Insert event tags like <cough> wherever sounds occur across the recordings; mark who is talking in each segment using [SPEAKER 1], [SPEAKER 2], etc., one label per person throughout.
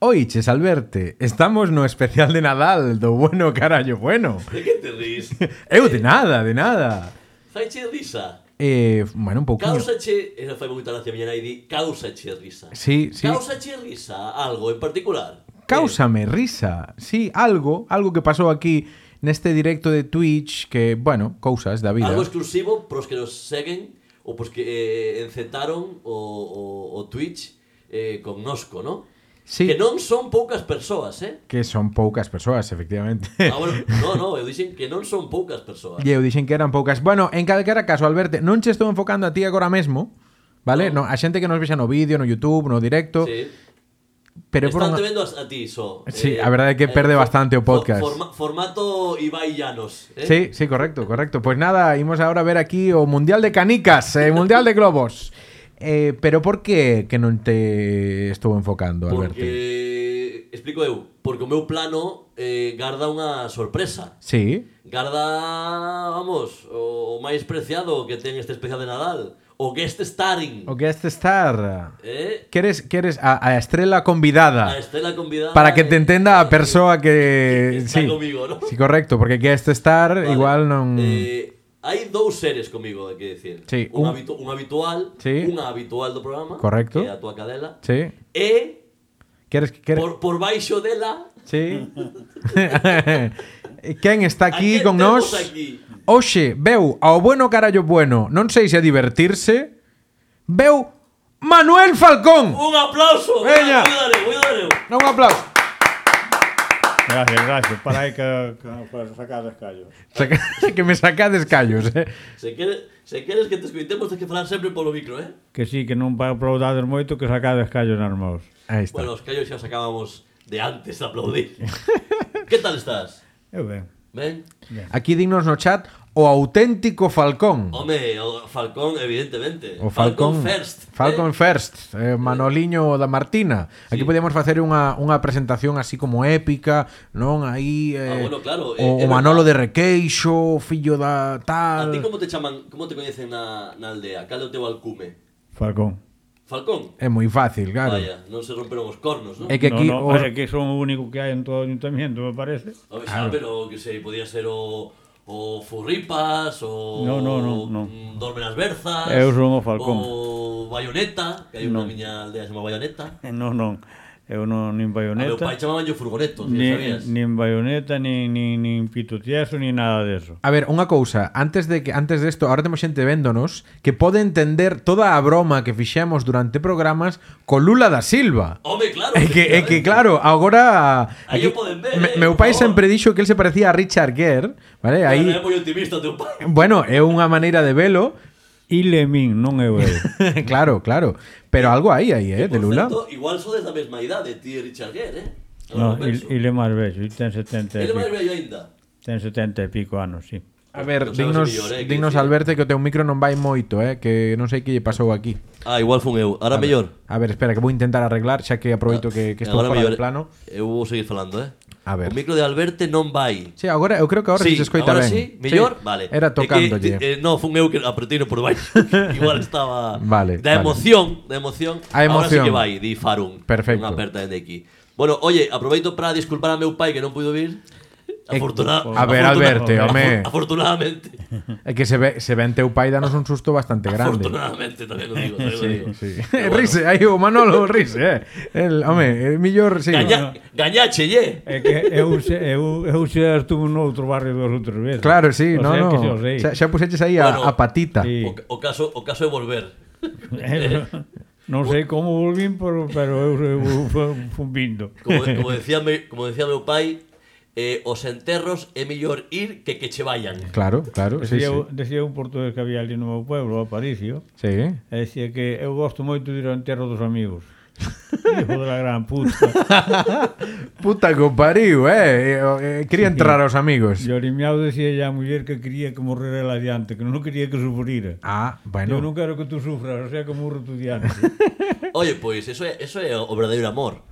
[SPEAKER 1] Oiches, Alberte, estamos no especial de Nadal, do bueno carallo bueno.
[SPEAKER 2] De que te
[SPEAKER 1] <laughs>
[SPEAKER 2] ris?
[SPEAKER 1] Eu de nada, de nada.
[SPEAKER 2] Faiche risa.
[SPEAKER 1] Eh, bueno, un pouquinho.
[SPEAKER 2] Causache, esa fai moita gracia a miña nai di, causache risa.
[SPEAKER 1] Sí, sí.
[SPEAKER 2] Causache risa algo en particular.
[SPEAKER 1] Cáusame risa. Sí, algo, algo que pasou aquí neste directo de Twitch que, bueno, cousas da
[SPEAKER 2] Eh,
[SPEAKER 1] vida.
[SPEAKER 2] Algo exclusivo pros que nos seguen ou pros que eh, encetaron o, o, o Twitch eh, con nosco, ¿no?
[SPEAKER 1] Sí.
[SPEAKER 2] Que non son poucas persoas, eh?
[SPEAKER 1] Que son poucas persoas, efectivamente. <laughs>
[SPEAKER 2] Ah, bueno, no, no, eu dixen que non son poucas persoas.
[SPEAKER 1] E eu dixen que eran poucas. Bueno, en calquera caso, Alberto, non che estou enfocando a ti agora mesmo, vale? No.
[SPEAKER 2] No.
[SPEAKER 1] a xente que nos vexa no vídeo, no YouTube, no directo, sí.
[SPEAKER 2] Sí.
[SPEAKER 1] pero por
[SPEAKER 2] Están
[SPEAKER 1] unha...
[SPEAKER 2] te vendo a, a ti, eh, só.
[SPEAKER 1] Sí, a verdade é que perde
[SPEAKER 2] fo-
[SPEAKER 1] bastante o
[SPEAKER 2] fo-
[SPEAKER 1] podcast.
[SPEAKER 2] forma- formato Ibai Llanos. Eh?
[SPEAKER 1] Sí, sí, correcto, correcto. Pues nada, imos agora a ver aquí o Mundial de Canicas, eh, Mundial de Globos. Eh, pero por que que non te estou enfocando, Alberto?
[SPEAKER 2] Porque, explico eu, porque o meu plano eh, garda unha sorpresa.
[SPEAKER 1] Sí,
[SPEAKER 2] Garda, vamos, o, o máis preciado que ten este especial de Nadal. O guest starring.
[SPEAKER 1] o Guest Star.
[SPEAKER 2] Eh?
[SPEAKER 1] Queres, queres a, a estrela
[SPEAKER 2] A
[SPEAKER 1] convidada
[SPEAKER 2] estela
[SPEAKER 1] Ah.
[SPEAKER 2] convidada.
[SPEAKER 1] para que te
[SPEAKER 2] eh,
[SPEAKER 1] entenda a
[SPEAKER 2] eh,
[SPEAKER 1] persoa que...
[SPEAKER 2] <laughs> está
[SPEAKER 1] Sí,
[SPEAKER 2] comigo, ¿no?
[SPEAKER 1] sí correcto, porque Guest Star
[SPEAKER 2] <laughs> Vale.
[SPEAKER 1] igual non...
[SPEAKER 2] Eh, hai dous seres comigo, hai que decir.
[SPEAKER 1] Sí,
[SPEAKER 2] un,
[SPEAKER 1] un-
[SPEAKER 2] habitu un habitual,
[SPEAKER 1] Sí.
[SPEAKER 2] unha habitual do programa.
[SPEAKER 1] Correcto.
[SPEAKER 2] Que é a tua cadela.
[SPEAKER 1] Sí.
[SPEAKER 2] E
[SPEAKER 1] Queres que queres?
[SPEAKER 2] por, por baixo dela
[SPEAKER 1] <laughs> Sí. Quen está aquí
[SPEAKER 2] A quen
[SPEAKER 1] con
[SPEAKER 2] temos
[SPEAKER 1] nós?
[SPEAKER 2] aquí?
[SPEAKER 1] Oxe, veu ao bueno carallo bueno, non sei se a divertirse, veu Manuel Falcón.
[SPEAKER 2] un aplauso.
[SPEAKER 1] Veña.
[SPEAKER 2] Voy a dar eu, voy a dar eu.
[SPEAKER 1] Non un aplauso.
[SPEAKER 3] Gracias, gracias. Para aí que, que para sacar descallos.
[SPEAKER 1] Saca- que me sacades callos, eh.
[SPEAKER 2] Se queres, se queres que te escoitemos, tens que falar sempre polo micro, eh?
[SPEAKER 3] Que sí, que non pa- aplaudades moito que sacades callos nas mãos.
[SPEAKER 1] Aí está.
[SPEAKER 2] Bueno, os callos xa os acabamos de antes de aplaudir. que tal estás?
[SPEAKER 3] Eu ben.
[SPEAKER 2] Ben?
[SPEAKER 1] Aquí dignos no chat o auténtico Falcón.
[SPEAKER 2] Home, o Falcón, evidentemente.
[SPEAKER 1] O Falcón,
[SPEAKER 2] First. ¿eh?
[SPEAKER 1] Falcon First, eh, Manoliño da Martina. Aquí
[SPEAKER 2] Sí.
[SPEAKER 1] podíamos facer unha, unha presentación así como épica, non? Aí eh,
[SPEAKER 2] Ah, bueno, claro,
[SPEAKER 1] o,
[SPEAKER 2] eh,
[SPEAKER 1] o
[SPEAKER 2] é
[SPEAKER 1] Manolo de
[SPEAKER 2] verdad.
[SPEAKER 1] Requeixo, o fillo da
[SPEAKER 2] A
[SPEAKER 1] tal.
[SPEAKER 2] ti como te chaman, como te coñecen na, na aldea? Cal é o teu alcume?
[SPEAKER 3] Falcón.
[SPEAKER 2] Falcón?
[SPEAKER 1] É moi fácil, claro.
[SPEAKER 2] Vaya, non se romperon os cornos, non?
[SPEAKER 1] É que
[SPEAKER 3] no,
[SPEAKER 1] aquí
[SPEAKER 3] no,
[SPEAKER 1] os-
[SPEAKER 3] pasa que son o único que hai en todo o ayuntamiento, me parece.
[SPEAKER 2] Home, xa, pero que sei, podía ser o o Furripas, o
[SPEAKER 3] No, no, no, no.
[SPEAKER 2] mm, Dorme nas Berzas.
[SPEAKER 3] Eu son o Falcón.
[SPEAKER 2] O Bayoneta, que hai unha miña aldea que se chama Bayoneta.
[SPEAKER 3] Eh, Non, non. Eu non
[SPEAKER 2] A Ah,
[SPEAKER 3] nin
[SPEAKER 2] meu
[SPEAKER 3] baioneta,
[SPEAKER 2] pai chamaban yo Furgoneto, si sabías.
[SPEAKER 3] nin, nin baioneta, nin, nin, nin pito tieso, nin nada deso.
[SPEAKER 1] A ver, unha cousa, antes de que antes desto, agora temos xente véndonos que pode entender toda a broma que fixemos durante programas co Lula da Silva.
[SPEAKER 2] Home, claro.
[SPEAKER 1] É que, é que claro, agora
[SPEAKER 2] Aí o poden ver,
[SPEAKER 1] me-
[SPEAKER 2] eh,
[SPEAKER 1] meu
[SPEAKER 2] por
[SPEAKER 1] pai
[SPEAKER 2] favor. eh,
[SPEAKER 1] sempre dixo que el se parecía a Richard Gere, vale?
[SPEAKER 2] aí...
[SPEAKER 1] Aí
[SPEAKER 2] É moi optimista o teu pai.
[SPEAKER 1] bueno, é unha maneira de
[SPEAKER 2] <laughs>
[SPEAKER 1] velo,
[SPEAKER 3] Ile min, non eu eu.
[SPEAKER 1] claro, claro, pero algo aí aí, eh, <laughs> de
[SPEAKER 2] Por
[SPEAKER 1] Lula.
[SPEAKER 2] certo, igual sodes da mesma idade, ti e Richard Gere, eh?
[SPEAKER 3] no,
[SPEAKER 2] Agora
[SPEAKER 3] il-
[SPEAKER 2] penso.
[SPEAKER 3] Ile máis vello, il ten 70 e
[SPEAKER 2] Ele é máis
[SPEAKER 3] pico.
[SPEAKER 2] vello aínda.
[SPEAKER 3] Ten 70 e pico anos, sí.
[SPEAKER 1] A ver,
[SPEAKER 2] Non sabes
[SPEAKER 1] dignos,
[SPEAKER 2] mellor, eh, que
[SPEAKER 1] dignos
[SPEAKER 2] dicir.
[SPEAKER 1] Alberto que o teu micro non vai moito, eh, que non sei que lle pasou aquí.
[SPEAKER 2] Ah, igual fun eu. Ahora mellor.
[SPEAKER 1] A ver, espera, que vou intentar arreglar, xa que aproveito que, que estou
[SPEAKER 2] Agora
[SPEAKER 1] fora de
[SPEAKER 2] mellor.
[SPEAKER 1] plano.
[SPEAKER 2] Eu vou seguir falando, eh?
[SPEAKER 1] A ver.
[SPEAKER 2] O micro de Alberto non vai.
[SPEAKER 1] Sí, agora eu creo que agora sí, se escoita
[SPEAKER 2] ahora
[SPEAKER 1] ben.
[SPEAKER 2] sí, mellor, vale.
[SPEAKER 1] Era tocándolle.
[SPEAKER 2] É que, eh, no, fun eu que apreteino
[SPEAKER 1] <laughs>
[SPEAKER 2] por baixo. Igual estaba
[SPEAKER 1] Vale,
[SPEAKER 2] da
[SPEAKER 1] vale.
[SPEAKER 2] emoción, da emoción.
[SPEAKER 1] A emoción.
[SPEAKER 2] Ahora sí que vai, di Farun.
[SPEAKER 1] Perfecto.
[SPEAKER 2] Unha aperta dende aquí. Bueno, oye, aproveito para disculpar a meu pai que non puido vir.
[SPEAKER 1] Eh,
[SPEAKER 2] Afortuna
[SPEAKER 1] a ver,
[SPEAKER 2] afortuna-
[SPEAKER 1] Alberto, home.
[SPEAKER 2] Afortunadamente.
[SPEAKER 1] É que se ve, se ven teu pai danos un susto bastante grande.
[SPEAKER 2] Afortunadamente tamén o digo, tamén o digo.
[SPEAKER 1] Sí. <laughs>
[SPEAKER 2] Pero bueno,
[SPEAKER 1] rise, aí o Manolo
[SPEAKER 2] <laughs>
[SPEAKER 1] rise, eh. El, home, el millor, sí.
[SPEAKER 2] Gaña, gañachelle.
[SPEAKER 3] É que eu, se- eu, eu xa estuve noutro barrio dos outras veces.
[SPEAKER 1] Claro, sí,
[SPEAKER 3] o
[SPEAKER 1] no,
[SPEAKER 3] sea,
[SPEAKER 1] no.
[SPEAKER 3] Que xa o sei.
[SPEAKER 1] Xa, xa puxeches aí a,
[SPEAKER 2] Bueno,
[SPEAKER 1] a patita.
[SPEAKER 3] sí.
[SPEAKER 2] O, o caso, o caso é volver.
[SPEAKER 3] Eh, <laughs> non sei como volvín, pero, pero eu, eu fu- fun vindo.
[SPEAKER 2] Como, como decía me, como decía meu pai, eh, os enterros é mellor ir que que che vayan.
[SPEAKER 1] Claro, claro, sí,
[SPEAKER 3] Decía,
[SPEAKER 1] sí.
[SPEAKER 3] sí. decía un portugués que había ali no meu pueblo, Aparicio,
[SPEAKER 1] Sí.
[SPEAKER 3] e decía que eu gosto moito de ir ao enterro dos amigos.
[SPEAKER 1] <laughs>
[SPEAKER 3] Hijo de la gran puta.
[SPEAKER 1] Puta que o pariu, eh. eh, eh, Quería entrar aos amigos.
[SPEAKER 3] E o limiao decía ya a muller que quería que morrera ela diante, que non quería que sufrira.
[SPEAKER 1] Ah,
[SPEAKER 3] Eu
[SPEAKER 1] bueno.
[SPEAKER 3] non quero que tú sufras, o sea que morro tú diante.
[SPEAKER 1] <laughs>
[SPEAKER 2] Oye, pois eso é, eso é o verdadeiro amor.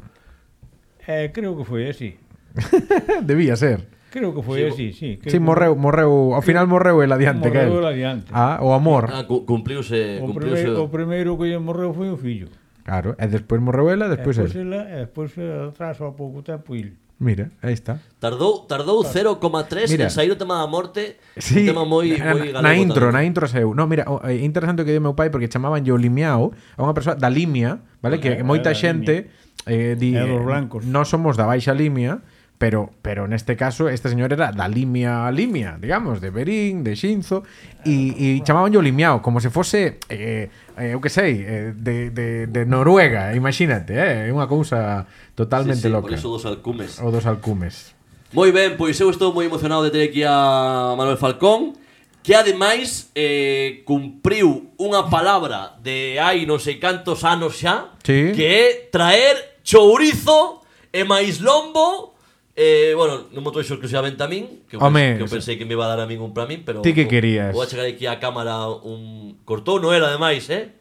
[SPEAKER 3] eh, creo que foi así.
[SPEAKER 1] <laughs> Debía ser.
[SPEAKER 3] Creo que foi así, sí. Creo
[SPEAKER 1] Sí,
[SPEAKER 3] que-
[SPEAKER 1] morreu, morreu, ao final morreu el adiante que
[SPEAKER 3] Morreu
[SPEAKER 1] el.
[SPEAKER 3] el adiante.
[SPEAKER 1] Ah, o amor.
[SPEAKER 2] Ah, cu cumpliuse,
[SPEAKER 3] O
[SPEAKER 2] cumpliuse.
[SPEAKER 3] primeiro, o primeiro que lle morreu foi o fillo.
[SPEAKER 1] Claro, e despois morreu ela,
[SPEAKER 3] E
[SPEAKER 1] despois
[SPEAKER 3] despois
[SPEAKER 1] el.
[SPEAKER 3] ela, e despois ela atrás ao pouco tempo il.
[SPEAKER 1] Mira, aí está.
[SPEAKER 2] Tardou, tardou 0,3
[SPEAKER 1] Mira.
[SPEAKER 2] en sair o tema da morte,
[SPEAKER 1] Sí,
[SPEAKER 2] un tema moi
[SPEAKER 1] na,
[SPEAKER 2] moi galego.
[SPEAKER 1] na intro,
[SPEAKER 2] tamén.
[SPEAKER 1] na intro saiu. No, mira, o, é interesante o que dio meu pai porque chamaban yo limiao a unha persoa da Limia, vale? Que
[SPEAKER 3] É,
[SPEAKER 1] moita
[SPEAKER 3] é da
[SPEAKER 1] xente eh, di,
[SPEAKER 3] É dos blancos.
[SPEAKER 1] non somos da Baixa Limia, pero pero neste caso este señor era da Limia a Limia, digamos, de Berín, de Xinzo e, e chamaban yo limiao como se fose eh, eh, eu que sei, eh, de, de, de Noruega, imagínate, eh? é unha cousa totalmente
[SPEAKER 2] sí, sí,
[SPEAKER 1] loca.
[SPEAKER 2] Por iso dos alcumes.
[SPEAKER 1] O dos alcumes.
[SPEAKER 2] Moi ben, pois eu estou moi emocionado de ter aquí a Manuel Falcón Que ademais eh, cumpriu unha palabra de hai non sei cantos anos xa
[SPEAKER 1] Sí.
[SPEAKER 2] Que é traer chourizo e máis lombo Eh, bueno, non me trouxo exclusivamente a min Que eu,
[SPEAKER 1] Home,
[SPEAKER 2] pensei, que eu pensei que me iba a dar a min un para min pero
[SPEAKER 1] Ti que
[SPEAKER 2] vou-
[SPEAKER 1] querías?
[SPEAKER 2] Vou a chegar aquí á cámara un cortou non era ademais, eh?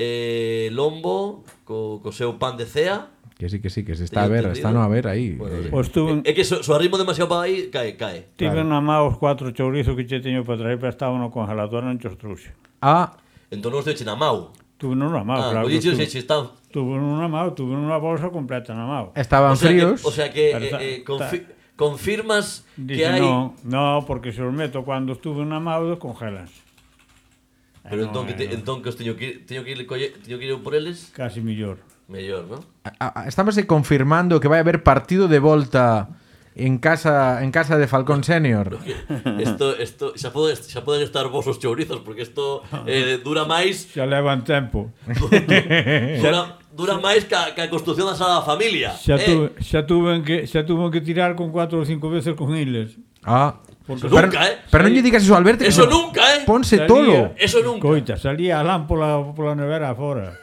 [SPEAKER 2] eh lombo co, co seu pan de cea
[SPEAKER 1] Que sí, que sí, que se está a
[SPEAKER 2] Teño
[SPEAKER 1] ver, está
[SPEAKER 2] entendido.
[SPEAKER 1] no a ver aí. eh,
[SPEAKER 2] Bueno,
[SPEAKER 3] Pois tuve,
[SPEAKER 2] É que so, so arrimo demasiado para aí, cae, cae
[SPEAKER 3] tiven na má os cuatro chourizos que che teño para traer, pero estaban no congelador, non chos trouxe.
[SPEAKER 1] Ah,
[SPEAKER 2] Entón non os deuche na mau.
[SPEAKER 3] Tuve non na má,
[SPEAKER 2] Ah,
[SPEAKER 3] claro.
[SPEAKER 2] claro,
[SPEAKER 3] que
[SPEAKER 2] dixo
[SPEAKER 3] tuve-
[SPEAKER 2] se se están...
[SPEAKER 3] Tuve non na má, tuve unha bolsa completa na má.
[SPEAKER 1] estaban
[SPEAKER 2] O sea que,
[SPEAKER 1] fríos.
[SPEAKER 2] o sea que
[SPEAKER 3] Pero está-
[SPEAKER 2] eh, eh, confi confirmas que
[SPEAKER 3] Dice,
[SPEAKER 2] hai...
[SPEAKER 3] no, no, porque se os meto cando estuve na má, descongelas.
[SPEAKER 2] Pero entón que, te,
[SPEAKER 3] eh,
[SPEAKER 2] entón que os teño que ir, teño que ir, colle, teño que ir eu por eles,
[SPEAKER 3] Casi mellor.
[SPEAKER 2] mellor,
[SPEAKER 1] <laughs>
[SPEAKER 2] ¿no?
[SPEAKER 1] A- a- Estamos confirmando que vai haber partido de volta en casa en casa de Falcón Senior.
[SPEAKER 2] Esto, esto, xa, poden, xa poden estar vos os chourizos, porque isto eh, dura
[SPEAKER 3] <laughs>
[SPEAKER 2] máis...
[SPEAKER 3] Xa levan tempo. Eh,
[SPEAKER 2] dura, dura máis ca, ca construción da sala da familia.
[SPEAKER 3] Xa,
[SPEAKER 2] eh.
[SPEAKER 3] tuve, xa, tuven que, xa tuven que tirar con cuatro ou cinco veces con iles.
[SPEAKER 1] Ah.
[SPEAKER 3] Porque
[SPEAKER 1] pero,
[SPEAKER 2] nunca, eh.
[SPEAKER 1] pero non lle digas eso a Alberto. que
[SPEAKER 2] Eso
[SPEAKER 1] no-
[SPEAKER 2] nunca, eh.
[SPEAKER 1] Ponse
[SPEAKER 3] Salía-
[SPEAKER 1] todo.
[SPEAKER 2] Eso nunca.
[SPEAKER 3] Coita, salía a lámpora pola nevera afora.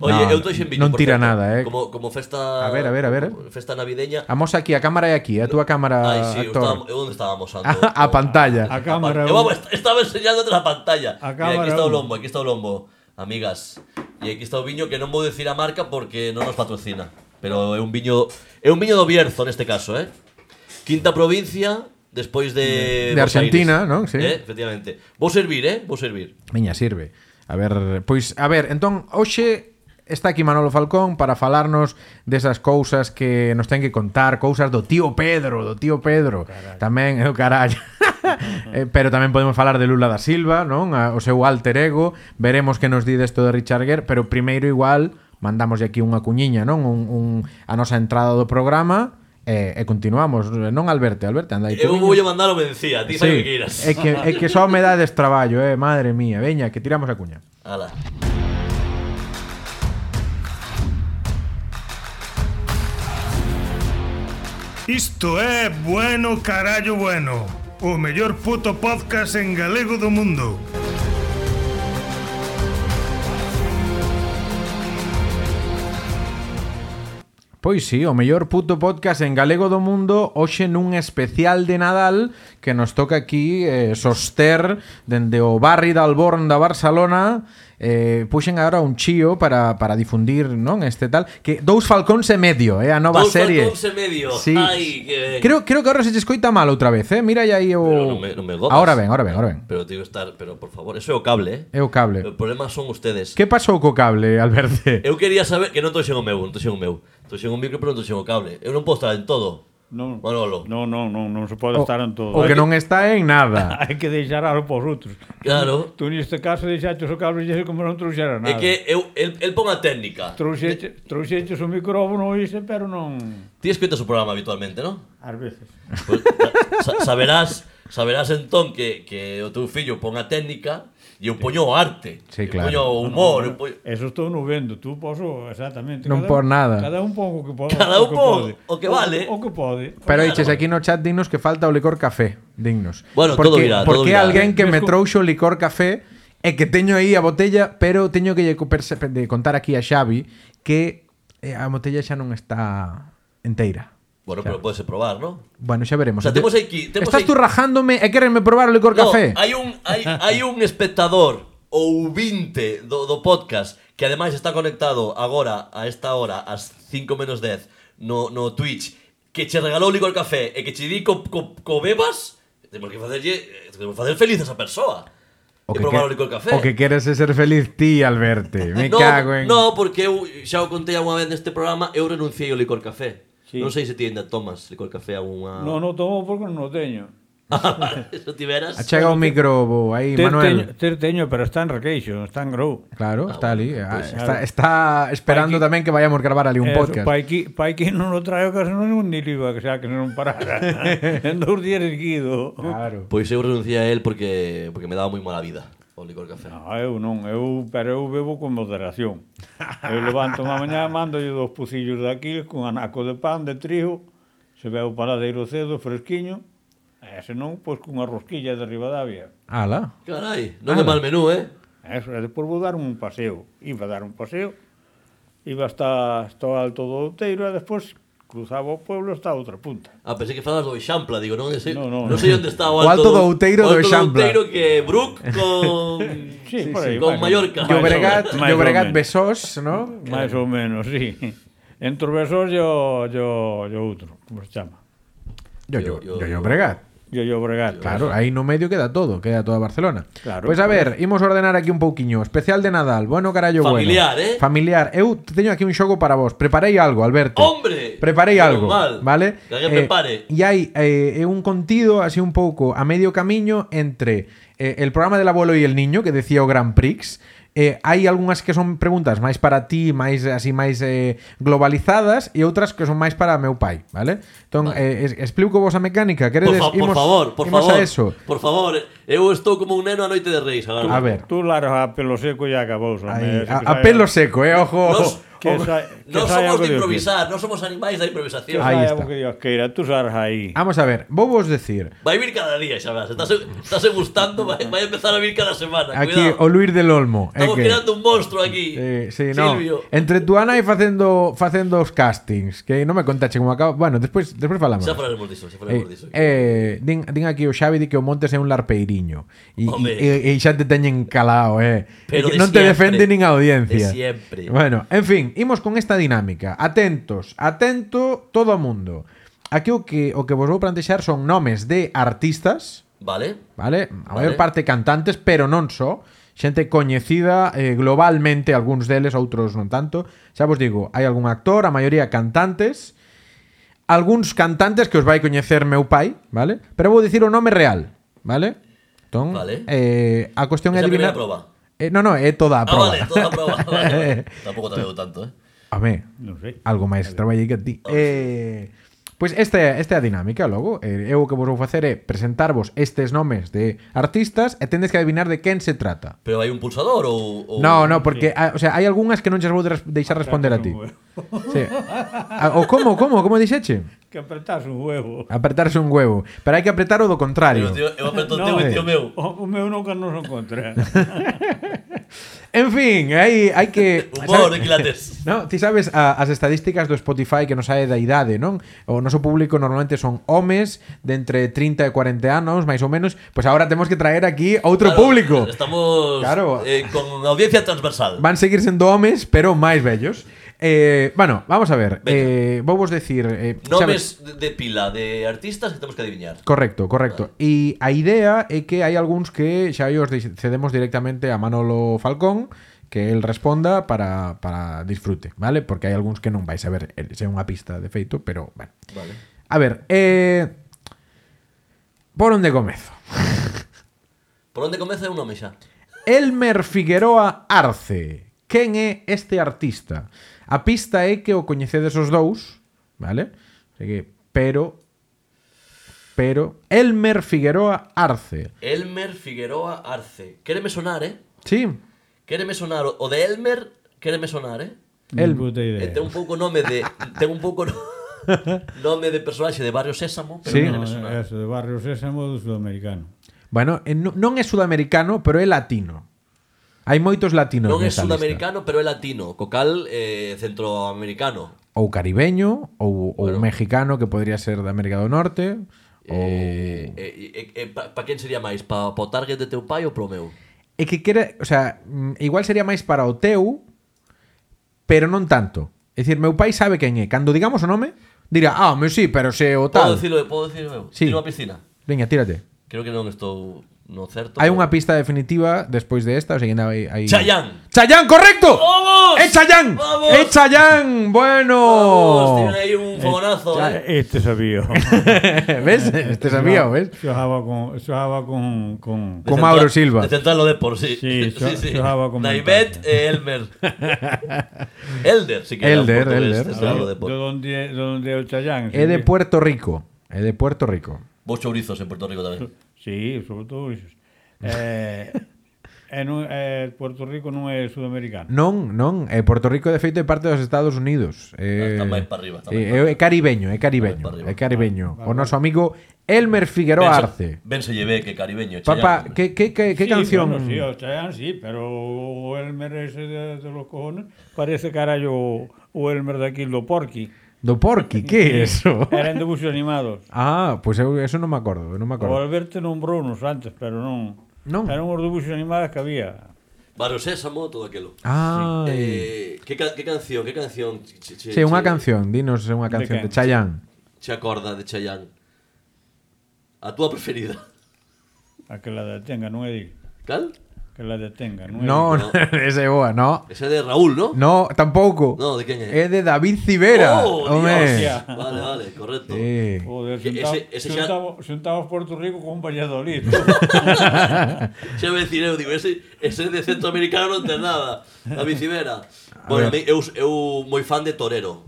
[SPEAKER 2] Oye,
[SPEAKER 1] No,
[SPEAKER 2] eu toixen vídeo,
[SPEAKER 1] non
[SPEAKER 2] por
[SPEAKER 1] tira
[SPEAKER 2] certo,
[SPEAKER 1] nada, eh.
[SPEAKER 2] Como, como festa...
[SPEAKER 1] A ver, a ver, a ver, eh.
[SPEAKER 2] Festa navideña.
[SPEAKER 1] A moza aquí, a cámara é aquí, a túa cámara
[SPEAKER 2] Ai, sí, eu, estaba,
[SPEAKER 1] actor.
[SPEAKER 2] eu onde estábamos antes.
[SPEAKER 1] <laughs> A, a pantalla.
[SPEAKER 3] A cámara...
[SPEAKER 2] Eu, vamos, est- estaba enseñándote la pantalla. Mira,
[SPEAKER 3] A
[SPEAKER 2] aquí
[SPEAKER 3] cámara
[SPEAKER 2] está o
[SPEAKER 3] uno.
[SPEAKER 2] lombo, aquí está o lombo, amigas. E aquí está o viño que non vou decir a marca porque non nos patrocina. Pero é un viño é un viño do Bierzo neste caso, eh? Quinta provincia despois de
[SPEAKER 1] De
[SPEAKER 2] Buenos
[SPEAKER 1] Argentina,
[SPEAKER 2] Aires.
[SPEAKER 1] non? Sí.
[SPEAKER 2] Eh, efectivamente. Vou servir, eh? Vou servir.
[SPEAKER 1] Miña, sirve. A ver, pois, a ver, entón, hoxe está aquí Manolo Falcón para falarnos desas cousas que nos ten que contar, cousas do tío Pedro, do tío Pedro. Tamén, é o carallo. Eh, pero tamén podemos falar de Lula da Silva, non? A, o seu alter ego. Veremos que nos di desto de Richard Gere, pero primeiro igual mandamos aquí unha cuñiña, non? Un, un, a nosa entrada do programa e, e continuamos. Non, Alberto, Alberto, anda aí. tú, Eh,
[SPEAKER 2] Eu
[SPEAKER 1] viña.
[SPEAKER 2] vou lle mandar o mencía, ti sabes o que queiras.
[SPEAKER 1] É que, é que só me dades traballo, eh, madre mía. Veña, que tiramos a cuña.
[SPEAKER 2] Ala.
[SPEAKER 4] Isto é Bueno Carallo Bueno O mellor puto podcast en galego do mundo
[SPEAKER 1] Pois sí, o mellor puto podcast en galego do mundo hoxe nun especial de Nadal que nos toca aquí eh, soster dende o barri da Alborn da Barcelona eh, puxen agora un chío para, para difundir non este tal que Dous Falcóns e Medio, eh, a nova
[SPEAKER 2] Dous
[SPEAKER 1] serie
[SPEAKER 2] Falcóns e Medio.
[SPEAKER 1] sí.
[SPEAKER 2] Ai, que ben.
[SPEAKER 1] creo, creo que agora se che escoita mal outra vez, eh? mira aí o...
[SPEAKER 2] Pero non me- non me godas.
[SPEAKER 1] Ahora ben, ahora ben, ahora ben
[SPEAKER 2] Pero tío estar, pero por favor, eso é o cable,
[SPEAKER 1] É
[SPEAKER 2] eh?
[SPEAKER 1] o cable
[SPEAKER 2] O problema son ustedes.
[SPEAKER 1] Que pasou co cable, Alberto?
[SPEAKER 2] Eu quería saber que non toxen o meu, non toxen o meu. Toxen o micro, pero non toxen o cable. Eu non podo estar en todo.
[SPEAKER 3] Non,
[SPEAKER 2] Manolo.
[SPEAKER 3] non, non, non, non se pode
[SPEAKER 1] O,
[SPEAKER 3] estar en todo.
[SPEAKER 1] o que non está en
[SPEAKER 3] <laughs>
[SPEAKER 1] nada
[SPEAKER 3] Hai que deixar algo para os outros.
[SPEAKER 2] Claro.
[SPEAKER 3] Tú neste caso deixaste o cable e como non trouxera
[SPEAKER 2] É
[SPEAKER 3] nada.
[SPEAKER 2] que eu, el, el pon a técnica.
[SPEAKER 3] Trouxeche, trouxeches o micrófono ese, pero non...
[SPEAKER 2] Ti escoitas o programa habitualmente, non?
[SPEAKER 3] Ás veces.
[SPEAKER 2] Pues, sa- saberás, saberás entón que, que o teu fillo pon a técnica e eu poño o arte.
[SPEAKER 1] Sí,
[SPEAKER 2] eu
[SPEAKER 1] claro.
[SPEAKER 2] poño o humor. eu poño...
[SPEAKER 3] Eso estou no vendo, tú poso exactamente.
[SPEAKER 1] Non
[SPEAKER 3] cada
[SPEAKER 1] por
[SPEAKER 3] un-
[SPEAKER 1] nada.
[SPEAKER 3] Cada un pon o que pode.
[SPEAKER 2] Cada un
[SPEAKER 3] o que
[SPEAKER 2] pon
[SPEAKER 3] pode.
[SPEAKER 2] o que vale.
[SPEAKER 3] O, o que pode.
[SPEAKER 1] Pero
[SPEAKER 2] Claro.
[SPEAKER 1] dices aquí no chat dignos que falta o licor café, dignos.
[SPEAKER 2] Bueno,
[SPEAKER 1] porque,
[SPEAKER 2] todo virá, todo
[SPEAKER 1] porque
[SPEAKER 2] virá. ¿eh?
[SPEAKER 1] alguén que me
[SPEAKER 3] Descu-
[SPEAKER 1] trouxo o licor café e que teño aí a botella, pero teño que lle co- perse- de contar aquí a Xavi que eh, a botella xa non está enteira.
[SPEAKER 2] Bueno, pero podes probar, non?
[SPEAKER 1] Bueno, xa veremos.
[SPEAKER 2] O sea, temos aquí- temos
[SPEAKER 1] Estás
[SPEAKER 2] aquí-
[SPEAKER 1] tú rajándome e querenme probar o licor café?
[SPEAKER 2] No, hai un hai, hai un espectador ou vinte do, do podcast que ademais está conectado agora a esta hora ás 5 menos 10 no, no Twitch que che regalou o licor café e que che di co, co, co bebas temos que facerlle eh, temos que facer feliz a esa persoa
[SPEAKER 1] O
[SPEAKER 2] E
[SPEAKER 1] que,
[SPEAKER 2] probar
[SPEAKER 1] que-
[SPEAKER 2] o licor café.
[SPEAKER 1] o que queres é ser feliz ti al verte. Me
[SPEAKER 2] no,
[SPEAKER 1] cago en...
[SPEAKER 2] No, porque eu xa o contei unha vez neste programa, eu renunciei ao licor café.
[SPEAKER 3] Sí.
[SPEAKER 2] Non sei se ti ainda tomas licor café a unha...
[SPEAKER 3] No, no tomo porque non o teño.
[SPEAKER 2] <laughs> se o tiveras...
[SPEAKER 1] Achega o micro bo, aí,
[SPEAKER 3] Ter teño,
[SPEAKER 1] Manuel.
[SPEAKER 3] ter teño, pero está en Requeixo, non está en Grou.
[SPEAKER 1] Claro, está ali. ah,
[SPEAKER 2] pues,
[SPEAKER 1] está,
[SPEAKER 3] claro.
[SPEAKER 1] está esperando
[SPEAKER 3] Aquí-
[SPEAKER 1] tamén que vayamos gravar ali un
[SPEAKER 3] Eh,
[SPEAKER 1] podcast.
[SPEAKER 3] Paiki, Paiki non o traio casi non ni liba, que xa que non parara.
[SPEAKER 1] <laughs>
[SPEAKER 3] en dous días seguido.
[SPEAKER 1] Claro.
[SPEAKER 2] Pois eu renunciei a él porque porque me daba moi mala vida o licor café.
[SPEAKER 3] No, eu non, eu, pero eu bebo con moderación. Eu levanto má mañá, mando dos pucillos daquil con anaco de pan, de trigo, se ve o paladeiro cedo, fresquiño, e se non, pois cunha rosquilla de Ribadavia.
[SPEAKER 1] Ala.
[SPEAKER 2] Carai,
[SPEAKER 3] Ah.
[SPEAKER 2] non é mal menú, eh?
[SPEAKER 3] Eso, e despois vou dar un paseo. Iba a dar un paseo, iba hasta, hasta o alto do Outeiro e despois cruzaba o pueblo hasta a outra punta.
[SPEAKER 2] Ah, pensei que falas do Eixampla, digo, non sei,
[SPEAKER 3] No,
[SPEAKER 2] no, no,
[SPEAKER 3] no, no.
[SPEAKER 2] non sei onde
[SPEAKER 1] <laughs>
[SPEAKER 2] está o
[SPEAKER 1] O
[SPEAKER 2] alto,
[SPEAKER 1] Alto do Outeiro
[SPEAKER 2] o
[SPEAKER 1] do
[SPEAKER 2] alto
[SPEAKER 1] Eixampla.
[SPEAKER 2] Outeiro que é Brook con
[SPEAKER 3] <laughs> Sí, por aí,
[SPEAKER 2] con
[SPEAKER 3] máis ou-
[SPEAKER 2] Mallorca.
[SPEAKER 1] Yo Bregat,
[SPEAKER 3] máis
[SPEAKER 1] yo
[SPEAKER 3] ou
[SPEAKER 1] Bregat
[SPEAKER 3] menos.
[SPEAKER 1] Besós, ¿no?
[SPEAKER 3] Máis ou menos, sí. Entre o Besós e o, e o, e o outro, como se chama.
[SPEAKER 1] Yo,
[SPEAKER 2] Yo-
[SPEAKER 1] yo,
[SPEAKER 2] yo-
[SPEAKER 1] yo, yo Bregat.
[SPEAKER 3] E o Bregat.
[SPEAKER 1] Claro, aí no medio queda todo, queda toda Barcelona.
[SPEAKER 3] Claro.
[SPEAKER 1] pois a ver, imos ordenar aquí un pouquiño, especial de Nadal, bueno carallo
[SPEAKER 2] Familiar,
[SPEAKER 1] bueno.
[SPEAKER 2] eh?
[SPEAKER 1] Familiar, Eu teño aquí un xogo para vos. Preparei algo, Alberto.
[SPEAKER 2] Hombre,
[SPEAKER 1] preparei
[SPEAKER 2] menos
[SPEAKER 1] algo,
[SPEAKER 2] mal.
[SPEAKER 1] vale?
[SPEAKER 2] Que alguén prepare.
[SPEAKER 1] E hai eh, é un contido así un pouco a medio camiño entre eh, el programa del abuelo e el niño que decía o Grand Prix. Eh, hai algunhas que son preguntas máis para ti, máis así máis eh, globalizadas e outras que son máis para meu pai, vale? Entón, eh, es, explico vos a mecánica,
[SPEAKER 2] Por,
[SPEAKER 1] queredes
[SPEAKER 2] fa, por
[SPEAKER 1] Imos-
[SPEAKER 2] favor, por
[SPEAKER 1] imos
[SPEAKER 2] favor.
[SPEAKER 1] a eso.
[SPEAKER 2] Por favor, eu estou como un neno a noite de reis agora.
[SPEAKER 1] A ver.
[SPEAKER 3] Tú largas a pelo seco e acabou.
[SPEAKER 1] Ahí, a, a pelo seco, eh, ojo.
[SPEAKER 2] Nos-
[SPEAKER 3] Que sa, que
[SPEAKER 2] Non somos
[SPEAKER 3] saia o
[SPEAKER 2] de
[SPEAKER 3] que Dios
[SPEAKER 2] improvisar, non somos animais da
[SPEAKER 3] queira. Que
[SPEAKER 2] improvisación.
[SPEAKER 1] Ahí
[SPEAKER 3] saia
[SPEAKER 1] está. Ah.
[SPEAKER 3] o que Dios queira. Tú sarras aí.
[SPEAKER 1] Vamos a ver, vou vos decir.
[SPEAKER 2] Vai vir cada día, xa verás. Estás, estás gustando, vai, vai empezar a vir cada semana.
[SPEAKER 1] Aquí o
[SPEAKER 2] Cuidado.
[SPEAKER 1] Luis del Olmo, é
[SPEAKER 2] Estamos
[SPEAKER 1] que
[SPEAKER 2] creando un monstruo aquí.
[SPEAKER 1] Eh, sí, no.
[SPEAKER 2] Silvio.
[SPEAKER 1] Entre tu Ana e facendo facendo os castings, que non me contache como acaba. Bueno, despois despois falamos.
[SPEAKER 2] Xa falaremos disso,
[SPEAKER 1] Eh,
[SPEAKER 2] xa falaremos disso.
[SPEAKER 1] eh, din, din aquí o Xavi di que o Montes é un larpeiriño e,
[SPEAKER 2] Home.
[SPEAKER 1] e, e xa te teñen calao eh. E
[SPEAKER 2] Pero
[SPEAKER 1] que
[SPEAKER 2] de
[SPEAKER 1] non te
[SPEAKER 2] siempre.
[SPEAKER 1] defende nin a audiencia
[SPEAKER 2] De siempre.
[SPEAKER 1] Bueno, en fin, imos con esta dinámica Atentos, atento todo o mundo Aquí o que, o que vos vou plantexar son nomes de artistas
[SPEAKER 2] Vale.
[SPEAKER 1] Vale? A maior
[SPEAKER 2] Vale.
[SPEAKER 1] parte cantantes, pero non só Xente coñecida eh, globalmente Algúns deles, outros non tanto Xa vos digo, hai algún actor, a maioría cantantes Algúns cantantes que os vai coñecer meu pai Vale? Pero vou dicir o nome real Vale? Entón,
[SPEAKER 2] Vale.
[SPEAKER 1] eh, a cuestión é
[SPEAKER 2] Esa
[SPEAKER 1] adivinar
[SPEAKER 2] primeira proba.
[SPEAKER 1] Eh, non, non, é toda a
[SPEAKER 2] Ah,
[SPEAKER 1] proba
[SPEAKER 2] vale, toda a proba. Vale, vale. Tampouco te veo tanto, eh.
[SPEAKER 1] <laughs> Home,
[SPEAKER 3] Non sei.
[SPEAKER 1] algo máis traballei que ti. Eh, pois esta é, esta é a dinámica, logo. Eh, eu o que vos vou facer é presentarvos estes nomes de artistas e tendes que adivinar de quen se trata.
[SPEAKER 2] Pero hai un pulsador ou... ou...
[SPEAKER 1] No, no, porque ah, o sea, hai algunhas que non xas vou des- deixar responder a ti. Sí. Ah, O como, como, como dixeche?
[SPEAKER 3] Que apertas un huevo.
[SPEAKER 1] Apertarse un huevo, pero hai que apretar o do contrario.
[SPEAKER 2] Eu, tío, eu aperto o teu e
[SPEAKER 3] eh,
[SPEAKER 2] tío meu.
[SPEAKER 3] O, o meu nunca nos
[SPEAKER 1] <laughs>
[SPEAKER 3] encontra.
[SPEAKER 1] En fin, hai hai que
[SPEAKER 2] Humor,
[SPEAKER 1] <laughs>
[SPEAKER 2] equilates.
[SPEAKER 1] No, ti sabes a, as estadísticas do Spotify que nos sae da idade, non? O noso público normalmente son homes de entre 30 e 40 anos, máis ou menos, pois agora temos que traer aquí outro
[SPEAKER 2] Claro,
[SPEAKER 1] público.
[SPEAKER 2] Estamos
[SPEAKER 1] Claro.
[SPEAKER 2] eh, con audiencia transversal.
[SPEAKER 1] Van seguir sendo homes, pero máis vellos. Eh, bueno, vamos a ver. Eh, vou vos decir, eh, sabes-
[SPEAKER 2] Nomes de, de pila de artistas que temos que adivinar.
[SPEAKER 1] Correcto, correcto. E a idea é que hai algúns que xa aí os deixe- cedemos directamente a Manolo Falcón que el responda para, para disfrute, vale? Porque hai algúns que non vais a ver, el- se é unha pista de feito, pero bueno.
[SPEAKER 2] Vale.
[SPEAKER 1] A ver, eh, por onde comezo?
[SPEAKER 2] Por onde comeza é un nome xa?
[SPEAKER 1] Elmer Figueroa Arce. Quen é este artista? A pista é que o coñecedes os dous, vale? Así que, pero pero Elmer Figueroa Arce.
[SPEAKER 2] Elmer Figueroa Arce. Quéreme sonar, eh?
[SPEAKER 1] Sí.
[SPEAKER 2] Quéreme sonar. O de Elmer, quéreme sonar, eh?
[SPEAKER 1] El-
[SPEAKER 3] Nin puta
[SPEAKER 2] Eh,
[SPEAKER 3] idea.
[SPEAKER 2] ten un pouco nome de... ten un
[SPEAKER 1] <laughs>
[SPEAKER 2] pouco no- nome de personaxe de Barrio Sésamo, pero
[SPEAKER 1] Sí.
[SPEAKER 2] sí.
[SPEAKER 3] No,
[SPEAKER 2] quéreme sonar.
[SPEAKER 3] eso, de Barrio Sésamo do Sudamericano.
[SPEAKER 1] Bueno, eh, no- non é sudamericano, pero é latino. Hai moitos latinos
[SPEAKER 2] Non é
[SPEAKER 1] nesa lista.
[SPEAKER 2] sudamericano, pero é latino. Cocal, eh, centroamericano.
[SPEAKER 1] Ou caribeño, ou, ou
[SPEAKER 2] Bueno.
[SPEAKER 1] mexicano, que podría ser de América do Norte. Ou...
[SPEAKER 2] Eh, eh, eh, pa, pa quen sería máis? Pa, pa o target de teu pai ou pro meu?
[SPEAKER 1] É que quere, o sea, mm, igual sería máis para o teu, pero non tanto. É dicir, meu pai sabe quen é. Cando digamos o nome, dirá, ah, meu sí, pero se o
[SPEAKER 2] Podo
[SPEAKER 1] tal.
[SPEAKER 2] dicilo, podo dicilo eu?
[SPEAKER 1] Sí.
[SPEAKER 2] Tiro a piscina.
[SPEAKER 1] Veña, tírate.
[SPEAKER 2] Creo que non estou No certo.
[SPEAKER 1] Hai unha pista definitiva despois de esta, o sea, que ainda hai, hai...
[SPEAKER 2] Chayán.
[SPEAKER 1] Chayán, correcto.
[SPEAKER 2] Vamos.
[SPEAKER 1] É Chayán.
[SPEAKER 2] Vamos.
[SPEAKER 1] É Chayán. Bueno.
[SPEAKER 2] Ah,
[SPEAKER 1] Oh!
[SPEAKER 2] Vamos, tienen
[SPEAKER 1] <laughs>
[SPEAKER 2] ahí un fogonazo. eh.
[SPEAKER 3] Este sabía.
[SPEAKER 1] ¿Ves? <laughs> Este sabía, ¿ves?
[SPEAKER 3] Xojaba con, xojaba con, con...
[SPEAKER 1] Con Mauro Silva.
[SPEAKER 2] Central- De Central o Depor, sí.
[SPEAKER 3] Sí,
[SPEAKER 2] <laughs>
[SPEAKER 3] xo- xogaba con
[SPEAKER 2] Naibet e Elmer. Elder, si que era
[SPEAKER 1] Elder,
[SPEAKER 2] portugués,
[SPEAKER 1] Elder.
[SPEAKER 2] de Central o
[SPEAKER 3] De
[SPEAKER 2] Depor.
[SPEAKER 3] donde, de donde el Chayán.
[SPEAKER 1] É de
[SPEAKER 3] sí.
[SPEAKER 1] Puerto Rico. É de Puerto Rico.
[SPEAKER 2] Vos chourizos en Puerto Rico tamén.
[SPEAKER 3] Sí, sobre todo isos.
[SPEAKER 1] <laughs>
[SPEAKER 3] Eh, e non, eh, Puerto Rico non é sudamericano.
[SPEAKER 1] Non, non, eh, Puerto Rico de feito é parte dos Estados Unidos. Eh,
[SPEAKER 2] Ah, Está máis pa arriba, está máis
[SPEAKER 1] eh, é caribeño, é caribeño,
[SPEAKER 2] Está
[SPEAKER 1] é
[SPEAKER 2] máis pa arriba.
[SPEAKER 3] Ah,
[SPEAKER 1] caribeño. O noso amigo Elmer Figueroa Arce.
[SPEAKER 2] Ben se llevé que caribeño.
[SPEAKER 1] Papá,
[SPEAKER 2] Chayán.
[SPEAKER 1] que, que, que, que
[SPEAKER 3] sí,
[SPEAKER 1] canción?
[SPEAKER 3] Bueno, sí, o Chayán sí, pero o Elmer ese de, de los cojones parece carallo o, o Elmer daquil
[SPEAKER 1] <laughs>
[SPEAKER 3] do Porky.
[SPEAKER 1] Do Porky, que
[SPEAKER 3] <laughs>
[SPEAKER 1] é eso?
[SPEAKER 3] Eran de buxos animados.
[SPEAKER 1] Ah, pois pues eu eso non me acordo, non me
[SPEAKER 3] O
[SPEAKER 1] acordo.
[SPEAKER 3] Alberto nombrou nos antes, pero non.
[SPEAKER 1] Non.
[SPEAKER 3] Eran os debuxos animados que había.
[SPEAKER 2] Baro Sésamo, todo aquelo.
[SPEAKER 1] Ah, eh,
[SPEAKER 2] Eh, que, ca- que canción, que canción che, che, che,
[SPEAKER 1] sí, unha canción, dinos unha
[SPEAKER 3] De
[SPEAKER 1] canción de,
[SPEAKER 3] quen?
[SPEAKER 1] Chayanne.
[SPEAKER 2] che acorda de Chayán? A túa preferida.
[SPEAKER 3] A que la detenga, non é di.
[SPEAKER 2] Cal?
[SPEAKER 3] Que la detenga, non é
[SPEAKER 1] Non, <laughs>
[SPEAKER 2] no.
[SPEAKER 1] esa é boa, no.
[SPEAKER 2] Esa é de Raúl, ¿no?
[SPEAKER 1] No, tampouco.
[SPEAKER 2] No, de quen
[SPEAKER 1] É
[SPEAKER 2] é?
[SPEAKER 1] de David Civera.
[SPEAKER 2] Oh,
[SPEAKER 1] home.
[SPEAKER 2] Dios. Oh, Vale, vale, correcto.
[SPEAKER 1] Sí.
[SPEAKER 3] di. O de
[SPEAKER 2] Que
[SPEAKER 3] sentado,
[SPEAKER 2] ese- ese xa-
[SPEAKER 3] sentado, sentado a Puerto Rico con
[SPEAKER 2] <laughs>
[SPEAKER 3] Valladolid.
[SPEAKER 2] Xa me decir, eu digo, ese, ese de centroamericano non ten nada. A bicibera. Bueno,
[SPEAKER 1] ver.
[SPEAKER 2] mi- eu, eu moi fan de Torero.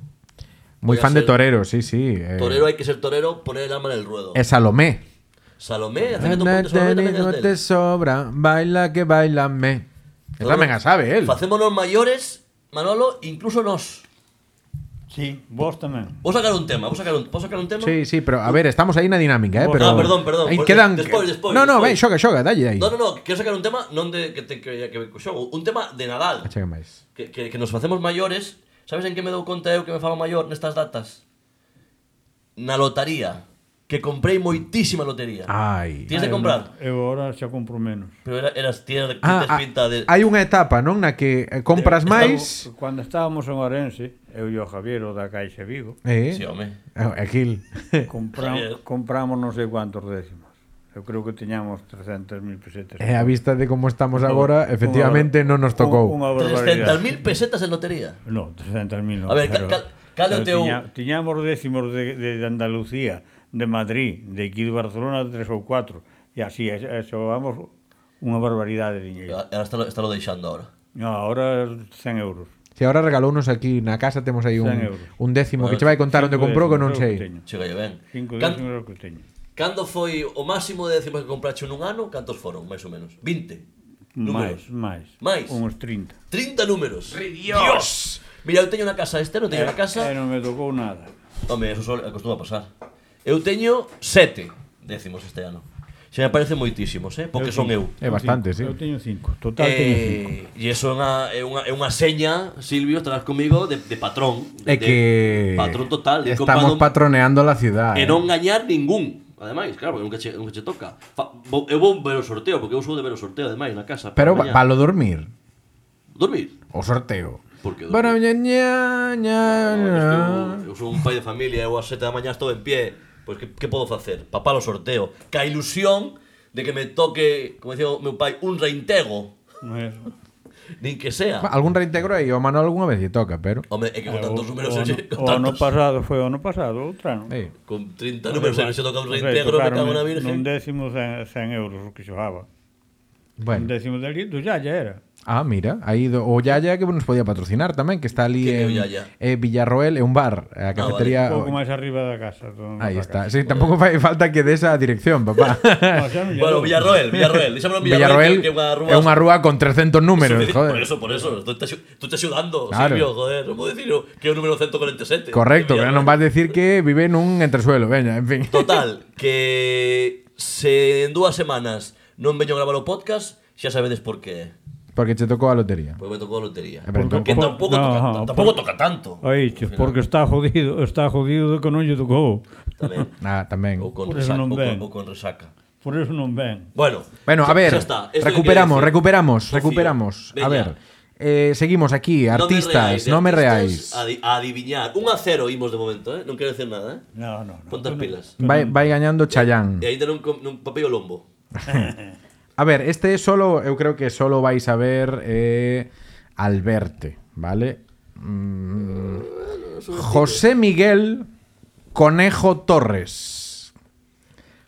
[SPEAKER 1] Muy
[SPEAKER 2] Voy a
[SPEAKER 1] fan de
[SPEAKER 2] ser-
[SPEAKER 1] Torero, sí, sí. eh.
[SPEAKER 2] Torero hai que ser torero, poner el alma en el ruedo.
[SPEAKER 1] É Salomé.
[SPEAKER 2] Salomé, hace que tú ponte Salomé tamén
[SPEAKER 1] No
[SPEAKER 2] es del.
[SPEAKER 1] te sobra, baila que bailame. Esa tamén a sabe, él.
[SPEAKER 2] Facémonos maiores, Manolo, incluso nos.
[SPEAKER 3] sí, vos tamén.
[SPEAKER 2] Vos sacar un tema, vos sacar un, vos sacar un tema.
[SPEAKER 1] Sí, sí, pero a ver, estamos aí na dinámica, eh,
[SPEAKER 3] Ah,
[SPEAKER 1] pero
[SPEAKER 2] perdón, perdón,
[SPEAKER 1] Aí
[SPEAKER 2] porque
[SPEAKER 1] quedan
[SPEAKER 2] despois, despois,
[SPEAKER 1] No, no,
[SPEAKER 2] despois.
[SPEAKER 1] ven, xoga, xoga, dalle aí.
[SPEAKER 2] No, no, no, quero sacar un tema non de que te que, que, que xogo, un tema de Nadal,
[SPEAKER 1] Achega máis.
[SPEAKER 2] que, que, que nos facemos maiores. Sabes en que me dou conta eu que me fago maior nestas datas? Na lotaría, que comprei moitísima lotería.
[SPEAKER 1] Ai.
[SPEAKER 2] Tienes de comprar,
[SPEAKER 3] Eu agora xa compro menos.
[SPEAKER 2] pero era, eras tienes,
[SPEAKER 1] Ah,
[SPEAKER 2] tienes
[SPEAKER 1] ah,
[SPEAKER 2] pinta de
[SPEAKER 1] hai unha etapa, non, na que eh, compras máis,
[SPEAKER 3] Estamos- Cando estábamos en Orense, eu e o Javier o da Caixa Vigo,
[SPEAKER 1] eh? Ah,
[SPEAKER 2] Sí, home.
[SPEAKER 1] Aquil. <laughs>
[SPEAKER 3] compram,
[SPEAKER 2] Javier.
[SPEAKER 3] compramos non sei cuantos décimos. Eu creo que tiñamos 300.000 pesetas.
[SPEAKER 1] E a vista de como estamos Eh, agora, efectivamente non nos tocou.
[SPEAKER 3] Unha, unha barbaridade.
[SPEAKER 2] 300.000 pesetas en lotería.
[SPEAKER 3] No, 300.000 non.
[SPEAKER 2] A ver,
[SPEAKER 3] pero-
[SPEAKER 2] cal- cal- cal é o
[SPEAKER 3] pero
[SPEAKER 2] teu-
[SPEAKER 3] tiña- Tiñamos décimos de, de, de Andalucía, de Madrid, de aquí de Barcelona, tres ou cuatro. E así, e- e xogamos unha barbaridade de dinheiro.
[SPEAKER 2] Ahora está, lo- está lo deixando ahora.
[SPEAKER 3] No, ahora 100 euros.
[SPEAKER 1] Si agora regalounos aquí na casa temos aí un,
[SPEAKER 3] 100 euros.
[SPEAKER 1] un décimo que che vai contar onde
[SPEAKER 3] Cinco
[SPEAKER 1] comprou que non
[SPEAKER 3] décimos é o
[SPEAKER 1] sei.
[SPEAKER 3] teño.
[SPEAKER 2] Chega ben.
[SPEAKER 3] Cinco
[SPEAKER 2] Can-
[SPEAKER 3] décimos é o que teño.
[SPEAKER 2] Cando foi o máximo de décimos que comprache nun ano? Cantos foron, máis ou menos? 20 números.
[SPEAKER 3] Máis, máis.
[SPEAKER 2] Máis.
[SPEAKER 3] Uns 30.
[SPEAKER 2] 30 números. Dios! Mira, eu teño na casa este, non teño na
[SPEAKER 3] Eh,
[SPEAKER 2] casa.
[SPEAKER 3] non me tocou nada.
[SPEAKER 2] Home, eso só acostuma pasar. Eu teño 7 décimos este ano. Xa me parece moitísimos, eh? Porque son eu.
[SPEAKER 1] É bastante, sí.
[SPEAKER 3] Eu teño cinco. Total, teño cinco.
[SPEAKER 2] Eh, e iso é unha, é, unha, é unha seña, Silvio, estarás comigo, de, de patrón.
[SPEAKER 1] É
[SPEAKER 2] De,
[SPEAKER 1] que
[SPEAKER 2] De, patrón total. de ir
[SPEAKER 1] estamos
[SPEAKER 2] comprando-
[SPEAKER 1] patroneando ¿eh? a cidade.
[SPEAKER 2] E non gañar ningún. Ademais, claro, porque nunca che, nunca che toca. Fa, vou, eu vou ver o sorteo, porque eu sou de ver o sorteo, ademais, na casa.
[SPEAKER 1] Pero
[SPEAKER 2] para mañá.
[SPEAKER 1] valo dormir
[SPEAKER 2] Dormir.
[SPEAKER 1] o sorteo.
[SPEAKER 2] Por que dormir?
[SPEAKER 1] Para ña, ña, ña,
[SPEAKER 2] Eh, No,
[SPEAKER 1] ña.
[SPEAKER 2] eu sou un pai de familia, eu ás sete da mañá estou en pie. Pois que, que podo facer? Papar o sorteo. Ca ilusión de que me toque, como decía o meu pai, un reintego.
[SPEAKER 3] Non é-
[SPEAKER 2] Nin que sea.
[SPEAKER 1] Ba, Algún reintegro aí, o Manuel algunha vez lle toca, pero
[SPEAKER 2] Home, é que con tantos números...
[SPEAKER 3] Eh,
[SPEAKER 2] <laughs> se- con
[SPEAKER 3] o, ano, o ano
[SPEAKER 2] tantos-
[SPEAKER 3] pasado foi o ano pasado, outro ano.
[SPEAKER 1] eh,
[SPEAKER 2] Con 30 números, se toca un
[SPEAKER 3] O sea,
[SPEAKER 2] reintegro, me
[SPEAKER 3] tocaron
[SPEAKER 2] cago na
[SPEAKER 3] Nun
[SPEAKER 2] virgen.
[SPEAKER 3] décimo 100, 100 euros o que xogaba. Un
[SPEAKER 1] bueno.
[SPEAKER 3] décimo de litro, ya, ya era.
[SPEAKER 1] Ah, mira, aí do, o Yaya que nos podía patrocinar tamén, que está ali
[SPEAKER 2] Que é o
[SPEAKER 1] en
[SPEAKER 2] Yaya?
[SPEAKER 1] eh, Villarroel, é un bar, a
[SPEAKER 2] Ah,
[SPEAKER 1] cafetería.
[SPEAKER 3] Un pouco máis arriba da casa. do-
[SPEAKER 1] Ah, Aí
[SPEAKER 3] da
[SPEAKER 1] está.
[SPEAKER 3] casa.
[SPEAKER 1] Sí, tampouco fai falta que des a dirección, papá. <laughs>
[SPEAKER 3] No, xa non
[SPEAKER 2] <laughs>
[SPEAKER 3] lle
[SPEAKER 2] Bueno,
[SPEAKER 3] dou.
[SPEAKER 2] Villarroel,
[SPEAKER 3] <laughs>
[SPEAKER 2] Villarroel. Dixámoslo en Villarroel,
[SPEAKER 1] Villarroel
[SPEAKER 2] que é unha rúa...
[SPEAKER 1] é unha rúa con 300 números,
[SPEAKER 2] Sí, Por
[SPEAKER 1] joder.
[SPEAKER 2] eso, por eso. Tú estás, tú estás ayudando,
[SPEAKER 1] Claro.
[SPEAKER 2] Silvio, joder. No puedo decir yo que é o número 147.
[SPEAKER 1] Correcto, que
[SPEAKER 2] Mira,
[SPEAKER 1] non vas decir que vive nun entresuelo, veña, en fin.
[SPEAKER 2] Total, que se en dúas semanas non veño gravar o podcast, xa sabedes por qué.
[SPEAKER 1] Porque che tocou a lotería.
[SPEAKER 2] Porque me tocou a lotería.
[SPEAKER 1] A ver,
[SPEAKER 2] Que
[SPEAKER 1] entón,
[SPEAKER 3] Por-
[SPEAKER 2] tampouco,
[SPEAKER 3] no,
[SPEAKER 2] toca,
[SPEAKER 3] por-
[SPEAKER 2] tampouco toca tanto.
[SPEAKER 3] Oíche, porque está jodido, está jodido de que non lle tocou.
[SPEAKER 2] Tamén.
[SPEAKER 1] ah, tamén.
[SPEAKER 2] Ou con
[SPEAKER 3] Por eso
[SPEAKER 2] resaca.
[SPEAKER 3] non
[SPEAKER 2] Ou con,
[SPEAKER 3] ven.
[SPEAKER 2] ou con resaca.
[SPEAKER 3] Por eso non ven.
[SPEAKER 2] Bueno,
[SPEAKER 1] Bueno, a
[SPEAKER 2] xa-
[SPEAKER 1] ver,
[SPEAKER 2] xa está. Esto que
[SPEAKER 1] recuperamos,
[SPEAKER 2] quería decir.
[SPEAKER 1] recuperamos,
[SPEAKER 2] Rocío,
[SPEAKER 1] recuperamos. A
[SPEAKER 2] veña.
[SPEAKER 1] ver, eh, seguimos aquí,
[SPEAKER 2] Non me reáis,
[SPEAKER 1] artistas,
[SPEAKER 2] de
[SPEAKER 1] non me reáis.
[SPEAKER 2] artistas, adi- A adiviñar. Un a cero imos de momento, eh? Non quero decir nada, eh?
[SPEAKER 3] No, no, no.
[SPEAKER 2] Ponte as pilas.
[SPEAKER 1] Vai, vai gañando Chayán.
[SPEAKER 2] E ainda non, com- non papei o lombo.
[SPEAKER 1] A ver, este solo, eu creo que solo vais a ver eh, al verte, ¿vale? Mm, José Miguel Conejo Torres.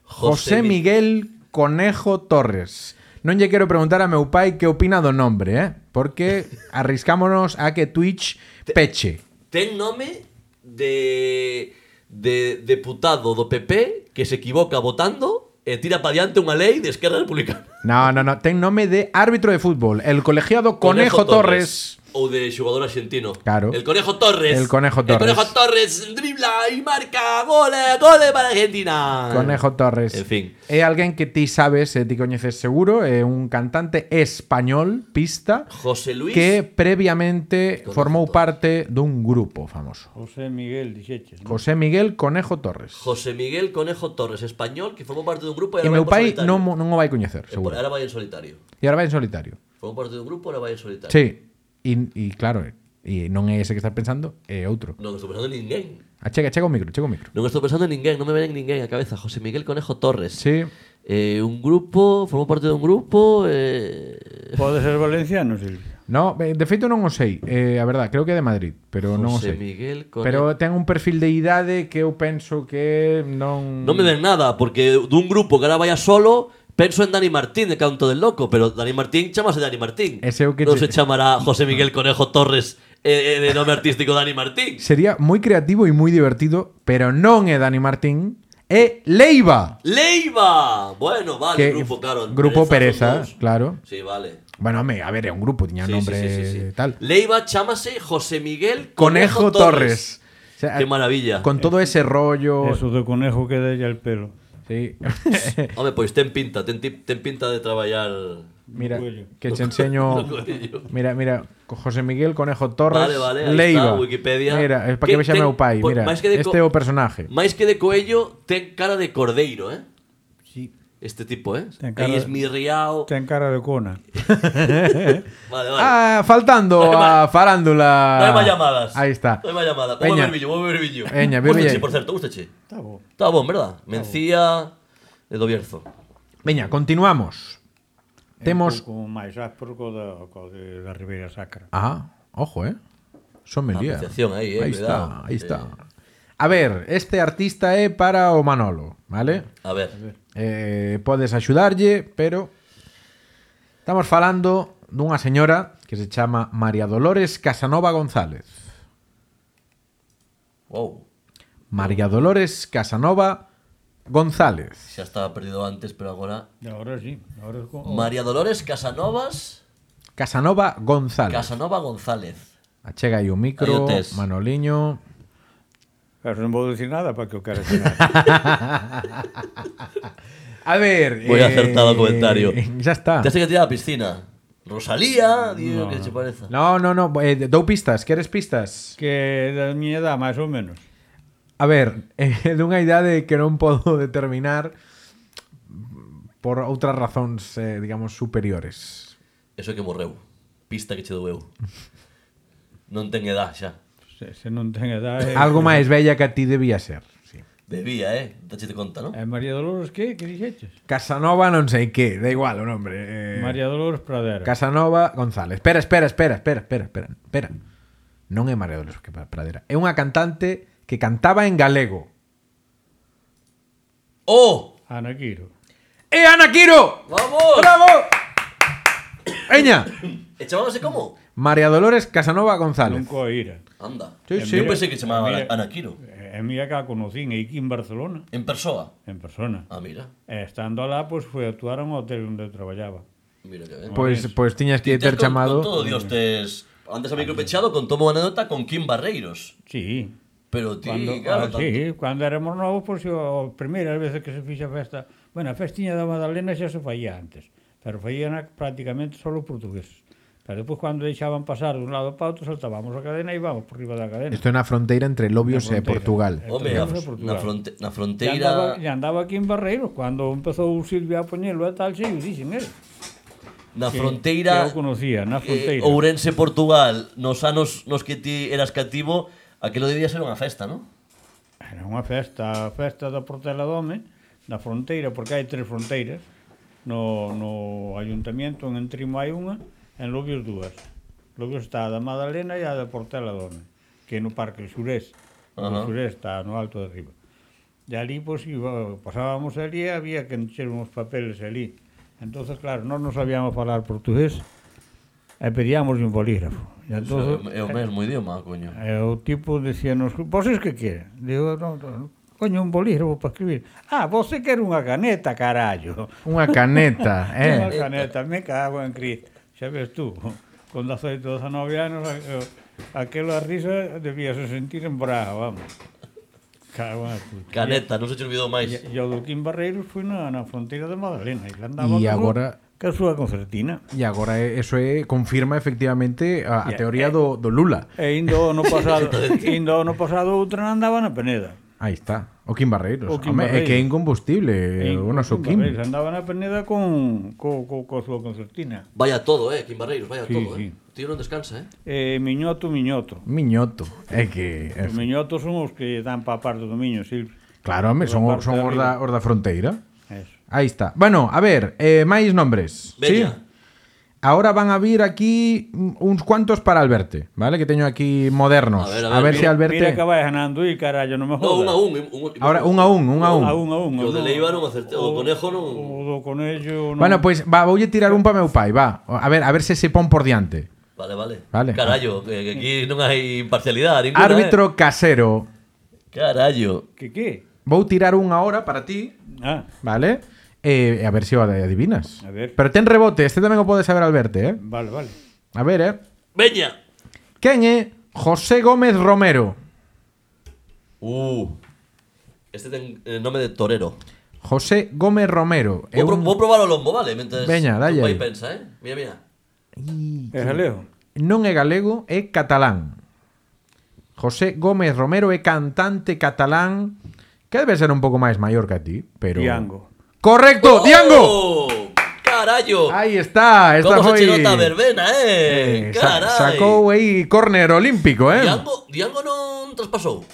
[SPEAKER 1] José
[SPEAKER 2] Mi-
[SPEAKER 1] Miguel Conejo Torres. Non lle quero preguntar a meu pai que opina do nombre, eh? <laughs> Porque arriscámonos a que Twitch peche.
[SPEAKER 2] Ten nome de de deputado do PP que se equivoca votando e tira para diante unha lei de Esquerra Republicana.
[SPEAKER 1] No, no, no, ten nome de árbitro de fútbol, el colegiado <laughs> Conejo, Torres.
[SPEAKER 2] Ou de xogador argentino.
[SPEAKER 1] Claro.
[SPEAKER 2] El Conejo Torres.
[SPEAKER 1] El Conejo
[SPEAKER 2] El
[SPEAKER 1] Torres.
[SPEAKER 2] Conejo Torres dribla y marca gole, gole para Argentina.
[SPEAKER 1] Conejo Torres.
[SPEAKER 2] Ah, En fin.
[SPEAKER 1] É alguén que ti sabes, e ti coñeces seguro, é un cantante español, pista,
[SPEAKER 2] José Luis.
[SPEAKER 1] que previamente
[SPEAKER 2] Conejo
[SPEAKER 1] formou
[SPEAKER 2] Torres.
[SPEAKER 1] parte dun grupo famoso.
[SPEAKER 3] José Miguel Dixeches. ¿no?
[SPEAKER 1] José Miguel Conejo Torres.
[SPEAKER 2] José Miguel Conejo Torres, español, que formou parte dun grupo
[SPEAKER 1] E
[SPEAKER 2] e agora vai
[SPEAKER 1] meu
[SPEAKER 2] por
[SPEAKER 1] pai
[SPEAKER 2] solitario.
[SPEAKER 1] non, mo- non o vai coñecer,
[SPEAKER 2] E por-
[SPEAKER 1] seguro.
[SPEAKER 2] Ahora vai en solitario.
[SPEAKER 1] E agora vai en solitario.
[SPEAKER 2] Formou parte dun grupo, ahora vai en solitario.
[SPEAKER 1] Sí, e, e claro, e non é ese que estás pensando, é outro.
[SPEAKER 2] Non estou pensando en ninguén.
[SPEAKER 1] Achega, chega o micro, chega o micro.
[SPEAKER 2] Non estou pensando en ninguén, non me ven en ninguén a cabeza. José Miguel Conejo Torres.
[SPEAKER 1] Sí,
[SPEAKER 2] Eh, un grupo, formou parte dun grupo, eh,
[SPEAKER 3] Pode ser valenciano, Silvia.
[SPEAKER 1] No, eh, de feito non o sei, eh, a verdad, creo que é de Madrid, pero non o
[SPEAKER 2] José
[SPEAKER 1] sei.
[SPEAKER 2] Miguel Conejo.
[SPEAKER 1] Pero ten un perfil de idade que eu penso que non...
[SPEAKER 2] Non me ven nada, porque dun grupo que ahora vaya solo, penso en Dani Martín de Canto del Loco, pero Dani Martín chamase Dani Martín.
[SPEAKER 1] Ese é o que Ah.
[SPEAKER 2] non
[SPEAKER 1] che-
[SPEAKER 2] se chamará José Miguel Conejo Torres eh, eh, de nome artístico Dani Martín.
[SPEAKER 1] Sería moi creativo e moi divertido, pero non é Dani Martín, é Leiva.
[SPEAKER 2] Leiva! Bueno, vale,
[SPEAKER 1] Que-
[SPEAKER 2] grupo, claro.
[SPEAKER 1] grupo
[SPEAKER 2] son
[SPEAKER 1] Pereza,
[SPEAKER 2] dous.
[SPEAKER 1] claro.
[SPEAKER 2] Sí, vale.
[SPEAKER 1] Bueno, home, a ver, é un grupo, tiña
[SPEAKER 2] Sí,
[SPEAKER 1] nombre
[SPEAKER 2] sí, sí, sí, sí.
[SPEAKER 1] tal.
[SPEAKER 2] Leiva chamase José Miguel
[SPEAKER 1] Conejo, Torres. O sea,
[SPEAKER 2] Qué maravilla. Eh.
[SPEAKER 1] Con todo ese rollo...
[SPEAKER 3] Eso de conejo que della el pelo.
[SPEAKER 1] Sí.
[SPEAKER 2] Home, pois ten pinta, ten, ti- ten pinta de traballar...
[SPEAKER 1] mira,
[SPEAKER 3] Cuello.
[SPEAKER 1] que che
[SPEAKER 2] <laughs>
[SPEAKER 1] enseño...
[SPEAKER 2] no cuello.
[SPEAKER 1] Mira, mira, José Miguel Conejo Torres,
[SPEAKER 2] Vale, vale, ahí
[SPEAKER 1] Leiva.
[SPEAKER 2] está, Wikipedia.
[SPEAKER 1] Mira, é para
[SPEAKER 2] Que
[SPEAKER 1] que vexa
[SPEAKER 2] ten-
[SPEAKER 1] meu pai,
[SPEAKER 2] por-
[SPEAKER 1] mira,
[SPEAKER 2] máis que de co-
[SPEAKER 1] este é o personaje.
[SPEAKER 2] Máis que de coello, ten cara de cordeiro, eh?
[SPEAKER 1] Sí.
[SPEAKER 2] Este tipo, eh?
[SPEAKER 3] Ten cara
[SPEAKER 2] Aí
[SPEAKER 3] de-
[SPEAKER 2] esmirriao...
[SPEAKER 3] Ten cara de cona.
[SPEAKER 2] Vale, vale.
[SPEAKER 1] Ah, faltando
[SPEAKER 2] No hay ma-
[SPEAKER 1] a farándula.
[SPEAKER 2] No hay más llamadas.
[SPEAKER 1] Ah, Ahí está.
[SPEAKER 2] No hay más llamadas. Vou
[SPEAKER 1] Veña.
[SPEAKER 2] beber billo, vou beber billo.
[SPEAKER 1] Veña, bebe
[SPEAKER 2] Gústache,
[SPEAKER 1] aí.
[SPEAKER 2] por certo, gustache.
[SPEAKER 3] Está bo.
[SPEAKER 2] Está bon, verdad? Mencía de do Bierzo.
[SPEAKER 1] Veña, continuamos.
[SPEAKER 2] Eh,
[SPEAKER 1] Temos,
[SPEAKER 3] Temos un um pouco máis áspero co da, co de, da Ribeira Sacra.
[SPEAKER 1] ah, ojo, eh. Son Meliá.
[SPEAKER 2] Apreciación aí, eh,
[SPEAKER 1] Ahí
[SPEAKER 2] cuidado. Eh.
[SPEAKER 1] está, ahí está. A ver, este artista é para o Manolo, ¿vale?
[SPEAKER 2] A ver.
[SPEAKER 1] Eh, podes axudarlle, pero estamos falando dunha señora que se chama María Dolores Casanova González.
[SPEAKER 2] Wow.
[SPEAKER 1] María Dolores Casanova González.
[SPEAKER 2] Xa estaba perdido antes, pero agora...
[SPEAKER 3] E agora sí. Agora es con...
[SPEAKER 2] María Dolores Casanovas...
[SPEAKER 1] Casanova González.
[SPEAKER 2] Casanova González.
[SPEAKER 1] Achega aí o
[SPEAKER 2] Aí o
[SPEAKER 1] micro,
[SPEAKER 2] tes.
[SPEAKER 1] Manoliño.
[SPEAKER 3] Pero non vou dicir nada para que o cara se
[SPEAKER 2] <laughs>
[SPEAKER 3] nada.
[SPEAKER 1] A ver, eh,
[SPEAKER 2] Muy acertado el comentario.
[SPEAKER 1] <laughs> Ya está.
[SPEAKER 2] Te hace que tirar a la piscina. Rosalía, digo, que che parece?
[SPEAKER 1] Ah. No, no, no, eh, dou pistas, queres pistas?
[SPEAKER 3] que da miña edad, máis ou menos.
[SPEAKER 1] A ver, <laughs> eh, dunha idade que non podo <laughs> determinar por outras razóns, eh, digamos, superiores.
[SPEAKER 2] Eso é que morreu. Pista que che dou eu. Non ten edad xa.
[SPEAKER 3] Se, se non ten edad... É,
[SPEAKER 1] Algo máis bella que a ti debía ser. Sí.
[SPEAKER 2] Debía, eh? Dache te conta, non?
[SPEAKER 3] É María Dolores, que? Que dixeches?
[SPEAKER 1] Casanova non sei que, da igual o nombre. Eh,
[SPEAKER 3] María Dolores Pradera.
[SPEAKER 1] Casanova González. Espera, espera, espera, espera, espera, espera, espera. Non é María Dolores que Pradera. É unha cantante que cantaba en galego.
[SPEAKER 2] Oh!
[SPEAKER 3] Ana Quiro.
[SPEAKER 1] É Ana Quiro!
[SPEAKER 2] Vamos!
[SPEAKER 1] ¡Bravo! Eña!
[SPEAKER 2] E chamábase como?
[SPEAKER 1] María Dolores Casanova González.
[SPEAKER 3] Nunca a ira.
[SPEAKER 2] Anda.
[SPEAKER 1] Sí, sí.
[SPEAKER 2] Eu pensei que chamaba
[SPEAKER 3] Mira.
[SPEAKER 2] Ana Quiro.
[SPEAKER 3] É mía que a conocín aquí en Barcelona,
[SPEAKER 2] En persoa.
[SPEAKER 3] en persona.
[SPEAKER 2] Ah, mira.
[SPEAKER 3] E estando alá, pois foi actuar a un hotel onde eu traballaba.
[SPEAKER 2] Mira que ben.
[SPEAKER 1] Pois pois tiñas que ter
[SPEAKER 2] Tes con- Con todo,
[SPEAKER 1] chamado
[SPEAKER 2] Dios, tes... Antes a micro pechado contou unha anécdota con Kim Barreiros.
[SPEAKER 3] Sí.
[SPEAKER 2] Pero ti,
[SPEAKER 3] Cuando,
[SPEAKER 2] claro,
[SPEAKER 3] ah, sí, cando éramos novos, pois yo, as primeiras veces que se fixa festa, bueno, a festiña da Madalena xa se faía antes, pero faían prácticamente solo portugueses. Pero depois, cando deixaban pasar dun lado para outro, soltábamos a cadena e íbamos por riba da cadena.
[SPEAKER 1] Isto é unha fronteira entre Lobios e
[SPEAKER 3] Unha fronteira.
[SPEAKER 1] Portugal.
[SPEAKER 3] Eh,
[SPEAKER 2] Home,
[SPEAKER 3] Entonces,
[SPEAKER 2] a,
[SPEAKER 3] vamos a
[SPEAKER 2] na,
[SPEAKER 3] Portugal.
[SPEAKER 2] fronte, na
[SPEAKER 3] E andaba,
[SPEAKER 2] fronteira...
[SPEAKER 3] e andaba aquí en Barreiros, cando empezou o Silvia a poñelo e tal, xe, o dixen ele.
[SPEAKER 2] Na
[SPEAKER 3] que-
[SPEAKER 2] fronteira...
[SPEAKER 3] Que eu conocía, na
[SPEAKER 2] eh,
[SPEAKER 3] fronteira.
[SPEAKER 2] Ourense, Portugal, nos anos nos que ti eras cativo, aquilo debía ser unha festa, non?
[SPEAKER 3] Era unha festa, a festa da Portela do Home, da fronteira, porque hai tres fronteiras. no, no ayuntamiento en Entrimo hai unha, en Lobios dúas. Lobios está a da Madalena e a da Portela Dona, que é no Parque Surés.
[SPEAKER 2] Ajá.
[SPEAKER 3] No Surés está no alto de arriba. E ali, pois, iba, pasábamos ali e había que encher uns papeles ali. Entonces, claro, non nos sabíamos falar portugués e pedíamos un bolígrafo. E entonces,
[SPEAKER 2] É o mesmo idioma, coño.
[SPEAKER 3] E o tipo dicíanos, voces que queren? Digo, non, non, coño, un bolígrafo para escribir. Ah, você quer unha caneta, carallo.
[SPEAKER 1] Unha caneta,
[SPEAKER 3] <laughs>
[SPEAKER 1] eh?
[SPEAKER 3] Unha caneta, me cago en Cristo. Xa ves tú, con 18, 19 anos, a- aquela risa debíase sentir en braga, vamos. Cago en puta.
[SPEAKER 2] Caneta, non se te olvidou máis.
[SPEAKER 3] E, e o do Quim Barreiros foi na, na fronteira de Madalena. E lá andaba
[SPEAKER 1] E
[SPEAKER 3] co-
[SPEAKER 1] agora-
[SPEAKER 3] Ca súa concertina.
[SPEAKER 1] E agora eh, eso é, confirma efectivamente a, a
[SPEAKER 3] Ya,
[SPEAKER 1] teoría do, do Lula.
[SPEAKER 3] E indo no
[SPEAKER 1] <laughs>
[SPEAKER 3] pasado, indo no pasado outra andaba na Peneda.
[SPEAKER 1] Aí está. O Kim Barreiros.
[SPEAKER 3] O Kim
[SPEAKER 1] Home, é
[SPEAKER 3] Barreiros.
[SPEAKER 1] que é incombustible. eh,
[SPEAKER 3] En-
[SPEAKER 1] o noso
[SPEAKER 3] con
[SPEAKER 1] Kim.
[SPEAKER 3] Barreiros, Andaba na peneda con, co, co, co súa concertina.
[SPEAKER 2] Vaya todo, eh, Kim Barreiros, vaya
[SPEAKER 3] Sí,
[SPEAKER 2] todo,
[SPEAKER 3] sí.
[SPEAKER 2] eh. O Tío non descansa, eh.
[SPEAKER 3] Eh, miñoto, miñoto.
[SPEAKER 1] Miñoto. É que... eh, é-
[SPEAKER 3] Os miñotos son os que dan pa parte do miño, Silvio.
[SPEAKER 1] Claro, home, son,
[SPEAKER 3] Pola
[SPEAKER 1] o-
[SPEAKER 3] parte
[SPEAKER 1] son
[SPEAKER 3] de
[SPEAKER 1] os da, os da fronteira.
[SPEAKER 3] Eso.
[SPEAKER 1] Aí está. Bueno, a ver, eh, máis nombres.
[SPEAKER 2] Veña.
[SPEAKER 1] Ahora van a vir aquí mm, uns cuantos para Alberte, ¿vale? Que teño aquí modernos. A
[SPEAKER 2] A ver,
[SPEAKER 1] ver,
[SPEAKER 2] a ver,
[SPEAKER 1] si Alberte...
[SPEAKER 3] Mira que vais ganando e carallo, non me
[SPEAKER 2] No, un
[SPEAKER 3] jodas.
[SPEAKER 2] a un. un, un
[SPEAKER 1] Ahora, un a un, un a un.
[SPEAKER 3] a un, a un.
[SPEAKER 2] Yo de
[SPEAKER 3] non.
[SPEAKER 2] Leiva non acertei, o conejo non-
[SPEAKER 3] O do conello non.
[SPEAKER 1] Bueno, pois pues, va, voulle tirar un pa meu pai, va. A ver, a ver se se pon por diante.
[SPEAKER 2] Vale, vale.
[SPEAKER 1] Vale.
[SPEAKER 2] Carallo, que, que aquí non hai imparcialidade ninguna,
[SPEAKER 1] Árbitro casero.
[SPEAKER 2] Eh. Carallo.
[SPEAKER 3] Que que?
[SPEAKER 1] Vou tirar un ahora para ti,
[SPEAKER 3] Ah,
[SPEAKER 1] ¿vale? Eh, a ver se o adivinas.
[SPEAKER 3] A ver.
[SPEAKER 1] Pero ten rebote, este tamén o podes saber Alberte, eh?
[SPEAKER 3] vale, vale.
[SPEAKER 1] A ver, eh?
[SPEAKER 2] Veña.
[SPEAKER 1] Quen é José Gómez Romero?
[SPEAKER 2] Uh. Este ten eh, nome de torero.
[SPEAKER 1] José Gómez Romero. É
[SPEAKER 2] Vou, pro,
[SPEAKER 1] un-
[SPEAKER 2] vou probar o lombo, vale? Mentres
[SPEAKER 1] Veña, dalle
[SPEAKER 2] tu pai
[SPEAKER 1] aí.
[SPEAKER 2] pensa, eh. Mira, mira.
[SPEAKER 3] É galego.
[SPEAKER 1] non é galego, é catalán. José Gómez Romero é cantante catalán que debe ser un pouco máis maior que a ti, pero...
[SPEAKER 3] Diango.
[SPEAKER 1] Correcto, Diango!
[SPEAKER 2] Oh, Carallo.
[SPEAKER 1] Aí está, esta
[SPEAKER 2] Como
[SPEAKER 1] foi...
[SPEAKER 2] se che nota a verbena, eh.
[SPEAKER 1] Eh, sa-
[SPEAKER 2] Carai.
[SPEAKER 1] sacou aí córner olímpico, eh?
[SPEAKER 2] Diango, Diango non traspasou.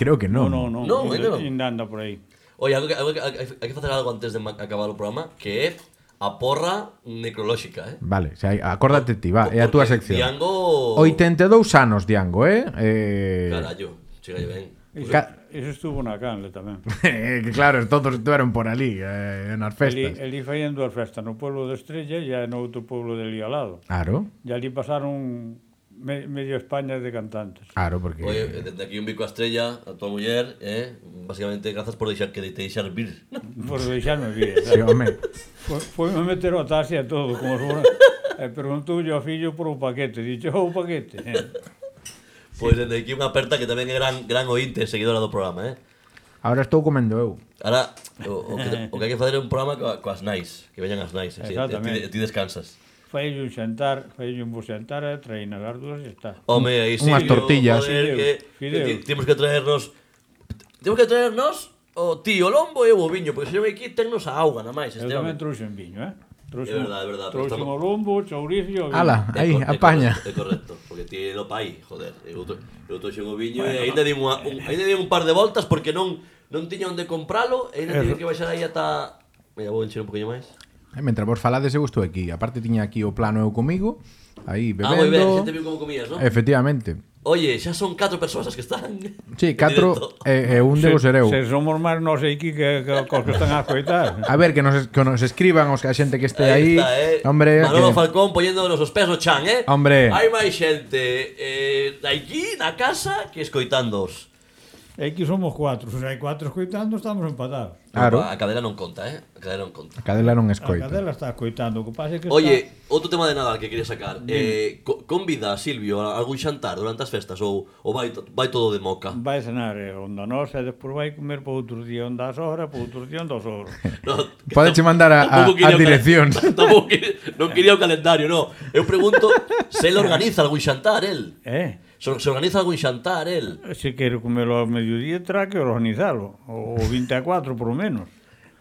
[SPEAKER 1] Creo que non.
[SPEAKER 3] Non, non, non.
[SPEAKER 2] Non, ainda non.
[SPEAKER 3] Ainda anda por aí.
[SPEAKER 2] Oye, algo que- algo que- hai hai que facer algo antes de ma- acabar o programa, que é a porra necrolóxica, eh.
[SPEAKER 1] Vale, xa, acórdate ti, va, é eh, a túa
[SPEAKER 2] Porque
[SPEAKER 1] sección.
[SPEAKER 2] Diango...
[SPEAKER 1] 82 anos, Diango, eh? eh...
[SPEAKER 2] Carallo, chega ben.
[SPEAKER 3] Iso,
[SPEAKER 1] Ca-
[SPEAKER 3] iso estuvo na canle tamén.
[SPEAKER 1] Eh, <laughs> que claro, todos estuveron por ali, eh, nas
[SPEAKER 3] Eli,
[SPEAKER 1] festas.
[SPEAKER 3] eli faían dúas festas, no pueblo de Estrella e no outro pueblo de ali ao lado.
[SPEAKER 1] Aro,
[SPEAKER 3] E ali pasaron me, medio España de cantantes.
[SPEAKER 1] aro, porque...
[SPEAKER 2] Oye, desde aquí un bico a estrella, a tua muller, eh? Básicamente, grazas por deixar que te deixar vir.
[SPEAKER 3] Por deixarme vir.
[SPEAKER 1] Sí, home.
[SPEAKER 3] Foi, foi me meter o taxi a todo, como se Eh, fora. E preguntoulle ao fillo por un paquete. Dixo, o paquete. <laughs>
[SPEAKER 2] Pois Pues desde aquí unha aperta que tamén é gran, gran ointe, seguidora do programa, eh?
[SPEAKER 1] Ahora estou comendo eu.
[SPEAKER 2] Ahora, o, o, que, o que hai que fazer é un programa coa, coas nais, que veñan as nais, así, e ti,
[SPEAKER 3] Exactamente.
[SPEAKER 2] e ti descansas.
[SPEAKER 3] Faille un xantar, faille un bo xantar e traína as dúas e está.
[SPEAKER 2] Home, aí sí,
[SPEAKER 1] Unhas tortillas.
[SPEAKER 2] Joder, que, que
[SPEAKER 3] Fideos, fideos.
[SPEAKER 2] ti- temos que traernos... Temos que traernos o tío lombo e o boviño, porque se non aquí tennos a auga, na máis,
[SPEAKER 3] Eu
[SPEAKER 2] este
[SPEAKER 3] tamén
[SPEAKER 2] home.
[SPEAKER 3] trouxen viño, eh?
[SPEAKER 2] É verdade, é verdade, pero
[SPEAKER 3] Trouxe un
[SPEAKER 2] estamos-
[SPEAKER 3] olombo, chourizo... e viño.
[SPEAKER 1] Ala,
[SPEAKER 2] É
[SPEAKER 1] aí,
[SPEAKER 2] cor- é
[SPEAKER 1] apaña.
[SPEAKER 2] correcto, É correcto, porque ti no pai, joder. Eu to- eu toxen o viño e ainda dimo unha- un, ainda dimo un par de voltas porque non non tiña onde compralo, e ainda tiña que baixar aí ata Mira, vou encher un poquinho máis.
[SPEAKER 1] E mentre Eh, vos falades eu estou aquí. Aparte tiña aquí o plano eu comigo, aí
[SPEAKER 2] Ah, moi ben,
[SPEAKER 1] bebendo. Eh.
[SPEAKER 2] xente viu como comías, non?
[SPEAKER 1] Efectivamente.
[SPEAKER 2] Oye, xa son 4 persoas as que están.
[SPEAKER 1] Sí, catro
[SPEAKER 2] Directo.
[SPEAKER 1] e, e un debo ser eu.
[SPEAKER 3] Se somos máis nós aquí que, que, que os que están a coitar.
[SPEAKER 1] A ver que nos es- que nos escriban os que a xente que este aí.
[SPEAKER 2] está, eh.
[SPEAKER 1] Hombre,
[SPEAKER 2] Manolo
[SPEAKER 1] que-
[SPEAKER 2] Falcón poñéndonos os pesos chan, eh?
[SPEAKER 1] Hombre.
[SPEAKER 2] Hai máis xente eh, de aquí, na casa, que escoitándoos.
[SPEAKER 3] E aquí somos cuatro. Se hai cuatro escoitando, estamos empatados.
[SPEAKER 1] Claro.
[SPEAKER 2] A cadela non conta, eh? A cadela non conta.
[SPEAKER 1] a cadela non
[SPEAKER 3] A
[SPEAKER 1] escoita.
[SPEAKER 3] cadela está escoitando. O que pasa é que está...
[SPEAKER 2] Oye, outro tema de Nadal que quería sacar. Eh, co- convida a Silvio a algún xantar durante as festas ou, ou vai, to- vai todo de moca?
[SPEAKER 3] Vai cenar eh, onda nosa e despois vai comer para outro día onda as horas, para outro día onda as
[SPEAKER 2] <laughs>
[SPEAKER 3] horas.
[SPEAKER 1] <laughs>
[SPEAKER 2] No,
[SPEAKER 1] Podeche mandar a-
[SPEAKER 2] tampouco
[SPEAKER 1] a- a
[SPEAKER 2] quería o calen- <laughs>
[SPEAKER 1] dirección.
[SPEAKER 2] Tampouco que- non quería
[SPEAKER 1] <laughs>
[SPEAKER 2] o calendario, no. Eu pregunto se ele organiza algún xantar, el.
[SPEAKER 3] Eh?
[SPEAKER 2] Se, se organiza algún xantar, el.
[SPEAKER 3] Se quero comelo ao mediodía, terá que organizalo. O o 24 por menos.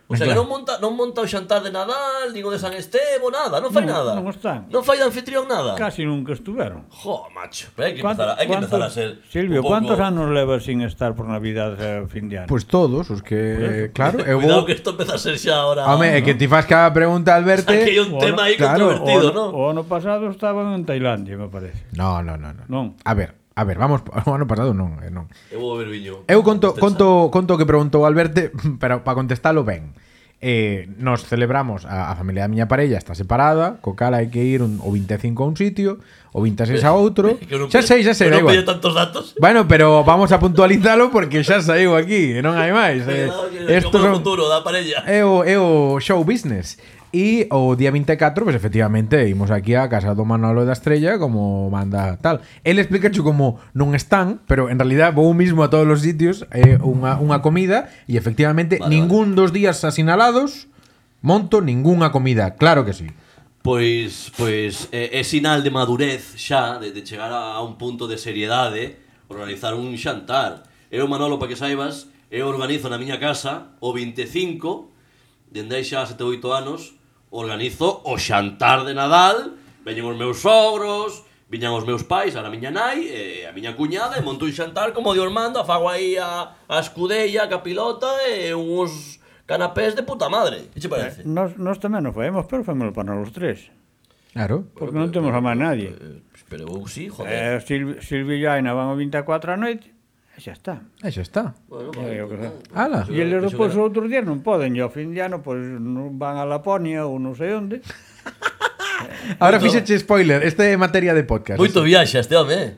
[SPEAKER 2] O sea, que
[SPEAKER 1] claro.
[SPEAKER 2] non monta, non monta o xantar de Nadal, nin o de San Estevo, nada, non fai
[SPEAKER 3] Non,
[SPEAKER 2] nada.
[SPEAKER 3] non están.
[SPEAKER 2] Non fai de anfitrión nada.
[SPEAKER 3] Casi nunca estiveron.
[SPEAKER 2] Jo, macho, pero Ah. hai que
[SPEAKER 3] ¿Cuánto-
[SPEAKER 2] empezar, a, hai que empezar a ser
[SPEAKER 3] cuántos- Silvio,
[SPEAKER 2] un pouco-
[SPEAKER 3] ¿cuántos años levas sin estar por Navidad eh, fin de año?
[SPEAKER 1] Pois todos os que, claro, eu
[SPEAKER 2] Cuidado
[SPEAKER 1] vou
[SPEAKER 2] que isto empeza a ser xa ahora...
[SPEAKER 1] Home, eh, é que ti fas cada pregunta al verte.
[SPEAKER 2] Aquí hai un
[SPEAKER 3] Bueno,
[SPEAKER 2] tema aí
[SPEAKER 1] claro,
[SPEAKER 2] controvertido,
[SPEAKER 3] o, ano-
[SPEAKER 2] non?
[SPEAKER 3] o ano pasado estaban en Tailandia, me parece.
[SPEAKER 1] No, no, no, no.
[SPEAKER 3] Non.
[SPEAKER 1] A ver, a ver, vamos, <laughs> o ano pasado non, eh, non.
[SPEAKER 2] Eu vou ver viño.
[SPEAKER 1] Eu conto conto conto o que preguntou Alberto, <laughs> pero para contestalo ben. Eh, nos celebramos a, a familia da miña parella está separada, co cal hai que ir un, o 25 a un sitio, o 26 a outro.
[SPEAKER 2] <laughs> Que non
[SPEAKER 1] xa sei,
[SPEAKER 2] pide-
[SPEAKER 1] xa sei, da
[SPEAKER 2] que non pide
[SPEAKER 1] igual.
[SPEAKER 2] tantos datos.
[SPEAKER 1] Bueno, pero vamos a puntualizalo porque xa saiu aquí, e non hai máis. Eh,
[SPEAKER 2] Cuidado que
[SPEAKER 1] estos
[SPEAKER 2] como o
[SPEAKER 1] son,
[SPEAKER 2] futuro da parella.
[SPEAKER 1] é o, é o show business. E o día 24, pues efectivamente, imos aquí a casa do Manolo da Estrella como manda tal. El explica como non están, pero en realidad vou mismo a todos os sitios é unha, unha comida e efectivamente
[SPEAKER 2] Vale,
[SPEAKER 1] ningún dos días asinalados monto ningunha comida. Claro que sí.
[SPEAKER 2] Pois, pois é, é sinal de madurez xa, de, de chegar a, a un punto de seriedade, organizar un xantar. Eu, Manolo, para que saibas, eu organizo na miña casa o 25, dende aí xa sete oito anos, organizo o xantar de Nadal, veñen os meus sogros, viñan os meus pais, a miña nai, e a miña cuñada, e monto un xantar como de Ormando, fago aí a, a escudella, a capilota e uns canapés de puta madre. Que che parece?
[SPEAKER 3] eh, Nos, nos tamén nos faemos, pero faemos para los tres.
[SPEAKER 1] Claro.
[SPEAKER 3] Porque non temos a máis nadie.
[SPEAKER 2] Eh, Pero eu sí, joder.
[SPEAKER 3] Eh, Silvio, Silvio e Aina van o 24 a noite, e xa está.
[SPEAKER 1] E xa está.
[SPEAKER 2] Bueno,
[SPEAKER 3] Eh, eu que sei.
[SPEAKER 1] Ala.
[SPEAKER 3] E eles depois outros días non poden, e ao fin de ano pois, non van a Laponia ou non sei onde.
[SPEAKER 1] Ahora
[SPEAKER 2] Moito-
[SPEAKER 1] fixeche spoiler, este é materia de podcast.
[SPEAKER 2] Moito viaxe este home. eh.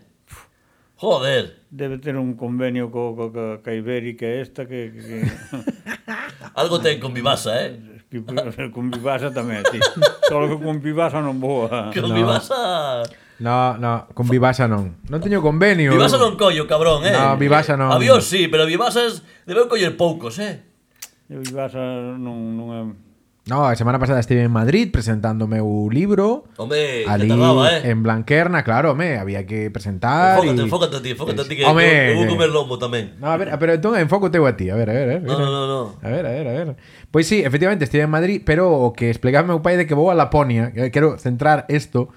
[SPEAKER 2] Joder.
[SPEAKER 3] Debe ter un convenio co, co, co, co Ibérica esta que, que, que,
[SPEAKER 2] Algo ten con Vivasa, eh? <laughs>
[SPEAKER 3] que, que <laughs> con Vivasa tamén, sí. Só que con Vivasa non boa.
[SPEAKER 2] Con Vivasa...
[SPEAKER 1] No, no, con Vivasa non. Non teño convenio.
[SPEAKER 2] Vivasa
[SPEAKER 1] eu.
[SPEAKER 2] non collo, cabrón, eh?
[SPEAKER 1] No, Vivasa non.
[SPEAKER 2] Avión sí, pero Vivasa es... Debeu coller poucos, eh?
[SPEAKER 3] E o Vivasa non, non é...
[SPEAKER 1] No, a semana pasada estive en Madrid presentando o meu libro.
[SPEAKER 2] Home,
[SPEAKER 1] Ali
[SPEAKER 2] que tardaba, eh?
[SPEAKER 1] en Blanquerna, claro, me había que presentar.
[SPEAKER 2] Enfócate,
[SPEAKER 1] y-
[SPEAKER 2] enfócate a ti, enfócate a ti, que
[SPEAKER 1] Home,
[SPEAKER 2] eu, eu vou
[SPEAKER 1] eh.
[SPEAKER 2] comer lombo tamén.
[SPEAKER 1] No, a ver, pero entonces enfócate a ti, a ver, a ver, a ver.
[SPEAKER 2] No, no, no, no.
[SPEAKER 1] A ver, a ver, a ver. Pois sí, efectivamente, estive en Madrid, pero o que explicaba meu pai de que vou a Laponia, que quero centrar isto.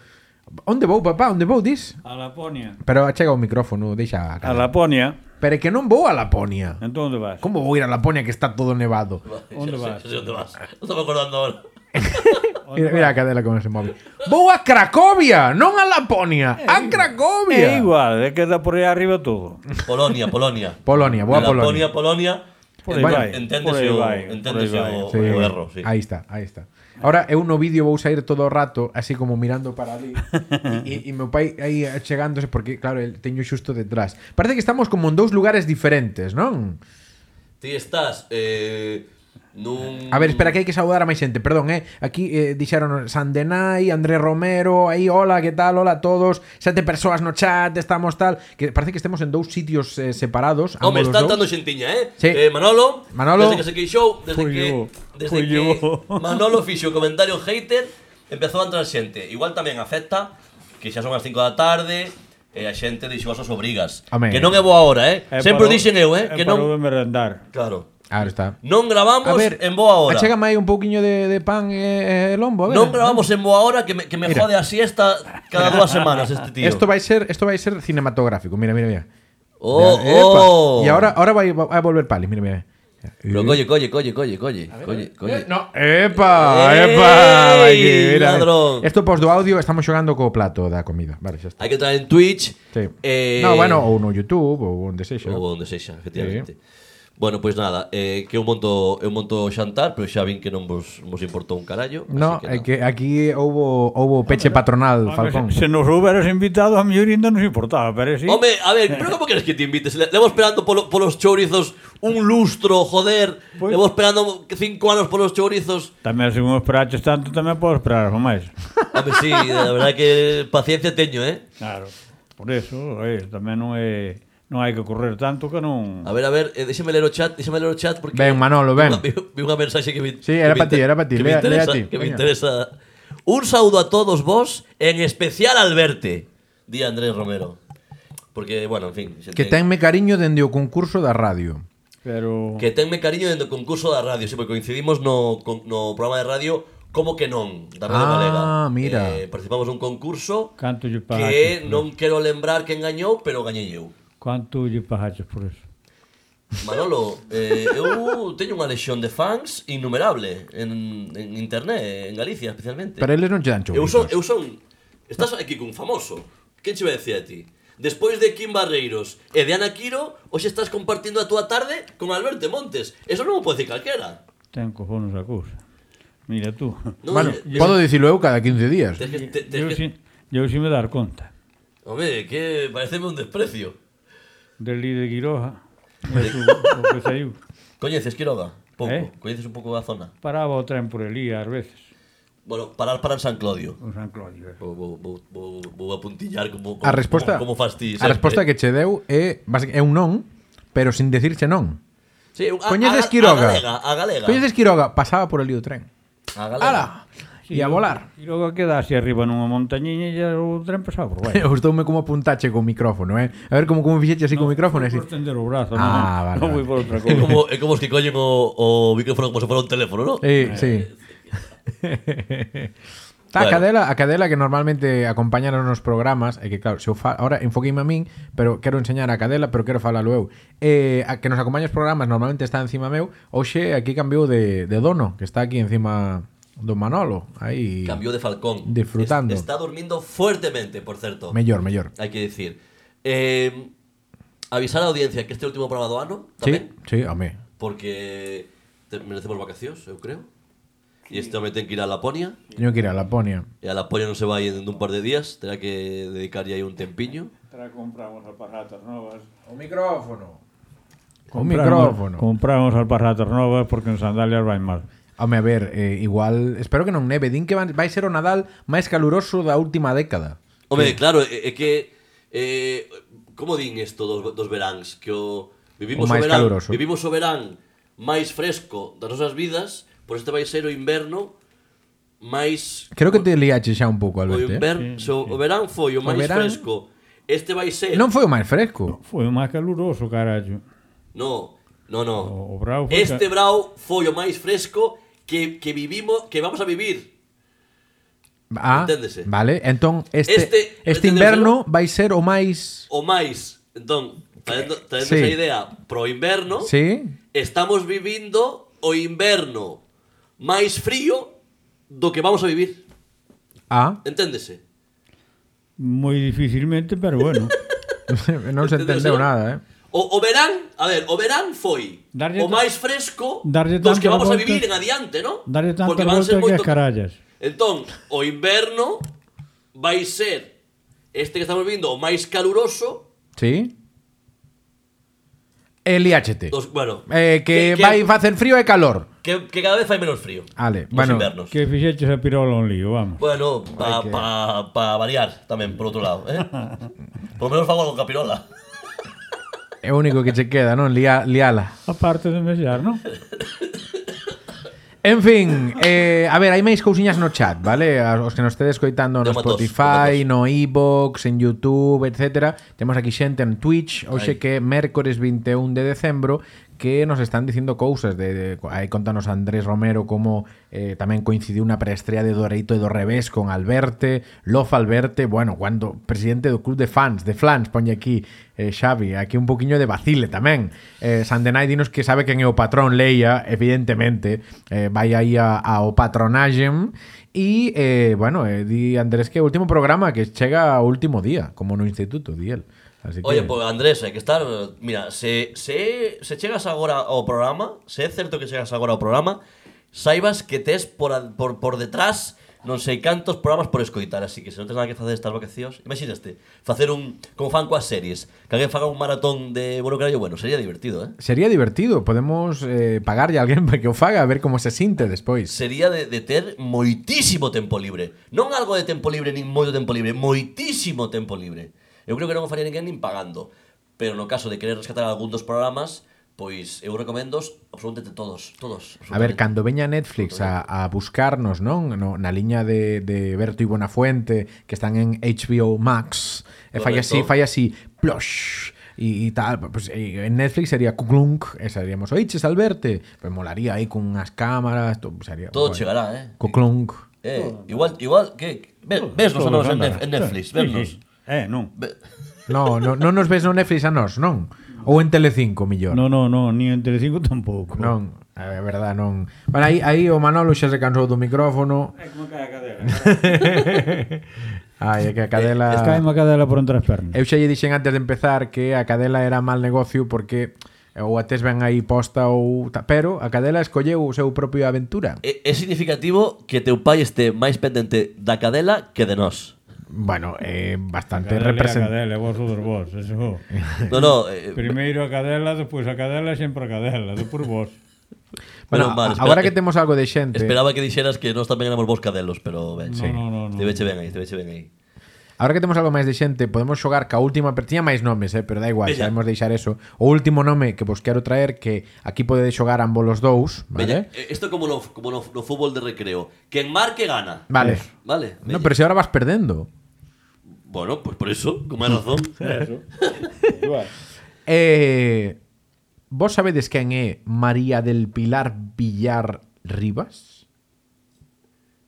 [SPEAKER 1] Onde vou, papá? Onde vou, dis?
[SPEAKER 3] A Laponia.
[SPEAKER 1] Pero chega o micrófono, deixa a
[SPEAKER 3] A
[SPEAKER 1] cara.
[SPEAKER 3] Laponia.
[SPEAKER 1] Pero é que non vou a Laponia.
[SPEAKER 3] Entón onde vas?
[SPEAKER 1] Como vou ir a Laponia que está todo nevado?
[SPEAKER 2] <laughs>
[SPEAKER 3] Onde
[SPEAKER 2] Xa
[SPEAKER 3] vas?
[SPEAKER 2] sei- xa sei Onde vas? Non estaba acordando ahora.
[SPEAKER 1] Mira, mira a cadela como se move. Vou a Cracovia, non a Laponia, a Cracovia.
[SPEAKER 3] É igual, é que da por aí arriba todo.
[SPEAKER 2] Polonia, Polonia.
[SPEAKER 1] Polonia, vou a Polonia.
[SPEAKER 2] Polonia, Polonia.
[SPEAKER 3] Por aí
[SPEAKER 2] Ent-
[SPEAKER 3] vai, por
[SPEAKER 2] Enténdese
[SPEAKER 3] aí
[SPEAKER 2] o,
[SPEAKER 3] vai,
[SPEAKER 2] enténdese
[SPEAKER 3] por aí
[SPEAKER 2] o,
[SPEAKER 1] Sí,
[SPEAKER 2] o erro, sí.
[SPEAKER 1] Ahí está, ahí está. Ahora eu no vídeo vou sair todo o rato así como mirando para ali e, e, e meu pai aí chegándose porque claro, el teño xusto detrás. Parece que estamos como en dous lugares diferentes, non?
[SPEAKER 2] Ti estás eh, nun...
[SPEAKER 1] A ver, espera que hai que saudar a máis xente, perdón, eh. Aquí eh, dixeron Sandenai, André Romero, aí hola, que tal, hola a todos, sete persoas no chat, estamos tal, que parece que estemos en dous sitios eh, separados,
[SPEAKER 2] Home,
[SPEAKER 1] ambos os
[SPEAKER 2] está
[SPEAKER 1] dous.
[SPEAKER 2] andando xentiña, eh?
[SPEAKER 1] Sí.
[SPEAKER 2] eh Manolo,
[SPEAKER 1] Manolo.
[SPEAKER 2] desde que se queixou, desde
[SPEAKER 3] Foi
[SPEAKER 2] que,
[SPEAKER 3] eu,
[SPEAKER 2] desde
[SPEAKER 3] foi
[SPEAKER 2] que
[SPEAKER 3] eu.
[SPEAKER 2] Manolo
[SPEAKER 3] <laughs>
[SPEAKER 2] fixo o comentario hater, empezou a entrar xente. Igual tamén afecta que xa son as 5 da tarde, e a xente deixou as súas obrigas.
[SPEAKER 1] Home.
[SPEAKER 2] Que non é boa hora, eh?
[SPEAKER 3] É
[SPEAKER 2] Sempre o
[SPEAKER 3] para o-
[SPEAKER 2] dixen eu, eh?
[SPEAKER 3] é
[SPEAKER 2] Que
[SPEAKER 3] para o
[SPEAKER 2] non...
[SPEAKER 3] de merendar.
[SPEAKER 2] Claro.
[SPEAKER 1] Ahora está.
[SPEAKER 2] Non gravamos
[SPEAKER 1] A ver,
[SPEAKER 2] en boa hora.
[SPEAKER 1] Achégame aí un pouquiño de, de pan e eh, lombo, a ver.
[SPEAKER 2] Non gravamos en boa hora que me, que me
[SPEAKER 1] Mira.
[SPEAKER 2] jode a siesta cada dúas semanas este tío.
[SPEAKER 1] Eh, Esto vai ser, esto vai ser cinematográfico. Mira, mira, mira.
[SPEAKER 2] Oh,
[SPEAKER 1] Mira, epa. Y
[SPEAKER 2] oh.
[SPEAKER 1] ahora ahora vai va a volver pali, mira, mira.
[SPEAKER 2] Pero colle, colle, colle, colle, colle, colle,
[SPEAKER 1] Eh,
[SPEAKER 2] colle.
[SPEAKER 1] No, epa,
[SPEAKER 2] Ey,
[SPEAKER 1] epa, vai aquí, mira.
[SPEAKER 2] ladrón.
[SPEAKER 1] Esto post do audio estamos xogando co plato da comida. Vale, xa está.
[SPEAKER 2] Hai que entrar en Twitch.
[SPEAKER 1] Sí.
[SPEAKER 2] eh,
[SPEAKER 1] No, bueno, ou no YouTube ou onde sexa.
[SPEAKER 2] Ou onde sexa, efectivamente. Bueno, pois nada, eh, que eu monto, eu monto o xantar, pero xa vin que non vos, vos importou un carallo.
[SPEAKER 1] No, é
[SPEAKER 2] así nada.
[SPEAKER 1] que aquí houbo houbo peche patronal,
[SPEAKER 3] Home,
[SPEAKER 1] Falcón.
[SPEAKER 3] Se, se nos houberas invitado, a mi ainda nos importaba, pero sí.
[SPEAKER 2] Home, a ver, pero como queres que te invites? Le- Levo esperando polo, polos chourizos un lustro, joder.
[SPEAKER 1] Pues
[SPEAKER 3] Pois-
[SPEAKER 2] Levo esperando cinco anos polos chourizos.
[SPEAKER 3] Tamén se non esperaches tanto, tamén podes esperar algo máis.
[SPEAKER 2] A ver, sí, a verdade que paciencia teño, eh?
[SPEAKER 3] Claro. Por eso, eh, tamén non é non hai que correr tanto que non
[SPEAKER 2] A ver, a ver, eh, déxeme ler o chat, déxeme ler o chat porque
[SPEAKER 1] Ven, Manolo, ven.
[SPEAKER 2] <laughs> Vi, vi unha mensaxe que me
[SPEAKER 1] Sí, era
[SPEAKER 2] que me
[SPEAKER 1] pa ti,
[SPEAKER 2] inter-
[SPEAKER 1] era pa ti,
[SPEAKER 2] Que me
[SPEAKER 1] lea- lea
[SPEAKER 2] interesa,
[SPEAKER 1] ti,
[SPEAKER 2] que me
[SPEAKER 1] veña.
[SPEAKER 2] interesa. Un saúdo a todos vos, en especial al verte, di Andrés Romero. Porque, bueno, en fin, xente-
[SPEAKER 1] Que tenme cariño dende o concurso da radio.
[SPEAKER 3] Pero
[SPEAKER 2] Que tenme cariño dentro do concurso da radio, sempre coincidimos no, con- no programa de radio Como que non, da Radio
[SPEAKER 1] Ah,
[SPEAKER 2] Galega.
[SPEAKER 1] mira.
[SPEAKER 2] Eh, participamos nun concurso
[SPEAKER 3] canto lle pagaches?
[SPEAKER 2] que non quero lembrar quen gañou, pero gañei eu.
[SPEAKER 3] Canto lle pagaches por eso?
[SPEAKER 2] Manolo, eh, eu teño unha lexión de fans innumerable en, en internet, en Galicia especialmente.
[SPEAKER 1] Pero eles non che dan
[SPEAKER 2] eu son,
[SPEAKER 1] chouritos.
[SPEAKER 2] eu son, estás aquí cun famoso. Quen che vai decir a ti? Despois de Kim Barreiros e de Ana Quiro, hoxe estás compartindo a túa tarde con Alberto Montes. Eso non o pode dicir calquera.
[SPEAKER 3] Ten cojones a cousa. Mira tú.
[SPEAKER 2] Non,
[SPEAKER 1] Bueno,
[SPEAKER 2] eh,
[SPEAKER 1] podo dicilo eu cada 15 días.
[SPEAKER 2] Tes que, te, tes
[SPEAKER 3] Eu
[SPEAKER 2] que,
[SPEAKER 3] si, eu si me dar conta.
[SPEAKER 2] Home, que pareceme un desprecio.
[SPEAKER 3] Del líder Quiroja. e
[SPEAKER 2] <laughs>
[SPEAKER 3] tú, o que saiu.
[SPEAKER 2] Coñeces Quiroga? Pouco.
[SPEAKER 3] Eh?
[SPEAKER 2] Coñeces un pouco a zona?
[SPEAKER 3] Paraba o tren por elí ás veces.
[SPEAKER 2] Bueno, parar para en San Clodio.
[SPEAKER 3] O San Clodio. eh.
[SPEAKER 2] Vou, vou, vou, vou, vou apuntillar como, como,
[SPEAKER 1] A resposta
[SPEAKER 2] como, eh. como fas ti.
[SPEAKER 1] A resposta que che deu é basic- é un non, pero sin decirche non.
[SPEAKER 2] Sí, a,
[SPEAKER 1] Coñeces
[SPEAKER 2] a,
[SPEAKER 1] Quiroga?
[SPEAKER 2] A galega, a galega.
[SPEAKER 1] Coñeces Quiroga pasaba por ali o tren.
[SPEAKER 2] A galega.
[SPEAKER 1] Ala. E a volar.
[SPEAKER 3] Quiroga queda así arriba nunha montañiña e o tren pasaba por
[SPEAKER 1] <laughs>
[SPEAKER 3] baixo.
[SPEAKER 1] Gustoume como apuntache co micrófono, eh. A ver como como fixeche así co micrófono, así.
[SPEAKER 3] Por tender o brazo,
[SPEAKER 1] Ah, vale,
[SPEAKER 3] non,
[SPEAKER 1] vale.
[SPEAKER 3] non vou por outra
[SPEAKER 1] <laughs>
[SPEAKER 2] É
[SPEAKER 3] cousa.
[SPEAKER 2] como, é como os que coñen o, o micrófono como se fora un teléfono, ¿no?
[SPEAKER 1] Eh, sí. <laughs> Tá, a
[SPEAKER 2] Bueno.
[SPEAKER 1] cadela, a cadela que normalmente acompañaron nos programas, é que claro, se eu fa, ahora enfoqueime a min, pero quero enseñar a cadela, pero quero falalo eu. Eh, a que nos acompaña os programas normalmente está encima meu, hoxe aquí cambiou de, de dono, que está aquí encima do Manolo, aí.
[SPEAKER 2] Cambió de Falcón.
[SPEAKER 1] Disfrutando.
[SPEAKER 2] Es- está durmiendo fuertemente, por cierto.
[SPEAKER 1] Mellor, mellor.
[SPEAKER 2] Hay que decir. Eh, avisar a la audiencia que este último programa do ano,
[SPEAKER 1] Sí,
[SPEAKER 2] tamén,
[SPEAKER 1] sí, home.
[SPEAKER 2] porque te- merecemos vacacións, eu creo. E este home ten que ir a Laponia,
[SPEAKER 1] Teño que ir a Laponia.
[SPEAKER 2] e a Laponia non se vai en un par de días, terá que dedicar aí un tempiño.
[SPEAKER 3] Tra compramos aparatos novas.
[SPEAKER 1] O micrófono. O micrófono.
[SPEAKER 3] Compramos aparatos novas porque en sandalias vai mal.
[SPEAKER 1] Home, a ver, eh, igual, espero que non neve, din que van- vai ser o Nadal máis caluroso da última década.
[SPEAKER 2] Home, claro, é, é que eh, como din isto dos, dos veráns que o
[SPEAKER 1] O
[SPEAKER 2] vivimos o,
[SPEAKER 1] máis
[SPEAKER 2] verán,
[SPEAKER 1] caluroso.
[SPEAKER 2] vivimos o verán máis fresco das nosas vidas, pois este vai ser o inverno máis
[SPEAKER 1] Creo que te liache xa un pouco,
[SPEAKER 2] o
[SPEAKER 1] Alberto. eh.
[SPEAKER 2] inverno, sí, o verán foi o máis
[SPEAKER 1] verán-
[SPEAKER 2] fresco. Este vai ser
[SPEAKER 1] Non foi o máis fresco.
[SPEAKER 3] Foi o máis caluroso, carallo.
[SPEAKER 2] No, no, no.
[SPEAKER 3] O- o brau foi
[SPEAKER 2] este
[SPEAKER 3] ca-
[SPEAKER 2] brau foi o máis fresco que, que vivimos, que vamos a vivir.
[SPEAKER 1] Ah,
[SPEAKER 2] Enténdese.
[SPEAKER 1] vale. Entón, este, este,
[SPEAKER 2] Este-
[SPEAKER 1] este
[SPEAKER 2] entendeu,
[SPEAKER 1] inverno vai ser o máis...
[SPEAKER 2] O máis, entón, traendo, traendo
[SPEAKER 1] Sí.
[SPEAKER 2] esa idea pro inverno,
[SPEAKER 1] Sí?
[SPEAKER 2] estamos vivindo o inverno máis frío do que vamos a vivir.
[SPEAKER 1] Ah, <laughs>
[SPEAKER 2] Enténdese?
[SPEAKER 3] Moi dificilmente, pero
[SPEAKER 2] <laughs>
[SPEAKER 3] bueno.
[SPEAKER 1] non se entendeu
[SPEAKER 2] Enténdese?
[SPEAKER 1] nada, eh.
[SPEAKER 2] O, o verán, a ver, o verán foi
[SPEAKER 3] Darlle
[SPEAKER 2] o
[SPEAKER 3] ta-
[SPEAKER 2] máis fresco
[SPEAKER 3] darlle
[SPEAKER 2] dos que
[SPEAKER 3] tanta
[SPEAKER 2] vamos a
[SPEAKER 3] volta-
[SPEAKER 2] vivir en adiante, ¿no?
[SPEAKER 3] Darlle tanta
[SPEAKER 2] Porque van a
[SPEAKER 3] volta
[SPEAKER 2] ser
[SPEAKER 3] que as
[SPEAKER 2] moito...
[SPEAKER 3] carallas.
[SPEAKER 2] Entón, o inverno vai ser este que estamos vivindo o máis caluroso
[SPEAKER 1] Sí? E liáchete.
[SPEAKER 2] dos, bueno,
[SPEAKER 1] Eh, que, vai facer frío e calor.
[SPEAKER 2] que, que cada vez fai menos frío.
[SPEAKER 1] Ale,
[SPEAKER 2] nos
[SPEAKER 1] bueno,
[SPEAKER 2] invernos.
[SPEAKER 3] Que fixeches a pirola un lío, vamos.
[SPEAKER 2] Bueno, para
[SPEAKER 1] que-
[SPEAKER 2] pa, pa variar tamén, por outro lado,
[SPEAKER 1] <laughs>
[SPEAKER 2] eh? por lo menos fago algo capirola.
[SPEAKER 1] É o único que che queda, non? Lia, liala.
[SPEAKER 3] Aparte de mesear, non?
[SPEAKER 1] En fin, eh, a ver, hai máis cousiñas no chat, vale? A- Os que nos estedes coitando no
[SPEAKER 2] Deu matos,
[SPEAKER 1] Spotify,
[SPEAKER 2] deu
[SPEAKER 1] no
[SPEAKER 2] matos.
[SPEAKER 1] iVoox, en Youtube, etc. Temos aquí xente en Twitch, hoxe
[SPEAKER 2] Ai.
[SPEAKER 1] que é mércores 21 de decembro, que nos están dicindo cousas de, de aí contanos Andrés Romero como eh, tamén coincidiu unha preestrea de Doreito e do Revés con Alberte, Lof Alberte, bueno, cuando presidente do club de fans, de Flans, ponlle aquí eh, Xavi, aquí un poquinho de vacile tamén. Eh, Sandenai dinos que sabe quen é o patrón Leia, evidentemente, eh, vai aí a, ao patronaxem e, eh, bueno, eh, di Andrés que é o último programa que chega ao último día, como no instituto, di el. Así que...
[SPEAKER 2] Oye, pois Andrés, hai que estar... Mira, se, se, se chegas agora ao programa, se é certo que chegas agora ao programa, saibas que tes por, a- por, por detrás non sei cantos programas por escoitar, así que se non tens nada que facer estas vacacións, imagínate, facer un... como fan coas series, que alguén faga un maratón de bueno carallo, bueno, sería divertido, eh?
[SPEAKER 1] Sería divertido, podemos eh, pagarlle a alguén para que o faga, a ver como se sinte despois.
[SPEAKER 2] Sería de, de ter moitísimo tempo libre. Non algo de tempo libre, nin moito tempo libre, moitísimo tempo libre. Eu creo que non o faría ninguén nin pagando. Pero no caso de querer rescatar algún dos programas, pois eu recomendo absolutamente todos, todos.
[SPEAKER 1] A ver,
[SPEAKER 2] absolutamente.
[SPEAKER 1] cando veña Netflix a, a buscarnos, non? No, na liña de, de Berto e Buenafuente, que están en HBO Max, e fai así,
[SPEAKER 2] Correcto.
[SPEAKER 1] fai así, plosh, e, e tal, pues, e, en Netflix sería Cuclunk, e seríamos Oiches Alberte, pues molaría aí cunhas cámaras, to, sería
[SPEAKER 2] Todo
[SPEAKER 1] guai.
[SPEAKER 2] chegará, eh.
[SPEAKER 1] Cuclunk.
[SPEAKER 2] Eh, igual, igual, que ve- vesnos a nós en,
[SPEAKER 3] Todos andan.
[SPEAKER 2] Nef- en Netflix,
[SPEAKER 3] Sí,
[SPEAKER 2] vesnos.
[SPEAKER 3] sí. Eh, non.
[SPEAKER 2] Ve-
[SPEAKER 1] No, no, non nos ves no Netflix a nós, non? Ou en Telecinco, millor.
[SPEAKER 3] No, no, no, ni en Telecinco tampouco.
[SPEAKER 1] Non, é verdad, non. Bueno, aí, aí o Manolo xa se cansou do micrófono.
[SPEAKER 3] É como cae a <laughs> cadela.
[SPEAKER 1] Ai, é que a
[SPEAKER 2] Eh,
[SPEAKER 1] cadela...
[SPEAKER 3] Cae a cadela por entre as pernas.
[SPEAKER 1] Eu xa lle dixen antes de empezar que a cadela era mal negocio porque eh, ou a tes ben aí posta ou... ta- Pero a cadela escolleu o seu propio aventura.
[SPEAKER 2] É, é significativo que teu pai este máis pendente da cadela que de nós.
[SPEAKER 1] Bueno, é bastante
[SPEAKER 3] Cadela é A
[SPEAKER 1] representante.
[SPEAKER 3] cadela, é vos outros vos,
[SPEAKER 2] <laughs>
[SPEAKER 3] eso.
[SPEAKER 2] No, no,
[SPEAKER 1] <laughs>
[SPEAKER 2] eh,
[SPEAKER 3] Primeiro a cadela, depois a cadela, e sempre a cadela, depois vos.
[SPEAKER 1] Bueno,
[SPEAKER 2] Menos mal,
[SPEAKER 1] a-
[SPEAKER 2] espera- eh,
[SPEAKER 1] agora que temos algo de xente...
[SPEAKER 2] esperaba que dixeras que nós tamén éramos vos cadelos, pero ben.
[SPEAKER 3] No, no, no, no.
[SPEAKER 2] Te veche ben aí, te veche ben aí.
[SPEAKER 1] Ahora que temos algo máis de xente, podemos xogar ca última, pero tiña máis nomes, eh, pero da igual,
[SPEAKER 2] Veña.
[SPEAKER 1] sabemos deixar eso. O último nome que vos quero traer que aquí podedes xogar ambos los dous, vale?
[SPEAKER 2] Veña, eh, Isto é como no, como no, no fútbol de recreo. Quen marque gana.
[SPEAKER 1] Vale.
[SPEAKER 2] Vale.
[SPEAKER 1] No,
[SPEAKER 2] veña.
[SPEAKER 1] pero se ahora vas perdendo.
[SPEAKER 2] Bueno, pues por eso, con máis
[SPEAKER 1] <laughs>
[SPEAKER 2] razón.
[SPEAKER 3] Eso. Igual.
[SPEAKER 1] Eh, vos sabedes quen é María del Pilar Villar Rivas?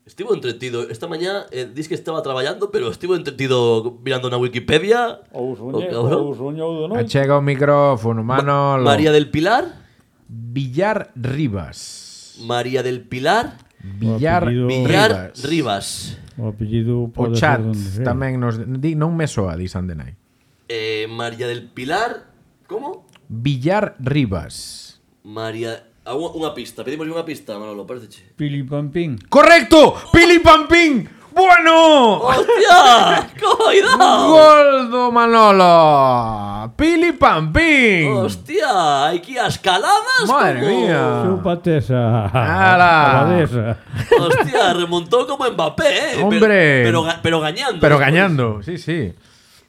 [SPEAKER 2] Estivo entretido esta mañá, eh, dis que estaba traballando, pero estivo entretido mirando na Wikipedia.
[SPEAKER 3] Ou
[SPEAKER 2] o
[SPEAKER 3] soñou,
[SPEAKER 2] cabrón.
[SPEAKER 3] ou soñou do noite.
[SPEAKER 1] Achega o micrófono, Manolo.
[SPEAKER 2] María del Pilar,
[SPEAKER 1] Villar Rivas.
[SPEAKER 2] María del Pilar,
[SPEAKER 1] Villar
[SPEAKER 3] apellido-
[SPEAKER 2] Oh, Villar
[SPEAKER 1] Rivas.
[SPEAKER 2] Rivas.
[SPEAKER 3] O apellido
[SPEAKER 1] O
[SPEAKER 3] pode
[SPEAKER 1] chat
[SPEAKER 3] ser donde sea.
[SPEAKER 1] tamén nos di, non me soa di Sandenai.
[SPEAKER 2] Eh, María del Pilar, como?
[SPEAKER 1] Villar Rivas.
[SPEAKER 2] María, a unha, unha pista, pedimos unha pista,
[SPEAKER 1] <laughs>
[SPEAKER 2] Manolo, pareceche.
[SPEAKER 3] Pili Pampín.
[SPEAKER 1] Correcto, Pili Pampín. Bueno,
[SPEAKER 2] Hostia, coidao.
[SPEAKER 1] gol do Manolo. Pili Pampín.
[SPEAKER 2] Hostia, aquí as caladas
[SPEAKER 1] Mm. Madre
[SPEAKER 2] Oh, como...
[SPEAKER 1] mía.
[SPEAKER 3] Chupatesa.
[SPEAKER 1] Ah. Ala.
[SPEAKER 3] Abadesa.
[SPEAKER 2] Hostia, remontó como Mbappé, eh. pero-
[SPEAKER 1] Hombre.
[SPEAKER 2] Pero, ga- pero gañando.
[SPEAKER 1] Pero
[SPEAKER 2] despois.
[SPEAKER 1] gañando, sí, sí.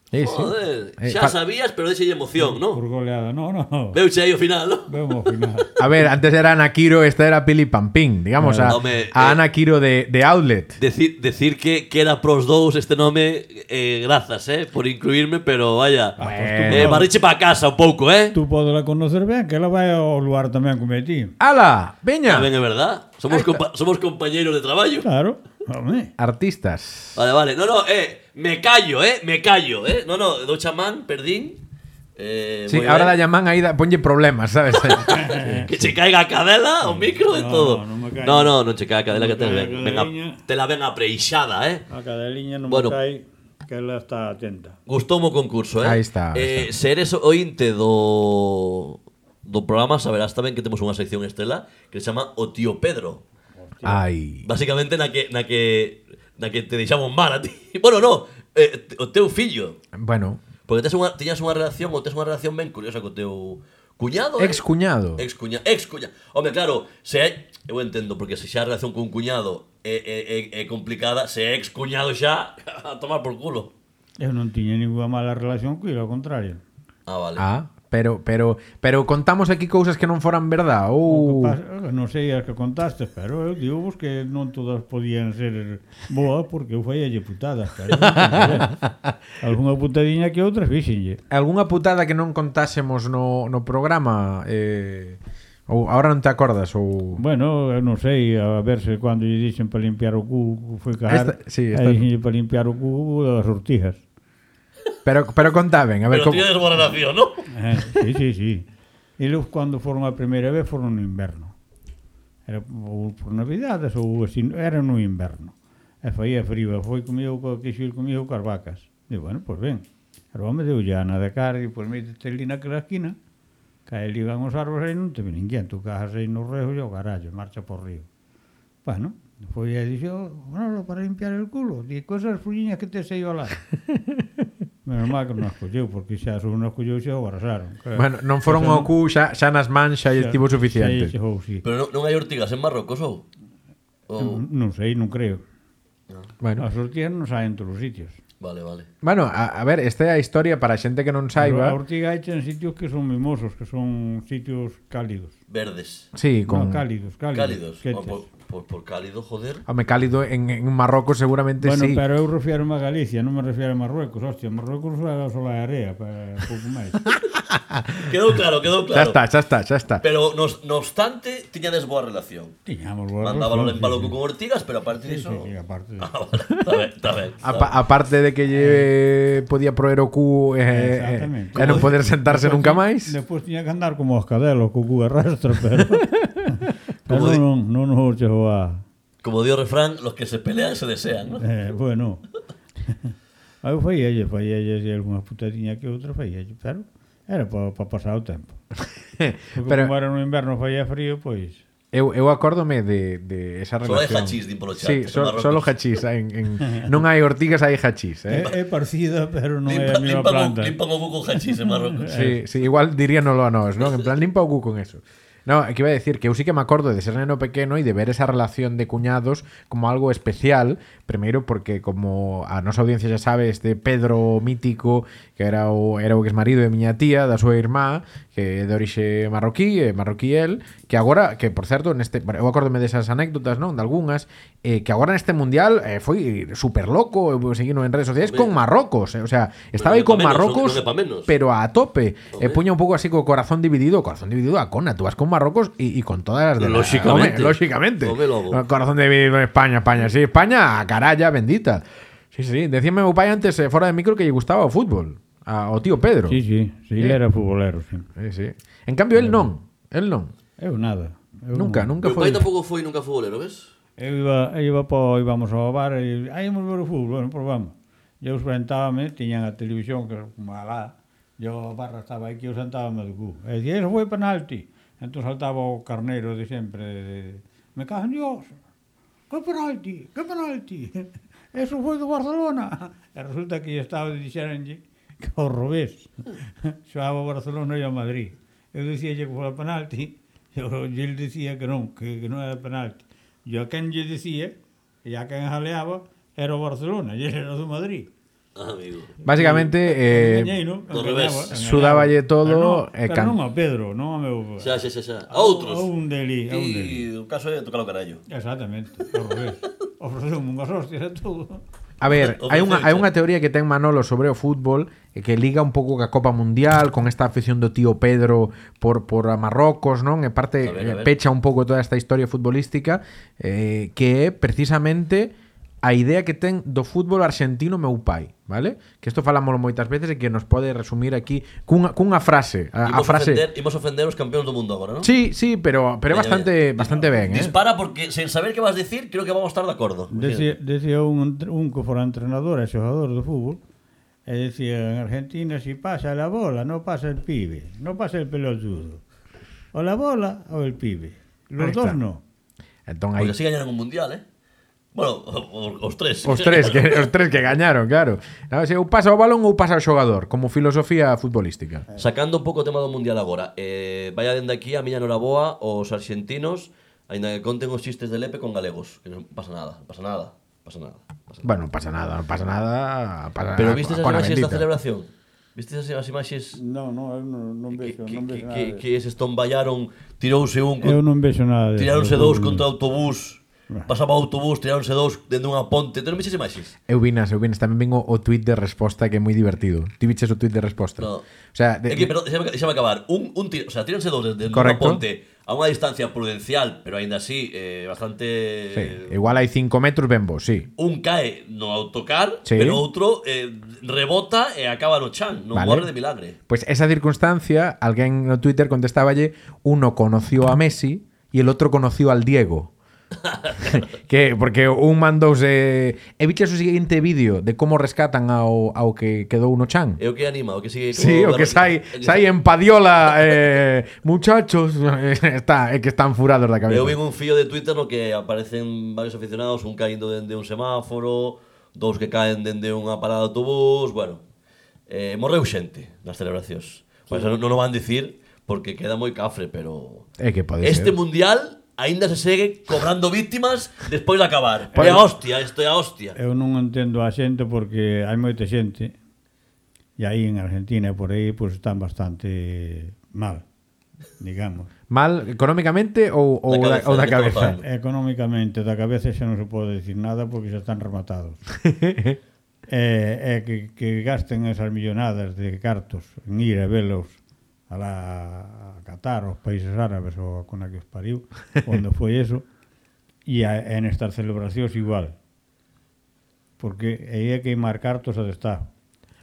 [SPEAKER 1] Sí, sí.
[SPEAKER 2] Joder,
[SPEAKER 1] Eh,
[SPEAKER 2] xa
[SPEAKER 1] fa-
[SPEAKER 2] sabías, pero deixei emoción,
[SPEAKER 3] Por
[SPEAKER 2] non?
[SPEAKER 3] goleada. No, no.
[SPEAKER 2] Veuche aí o final, non?
[SPEAKER 3] Vemos ao final.
[SPEAKER 1] A ver, antes era Ana Quiro, esta era Pili Pampín. Digamos, a, a
[SPEAKER 2] Home, eh.
[SPEAKER 1] Ana Quiro de, de Outlet.
[SPEAKER 2] Decir, decir que, que era pros dous este nome, eh, grazas, eh, por incluirme, pero vaya.
[SPEAKER 1] Bueno.
[SPEAKER 2] Eh, barriche para casa un pouco, eh.
[SPEAKER 3] Tú podes la conocer ben, que ela vai ao lugar tamén como ti.
[SPEAKER 1] ¡Hala! ¡Veña!
[SPEAKER 2] Tamén é verdad. Somos, compa somos compañeros de traballo.
[SPEAKER 3] Claro. Home.
[SPEAKER 1] Artistas.
[SPEAKER 2] Vale, vale. No, no, eh, me callo, eh, me callo, eh. No, no, do chamán, perdín. Eh,
[SPEAKER 1] Sí,
[SPEAKER 2] moi
[SPEAKER 1] ahora la
[SPEAKER 2] ben.
[SPEAKER 1] llaman ahí, da- ponlle problemas,
[SPEAKER 2] <laughs>
[SPEAKER 1] ¿sabes?
[SPEAKER 2] Eh, Que che caiga a cadela, o micro de
[SPEAKER 3] Eh, No,
[SPEAKER 2] todo.
[SPEAKER 3] no, non me cae.
[SPEAKER 2] No, no, non che caiga a cadela
[SPEAKER 3] Non
[SPEAKER 2] que
[SPEAKER 3] me
[SPEAKER 2] te,
[SPEAKER 3] cae a
[SPEAKER 2] ven, venga,
[SPEAKER 3] cadeliña.
[SPEAKER 2] te la ven apreixada, eh.
[SPEAKER 3] A cadeliña non
[SPEAKER 2] Bueno.
[SPEAKER 3] bueno. cai que ela está atenta.
[SPEAKER 2] Gustoume o concurso, eh?
[SPEAKER 1] Aí está, aí
[SPEAKER 2] Eh, se eres ointe do do programa, saberás tamén que temos unha sección estrela que se chama O tío Pedro.
[SPEAKER 1] Ay.
[SPEAKER 2] Básicamente na que na que na que te deixamos mal a ti. <laughs> Bueno, no, eh, te- o teu fillo,
[SPEAKER 1] Bueno,
[SPEAKER 2] porque tes unha tiñas unha relación ou tes unha relación ben curiosa co teu cuñado. eh?
[SPEAKER 1] excuñado.
[SPEAKER 2] Ex cuñado. Ex cuñado. Home, claro, se é... Eu entendo, porque se xa a relación cun cuñado eh, é, é, é, é complicada, se é ex cuñado xa, <laughs> a tomar por culo.
[SPEAKER 3] Eu non tiña ninguna mala relación cuido, ao contrario.
[SPEAKER 2] Ah, vale.
[SPEAKER 1] Ah, pero, pero, pero contamos aquí cousas que non foran verdad.
[SPEAKER 3] O
[SPEAKER 1] ou-
[SPEAKER 3] que pasa- Non sei as que contaste, pero eu digo vos que non todas podían ser boas porque eu fai putadas. Claro,
[SPEAKER 1] <laughs>
[SPEAKER 3] Alguna putadiña eh. que outras fixenlle.
[SPEAKER 1] Algunha putada que non contásemos no, no programa? Eh, ou ahora non te acordas? Ou...
[SPEAKER 3] Bueno, eu non sei, a ver se cando lle dixen para limpiar o cu, foi
[SPEAKER 1] Esta-
[SPEAKER 3] cagar,
[SPEAKER 1] sí,
[SPEAKER 3] e
[SPEAKER 1] esta-
[SPEAKER 3] dixenlle para limpiar o cu das
[SPEAKER 1] <laughs>
[SPEAKER 3] sortijas.
[SPEAKER 1] Pero, pero contá ben, a ver
[SPEAKER 2] Pero
[SPEAKER 1] como...
[SPEAKER 2] tiñades boa relación, non?
[SPEAKER 3] Eh, sí, sí, sí. Eles cando foron a primeira vez foron no inverno. Era ou por navidades ou así, era no inverno. E faía frío, e foi comigo co que xil comigo coas vacas. Digo, bueno, pois ben. Pero home deu ya na de cara, e pois métete ali naquela esquina, cae ali van os árboles e non te ve ninguén, tú cajas aí no rejo e o carallo, marcha por río. Bueno, foi e dixo, bueno, para limpiar el culo, di cosas fulliñas que te sei ao
[SPEAKER 1] <laughs>
[SPEAKER 3] lado. Menos mal que non as colleu, porque xa se non as colleu xa o abrasaron.
[SPEAKER 1] Bueno, non foron ao cu xa, xa nas mans xa estivo suficiente.
[SPEAKER 3] Pues Sí, ou sí.
[SPEAKER 2] Pero non, non hai ortigas en Oh, Marrocos ou? ou...
[SPEAKER 3] Non, non sei, non creo.
[SPEAKER 1] Bueno,
[SPEAKER 3] As ortigas non saen en todos os sitios.
[SPEAKER 2] Vale, vale.
[SPEAKER 1] bueno a, a ver, esta é a historia para a xente que non
[SPEAKER 3] A
[SPEAKER 1] saiba.
[SPEAKER 3] ortiga hecha en sitios que son mimosos, que son sitios cálidos.
[SPEAKER 2] Verdes.
[SPEAKER 1] Sí, con
[SPEAKER 3] Con... No, cálidos, cálidos.
[SPEAKER 2] Cálidos.
[SPEAKER 3] que
[SPEAKER 2] Oh,
[SPEAKER 3] hechas.
[SPEAKER 2] po- Por, por cálido, joder.
[SPEAKER 1] Home, cálido en, en Marrocos seguramente
[SPEAKER 3] Bueno,
[SPEAKER 1] sí.
[SPEAKER 3] pero eu refiero a Galicia, non me refiero a Marruecos. Hostia, Marruecos é só a area, para pouco
[SPEAKER 2] <laughs>
[SPEAKER 3] máis.
[SPEAKER 2] Quedou claro, quedou
[SPEAKER 1] Ya
[SPEAKER 2] claro.
[SPEAKER 1] está, ya está, ya está.
[SPEAKER 2] Pero, nos, no obstante, tiñades boa relación.
[SPEAKER 3] Tiñamos boa
[SPEAKER 2] Mandábalo en
[SPEAKER 3] relación,
[SPEAKER 2] palo
[SPEAKER 3] sí,
[SPEAKER 2] con Ortigas, pero aparte
[SPEAKER 3] sí, sí,
[SPEAKER 2] diso...
[SPEAKER 3] sí, aparte de...
[SPEAKER 2] <laughs> Ah, vale, está ben, está ben. está
[SPEAKER 1] Apa- aparte de que lle podía proer o cu eh, eh,
[SPEAKER 3] Eh. Exactamente.
[SPEAKER 1] e non poder sentarse nunca <laughs> máis.
[SPEAKER 3] Despois tiña que andar como os cadelos, co cu arrastro, pero...
[SPEAKER 2] <laughs>
[SPEAKER 3] <laughs> pero
[SPEAKER 2] Como di-
[SPEAKER 3] non, non nos chegou a...
[SPEAKER 2] ben. Como dio o refrán, los que se pelean se desean, ¿no?
[SPEAKER 3] Eh, <laughs> bueno. Aí eu faíalle, faíalle así algunha putadiña que outra faíalle, pero era para pa pasar o tempo. Porque
[SPEAKER 1] pero
[SPEAKER 3] como era no inverno faía frío, pois...
[SPEAKER 1] eu, eu acórdome de, de esa
[SPEAKER 2] Solo hai
[SPEAKER 1] relación.
[SPEAKER 2] hachís, din polo chat.
[SPEAKER 1] Sí,
[SPEAKER 2] en
[SPEAKER 1] so,
[SPEAKER 2] Marrocos.
[SPEAKER 1] solo hachís. En,
[SPEAKER 3] <laughs>
[SPEAKER 1] en, non hai ortigas, hai hachís. Eh?
[SPEAKER 3] É, é parecida, pero non é
[SPEAKER 2] Limpa,
[SPEAKER 3] a mesma
[SPEAKER 2] limpa, con,
[SPEAKER 3] planta.
[SPEAKER 2] limpa con con hachís en <laughs> Marrocos.
[SPEAKER 1] <laughs> Sí, sí, igual diríanoslo a nós, non? En plan, limpa o cu con eso. No, que iba a decir que eu sí que me acordo de ser neno pequeno e de ver esa relación de cuñados como algo especial, primeiro porque como a nosa audiencia xa sabe este Pedro mítico que era o era o exmarido de miña tía, da súa irmá, que é de orixe marroquí, é marroquí el, que agora, que por certo, neste, bueno, eu acórdome desas anécdotas, non, de algunhas, eh, que agora neste mundial eh, foi super loco, eu seguino en redes sociais con Marrocos, eh, o sea, estaba aí
[SPEAKER 2] non é
[SPEAKER 1] con
[SPEAKER 2] pa menos,
[SPEAKER 1] Marrocos,
[SPEAKER 2] non é pa menos.
[SPEAKER 1] pero a tope. E puña un pouco así co corazón dividido, corazón dividido a cona, tú vas con Marrocos e, e con todas as de la-
[SPEAKER 2] Lóxicamente.
[SPEAKER 1] Home, lóxicamente.
[SPEAKER 2] Home,
[SPEAKER 1] O
[SPEAKER 2] lobo.
[SPEAKER 1] Corazón dividido en España, España, sí, España, a caralla bendita. Sí, sí, decíame meu pai antes eh, fora de micro que lle gustaba o fútbol, a, o tío Pedro.
[SPEAKER 3] Sí, sí, sí,
[SPEAKER 1] Eh.
[SPEAKER 3] ele era futbolero, sí.
[SPEAKER 1] sí, sí. En cambio el non, el non.
[SPEAKER 3] Eu nada. Eu
[SPEAKER 1] Nunca,
[SPEAKER 3] non.
[SPEAKER 1] nunca
[SPEAKER 2] Meu
[SPEAKER 1] foi.
[SPEAKER 2] pai tampouco foi nunca futbolero, ves?
[SPEAKER 3] Eu iba, eu iba po, íbamos ao bar e aí vamos ver o fútbol, bueno, pues vamos. E Eu sentábame, tiñan a televisión que era como alá, yo a barra estaba aquí, eu sentábame do cu. E dicía, eso foi penalti. Entón saltaba o carneiro de sempre, de, me cago en Dios, que penalti, que penalti. <laughs> Eso foi do Barcelona. E resulta que lle estaba dixeronlle que ao revés. <laughs> Xoaba o Barcelona e o Madrid. Eu dicía que foi penalti, <laughs> e o Gil dicía que non, que, que non era penalti. E a quen lle dicía, e a quen jaleaba, era o Barcelona, e ele era do Madrid.
[SPEAKER 2] Ah, amigo.
[SPEAKER 1] Básicamente eh,
[SPEAKER 3] Engañeino,
[SPEAKER 2] do
[SPEAKER 3] engañaba,
[SPEAKER 2] revés.
[SPEAKER 3] engañaba.
[SPEAKER 1] Sudáballe todo
[SPEAKER 3] Pero non,
[SPEAKER 1] e
[SPEAKER 3] pero
[SPEAKER 1] can-
[SPEAKER 3] non a Pedro, non a meu...
[SPEAKER 2] Xa, xa, xa, xa. Ah, A outros.
[SPEAKER 3] A un deli, a un deli.
[SPEAKER 2] Ti, o caso é tocar o carallo.
[SPEAKER 3] Exactamente, ao
[SPEAKER 2] <laughs>
[SPEAKER 3] revés. Ofreceu unhas hostias e todo.
[SPEAKER 1] A ver,
[SPEAKER 2] O
[SPEAKER 1] hai unha hai
[SPEAKER 2] Vicente.
[SPEAKER 1] unha teoría que ten Manolo sobre o fútbol e que liga un pouco ca Copa Mundial con esta afición do tío Pedro por por a Marrocos, non? E parte
[SPEAKER 2] A ver, a
[SPEAKER 1] eh,
[SPEAKER 2] ver.
[SPEAKER 1] pecha un pouco toda esta historia futbolística eh, que é precisamente a idea que ten do fútbol argentino meu pai, vale? Que isto falámoslo moitas veces e que nos pode resumir aquí cunha, cunha frase, a, a
[SPEAKER 2] Imos
[SPEAKER 1] frase.
[SPEAKER 2] ofender, imos ofender os campeóns do mundo agora, non?
[SPEAKER 1] Sí, sí, pero pero é
[SPEAKER 2] Veña,
[SPEAKER 1] bastante
[SPEAKER 2] veña.
[SPEAKER 1] bastante ben, eh.
[SPEAKER 2] Dispara porque, sen saber que vas decir, creo que vamos a estar de acordo.
[SPEAKER 3] Decía, decía un, entre- un que fora entrenador e xogador do fútbol, e decía, en Argentina si pasa la bola, no pasa el pibe, no pasa el pelotudo. O la bola o el pibe. Los
[SPEAKER 1] Ahí
[SPEAKER 3] dos
[SPEAKER 1] está.
[SPEAKER 3] no.
[SPEAKER 1] Entón aí
[SPEAKER 2] Porque así gañaron un mundial, eh? Bueno, o- o- os tres.
[SPEAKER 1] Os tres
[SPEAKER 2] <laughs>
[SPEAKER 1] que os tres que gañaron, claro. Non, se ou pasa o balón ou pasa o xogador, como filosofía futbolística.
[SPEAKER 2] Sacando un pouco o tema do Mundial agora eh, Vaya dende aquí a miña noraboa Os argentinos Ainda que conten os chistes de Lepe con galegos Que non pasa nada, pasa nada, pasa nada, pasa nada.
[SPEAKER 1] Bueno, non pasa nada, non pasa nada, pasa nada.
[SPEAKER 2] Pero viste as
[SPEAKER 1] con a
[SPEAKER 2] imaxes da
[SPEAKER 1] Ah, bendita.
[SPEAKER 2] celebración? Viste as imaxes
[SPEAKER 3] No, no, eu non, non
[SPEAKER 2] que, que, que, que, que se estomballaron Tirouse un,
[SPEAKER 3] Eu non vexo nada. de-
[SPEAKER 2] tiráronse
[SPEAKER 3] do
[SPEAKER 2] dous
[SPEAKER 3] fútbol.
[SPEAKER 2] contra o autobús
[SPEAKER 1] Ah.
[SPEAKER 2] Pasaba o autobús, tiráronse dous dentro dunha ponte Te non viste as imaxes?
[SPEAKER 1] Eu vinas, eu vinas, tamén vengo o tweet de resposta que é moi divertido. Ti viches o tweet de resposta.
[SPEAKER 2] No.
[SPEAKER 1] O sea, de,
[SPEAKER 2] É que, pero, déxame, déxame acabar un, un tiro, O sea, tiráronse dous dentro dunha
[SPEAKER 1] Correcto.
[SPEAKER 2] ponte A unha distancia prudencial Pero aínda así, eh, bastante...
[SPEAKER 1] sí, igual hai 5 metros ben vos, sí.
[SPEAKER 2] un cae no autocar,
[SPEAKER 1] Sí.
[SPEAKER 2] pero outro eh, rebota e acaba no chan, non
[SPEAKER 1] Vale.
[SPEAKER 2] morre de milagre.
[SPEAKER 1] Pues esa circunstancia, alguén no Twitter contestáballe, uno conoció a Messi y el otro conoció al Diego. <laughs> que porque un mandouse e viches o seguinte vídeo de como rescatan ao, ao que quedou no chan.
[SPEAKER 2] É o que anima, o que sigue como
[SPEAKER 1] Sí, o
[SPEAKER 2] da-
[SPEAKER 1] que sai,
[SPEAKER 2] é que
[SPEAKER 1] sai en padiola eh, muchachos, <laughs> está, é que están furados da cabeza.
[SPEAKER 2] Eu vi un fío de Twitter no que aparecen varios aficionados, un caindo dende un semáforo, dous que caen dende unha parada de autobús, bueno. Eh, morreu xente nas celebracións. Pois non, non o van dicir porque queda moi cafre, pero
[SPEAKER 1] É que Eh, pode ser.
[SPEAKER 2] este mundial aínda se segue cobrando víctimas despois de acabar.
[SPEAKER 1] Pode-
[SPEAKER 2] É a hostia, isto é a hostia.
[SPEAKER 3] Eu non entendo a xente porque hai moita xente e aí en Argentina e por aí pois están bastante mal. digamos.
[SPEAKER 1] Mal económicamente ou, ou, da,
[SPEAKER 2] Da cabeza,
[SPEAKER 1] ou da
[SPEAKER 2] de
[SPEAKER 1] cabeza?
[SPEAKER 2] todo.
[SPEAKER 3] Economicamente, da cabeza xa non se pode decir nada porque xa están rematados. e, e que, que gasten esas millonadas de cartos en ir a velos a, la, a Qatar, aos países árabes ou a cona que os
[SPEAKER 1] <laughs>
[SPEAKER 3] pariu, onde foi eso, e a, en estas celebracións igual. Porque aí é que mar cartos a destajo.
[SPEAKER 1] <laughs>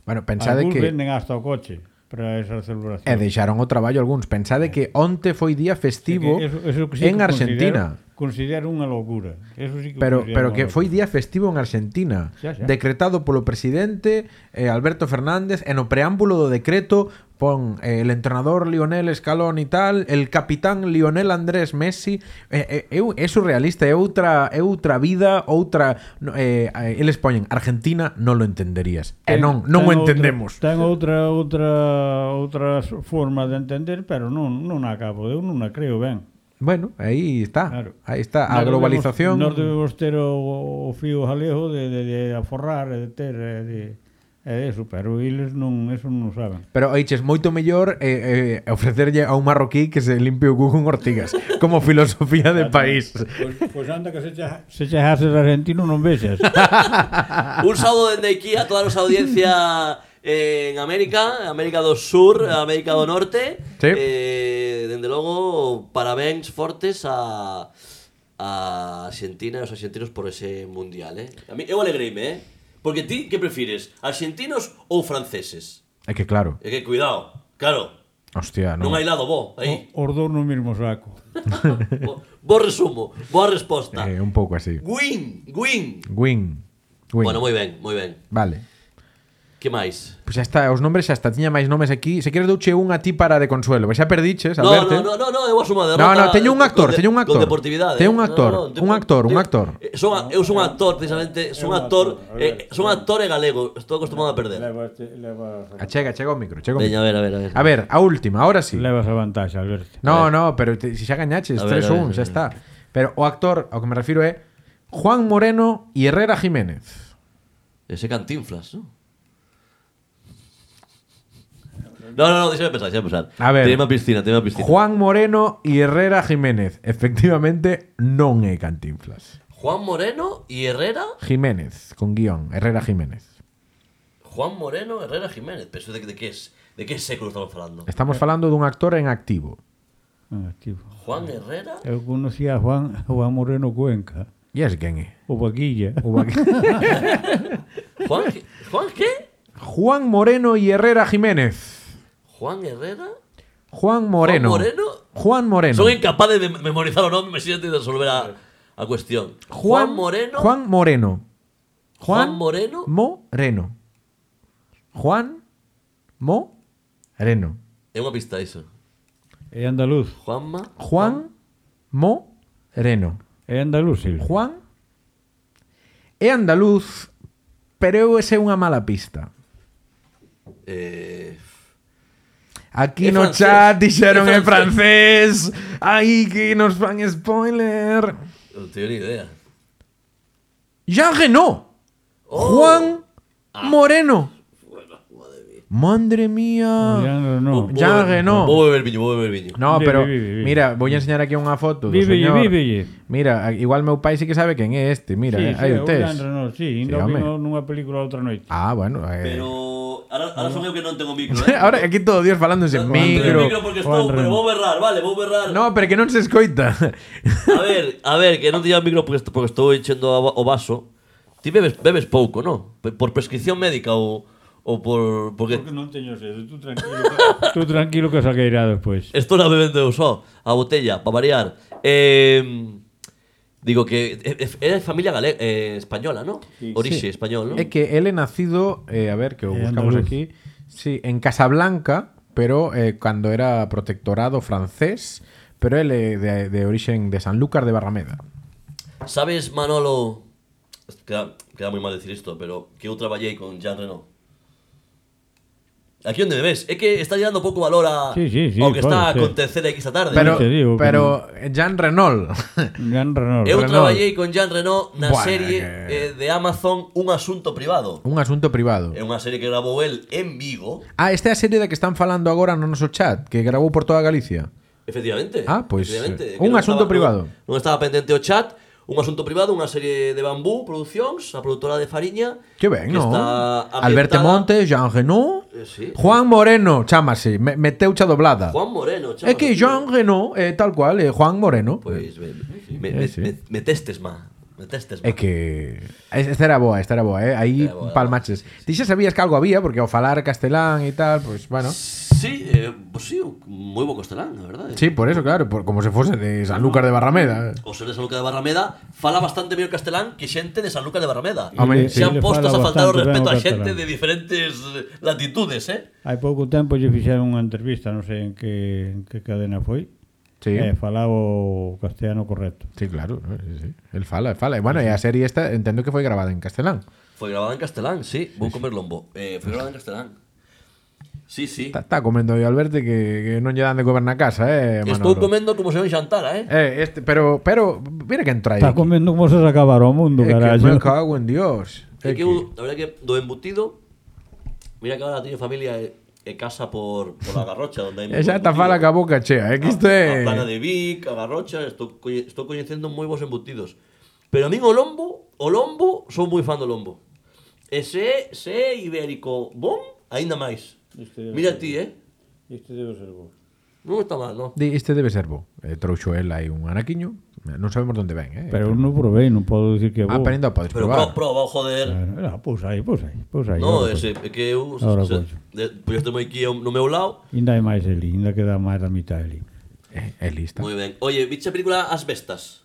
[SPEAKER 1] Bueno, pensade
[SPEAKER 3] Algúns
[SPEAKER 1] que...
[SPEAKER 3] que... venden hasta o coche para esas celebracións.
[SPEAKER 1] E deixaron o traballo algúns. Pensade que onte foi día festivo
[SPEAKER 3] Que eso- eso que sí
[SPEAKER 1] en
[SPEAKER 3] que
[SPEAKER 1] Argentina.
[SPEAKER 3] Considero, considero unha locura. Eso sí que
[SPEAKER 1] Pero,
[SPEAKER 3] considero
[SPEAKER 1] pero
[SPEAKER 3] unha
[SPEAKER 1] que foi día
[SPEAKER 3] locura.
[SPEAKER 1] festivo en Argentina
[SPEAKER 3] Xa, xa.
[SPEAKER 1] Decretado polo presidente eh, Alberto Fernández E no preámbulo do decreto Pon eh, el entrenador Lionel Escalón e tal El capitán Lionel Andrés Messi eh, eh, eu, É surrealista, é outra, é outra vida Outra... no, Eh, eh, eles poñen Argentina non lo entenderías E non, non o
[SPEAKER 3] Ten outra-
[SPEAKER 1] entendemos
[SPEAKER 3] Ten outra outra outra forma de entender, pero non non a acabo, eu non a creo ben.
[SPEAKER 1] Bueno, aí está
[SPEAKER 3] Claro.
[SPEAKER 1] Ah, Aí está, a
[SPEAKER 3] Nós
[SPEAKER 1] globalización
[SPEAKER 3] Debemos, nós debemos ter o, o fío jaleo de, de, de aforrar e de ter e de, e de eso, pero eles non, eso non saben.
[SPEAKER 1] Pero oiches, moito mellor eh, eh, ofrecerlle a un marroquí que se limpie o cu con ortigas Como filosofía de país
[SPEAKER 3] Pois pues anda que se xa... Se xa haces argentino
[SPEAKER 1] <laughs>
[SPEAKER 3] non vexas.
[SPEAKER 2] Un saludo desde aquí a toda nuestra audiencia eh, en América, América do Sur, América do Norte.
[SPEAKER 1] Sí.
[SPEAKER 2] Eh, desde luego, parabéns fortes a, a Argentina y a los argentinos por ese mundial. Eh. A mí, eu alegreime, eh. Porque ti, ¿qué prefieres? ¿Argentinos o franceses?
[SPEAKER 1] É que claro,
[SPEAKER 2] Es que cuidado, claro,
[SPEAKER 1] hostia,
[SPEAKER 2] no,
[SPEAKER 1] non,
[SPEAKER 2] hay lado vos, ahí.
[SPEAKER 3] Os dous no mismo saco.
[SPEAKER 2] Vos- vos resumo, vos respuesta.
[SPEAKER 1] eh, un pouco así
[SPEAKER 2] Win, win.
[SPEAKER 1] Win, Win.
[SPEAKER 2] Bueno, muy bien, muy bien.
[SPEAKER 1] Vale
[SPEAKER 2] ¿Qué más?
[SPEAKER 1] Pois xa está, os nombres xa está, tiña máis nomes aquí Se queres douche un a ti para de consuelo Pois xa perdiches,
[SPEAKER 2] No,
[SPEAKER 1] Alberto
[SPEAKER 2] no, no, no, no, eu asumo
[SPEAKER 1] No,
[SPEAKER 2] a derrota.
[SPEAKER 1] no, teño un
[SPEAKER 2] con
[SPEAKER 1] actor,
[SPEAKER 2] de-
[SPEAKER 1] teño un actor.
[SPEAKER 2] Con deportividade.
[SPEAKER 1] Teño un
[SPEAKER 2] eh.
[SPEAKER 1] actor, un actor, un actor.
[SPEAKER 2] eh, Son, a- eu son actor, precisamente, son
[SPEAKER 3] un
[SPEAKER 2] actor,
[SPEAKER 3] actor, a ver,
[SPEAKER 2] eh, son actor e galego, estou acostumado a perder.
[SPEAKER 3] Levas, levas,
[SPEAKER 1] Achega, achega o micro, chega o
[SPEAKER 2] Veña,
[SPEAKER 1] micro.
[SPEAKER 2] a ver, a ver, a ver.
[SPEAKER 1] A ver, a última, ahora sí
[SPEAKER 3] levas a vantaxe, Alberto.
[SPEAKER 1] No, no, pero te, si xa gañaches,
[SPEAKER 2] A ver,
[SPEAKER 1] 3-1,
[SPEAKER 2] a ver,
[SPEAKER 1] xa
[SPEAKER 2] a ver.
[SPEAKER 1] está Pero o actor, ao que me refiro é Juan Moreno e Herrera Jiménez
[SPEAKER 2] Ese cantinflas, ¿no? No, no, no, déxame pensar, déxame pensar.
[SPEAKER 1] A ver.
[SPEAKER 2] Tenía piscina, tenía piscina.
[SPEAKER 1] Juan Moreno y Herrera Jiménez. Efectivamente, non é Cantinflas.
[SPEAKER 2] Juan Moreno y Herrera.
[SPEAKER 1] Jiménez, con guión. Herrera Jiménez.
[SPEAKER 2] Juan Moreno, Herrera Jiménez. Pero eso de, de que es? De que século estamos falando?
[SPEAKER 1] Estamos falando dun actor en activo.
[SPEAKER 3] Ah, tipo.
[SPEAKER 2] Juan Herrera.
[SPEAKER 3] Eu conocía a Juan, Juan Moreno Cuenca,
[SPEAKER 1] E es quen
[SPEAKER 2] <laughs>
[SPEAKER 1] é?
[SPEAKER 3] o Vaquilla.
[SPEAKER 1] O va-
[SPEAKER 2] Juan, Juan qué?
[SPEAKER 1] Juan Moreno y Herrera Jiménez.
[SPEAKER 2] Juan Herrera.
[SPEAKER 1] Juan Moreno.
[SPEAKER 2] Juan Moreno.
[SPEAKER 1] Juan Moreno.
[SPEAKER 2] Son incapaces de memorizar los nombres y de resolver a, a cuestión. Juan, Moreno.
[SPEAKER 1] Juan Moreno.
[SPEAKER 2] Juan Moreno.
[SPEAKER 1] Moreno. Juan Moreno.
[SPEAKER 2] Es una pista eso.
[SPEAKER 3] É andaluz.
[SPEAKER 2] Juanma.
[SPEAKER 1] Juan Moreno.
[SPEAKER 3] É andaluz, Sil.
[SPEAKER 1] Juan é andaluz, pero eu ese é unha mala pista.
[SPEAKER 2] Eh,
[SPEAKER 1] Aquí
[SPEAKER 2] É
[SPEAKER 1] no
[SPEAKER 2] francés,
[SPEAKER 1] chat dixeron en
[SPEAKER 2] é
[SPEAKER 1] francés. Ai, que nos fan spoiler.
[SPEAKER 2] no tengo ni idea.
[SPEAKER 1] Jean Reno.
[SPEAKER 2] Oh.
[SPEAKER 1] Juan
[SPEAKER 2] Ah.
[SPEAKER 1] Moreno. Madre mía.
[SPEAKER 3] Ya no, no.
[SPEAKER 1] Ya
[SPEAKER 2] Voy a beber-
[SPEAKER 1] Renault.
[SPEAKER 2] Voy a beber viño, voy a beber viño.
[SPEAKER 1] No,
[SPEAKER 3] Vive,
[SPEAKER 1] pero
[SPEAKER 3] vive, vive.
[SPEAKER 1] mira, voy a enseñar aquí unha foto do
[SPEAKER 3] Vívelle,
[SPEAKER 1] señor.
[SPEAKER 3] vívelle.
[SPEAKER 1] Mira, a- igual meu pai sí que sabe quen é este, mira, eh, aí
[SPEAKER 3] sí,
[SPEAKER 1] o tes.
[SPEAKER 3] Leandro, no, sí,
[SPEAKER 1] Sí,
[SPEAKER 3] ainda o
[SPEAKER 1] home.
[SPEAKER 3] vino nunha película outra noite.
[SPEAKER 1] Ah, bueno, eh.
[SPEAKER 2] Pero ahora, ahora son yo que no tengo micro.
[SPEAKER 1] <laughs>
[SPEAKER 2] ¿eh?
[SPEAKER 1] Ahora aquí todo Dios falándose en
[SPEAKER 2] No tengo
[SPEAKER 1] micro.
[SPEAKER 2] micro porque
[SPEAKER 3] Juan
[SPEAKER 2] estoy, pero
[SPEAKER 3] Renault.
[SPEAKER 2] voy a berrar, vale, voy a berrar.
[SPEAKER 1] No, pero que non se escoita.
[SPEAKER 2] A ver, a ver, que no te el micro porque, est- porque estoy echando a- o vaso. Ti bebes, bebes poco, ¿no? Pe- Por prescripción médica o, o por... Porque
[SPEAKER 3] non teño sede, tú tranquilo. <laughs> tú tranquilo que saqueirá despois.
[SPEAKER 2] Esto la bebendo eu só, a botella, para variar. Eh, digo que é- é- é de familia gale- eh, española, ¿no?
[SPEAKER 1] Sí.
[SPEAKER 2] Orixe español, ¿no?
[SPEAKER 1] <laughs> É que él é nacido, eh, a ver, que o
[SPEAKER 3] Eh,
[SPEAKER 1] buscamos
[SPEAKER 3] andaluz.
[SPEAKER 1] aquí, sí, en Casablanca, pero eh, cando era protectorado francés, pero él é de, de origen de Sanlúcar de Barrameda.
[SPEAKER 2] Sabes, Manolo... Queda, queda muy mal decir esto, pero que eu traballei con Jean Reno. Aquí onde me ves, é que está llegando pouco valor a
[SPEAKER 3] Sí, sí, sí,
[SPEAKER 2] ao que está a
[SPEAKER 3] pode ser.
[SPEAKER 2] acontecer aquí esta tarde.
[SPEAKER 1] Pero,
[SPEAKER 3] te digo que
[SPEAKER 1] pero Jean Renault. <laughs>
[SPEAKER 3] Gran Renault.
[SPEAKER 2] eu
[SPEAKER 1] Renault.
[SPEAKER 2] traballei con Jean Reno na
[SPEAKER 1] Buah,
[SPEAKER 2] serie
[SPEAKER 1] que-
[SPEAKER 2] eh, de Amazon Un asunto privado.
[SPEAKER 1] un asunto privado.
[SPEAKER 2] É unha serie que grabou el en Vigo.
[SPEAKER 1] Ah, esta é a serie da que están falando agora no noso chat, que grabou por toda Galicia.
[SPEAKER 2] Efectivamente.
[SPEAKER 1] Ah, pois, eh,
[SPEAKER 2] efectivamente, que
[SPEAKER 1] un
[SPEAKER 2] non
[SPEAKER 1] asunto
[SPEAKER 2] estaba-
[SPEAKER 1] privado.
[SPEAKER 2] Non, non estaba pendente o chat, un asunto privado, unha serie de Bambú Produccións, a produtora de Fariña.
[SPEAKER 1] Que ben,
[SPEAKER 2] que
[SPEAKER 1] non?
[SPEAKER 2] está
[SPEAKER 1] Alberto
[SPEAKER 2] ambientada-
[SPEAKER 1] Montes, Jean Renault,
[SPEAKER 2] Eh, sí.
[SPEAKER 1] Juan Moreno, chamase, me, meteucha doblada.
[SPEAKER 2] Juan Moreno, chaval.
[SPEAKER 1] é que Jean Renault, eh, tal cual, eh, Juan Moreno.
[SPEAKER 2] Pois, me, me,
[SPEAKER 1] Eh,
[SPEAKER 2] me,
[SPEAKER 1] sí.
[SPEAKER 2] me, me testes, má. Me testes, má.
[SPEAKER 1] É que es- esta era boa, esta era boa, eh? aí
[SPEAKER 2] Era boa,
[SPEAKER 1] palmaches. Ti xa sabías que algo había porque ao falar castelán e tal, pois pues, bueno.
[SPEAKER 2] Sí, eh, pues sí, moi bo castelán, a verdade.
[SPEAKER 1] Sí, por eso, claro, por, como se fose de Sanlúcar de Barrameda.
[SPEAKER 2] O ser de Sanlúcar de Barrameda fala bastante mellor castelán que xente de Sanlúcar de Barrameda.
[SPEAKER 1] Home,
[SPEAKER 2] Se han
[SPEAKER 3] le
[SPEAKER 2] postos a
[SPEAKER 3] fala
[SPEAKER 2] faltar o
[SPEAKER 3] bastante ben
[SPEAKER 2] respeto a
[SPEAKER 3] ao castelán.
[SPEAKER 2] xente de diferentes eh, latitudes, eh?
[SPEAKER 3] Hai pouco tempo lle fixeron unha entrevista, non sei en que, en que cadena foi,
[SPEAKER 1] Sí.
[SPEAKER 3] e falaba o castellano correcto.
[SPEAKER 1] Sí, claro, ¿no? sí, sí. el fala, el fala. E bueno, e a serie esta entendo que foi grabada en castelán.
[SPEAKER 2] Foi grabada en castelán, sí, vou comer lombo. Eh, foi grabada en castelán. Sí, sí.
[SPEAKER 1] Está, está comendo aí Alberto que, que non lle dan de comer na casa, eh, Manolo.
[SPEAKER 2] Estou comendo como se non xantara, eh?
[SPEAKER 1] Eh, este, pero, pero, mira que entra aí.
[SPEAKER 3] Está comendo como se acabar o mundo,
[SPEAKER 1] É que
[SPEAKER 3] carallo.
[SPEAKER 1] me cago en Dios. É
[SPEAKER 2] É que
[SPEAKER 1] que-
[SPEAKER 2] eu, a verdade que do embutido Mira que agora teño familia e, e casa por, por a Garrocha onde
[SPEAKER 1] <laughs>
[SPEAKER 2] hai
[SPEAKER 1] E xa
[SPEAKER 2] moito
[SPEAKER 1] está
[SPEAKER 2] embutido.
[SPEAKER 1] fala ca boca chea, é que isto é...
[SPEAKER 2] A plana de Vic, a Garrocha, estou, coñe- estou coñecendo moi bons embutidos. Pero a min o lombo, o lombo, son moi fan do lombo. E se, se é ibérico bon, aínda máis.
[SPEAKER 3] Este é
[SPEAKER 2] Mira ti, eh?
[SPEAKER 3] Este debe ser bo.
[SPEAKER 2] Non está mal, non?
[SPEAKER 1] Di, Este debe ser bo. Eh, trouxo el aí un anaquiño. Non sabemos onde ven, eh.
[SPEAKER 3] Pero uh. eu non provei, non podo dicir que é
[SPEAKER 1] ah,
[SPEAKER 3] bo.
[SPEAKER 1] pero ainda o podes
[SPEAKER 2] Pero
[SPEAKER 1] probar.
[SPEAKER 2] pro, proba, joder.
[SPEAKER 3] Ah, pois aí, pois aí, pois aí.
[SPEAKER 2] No,
[SPEAKER 3] ahora, pois.
[SPEAKER 2] ese, é que eu se,
[SPEAKER 3] Ahora
[SPEAKER 2] se,
[SPEAKER 3] coño.
[SPEAKER 2] de, pois estou moi aquí ao- no meu lado.
[SPEAKER 3] Ainda hai máis ali, ainda queda máis da mitad ali.
[SPEAKER 1] Eh, é lista.
[SPEAKER 2] Moi ben. Oye, viche a película As Bestas?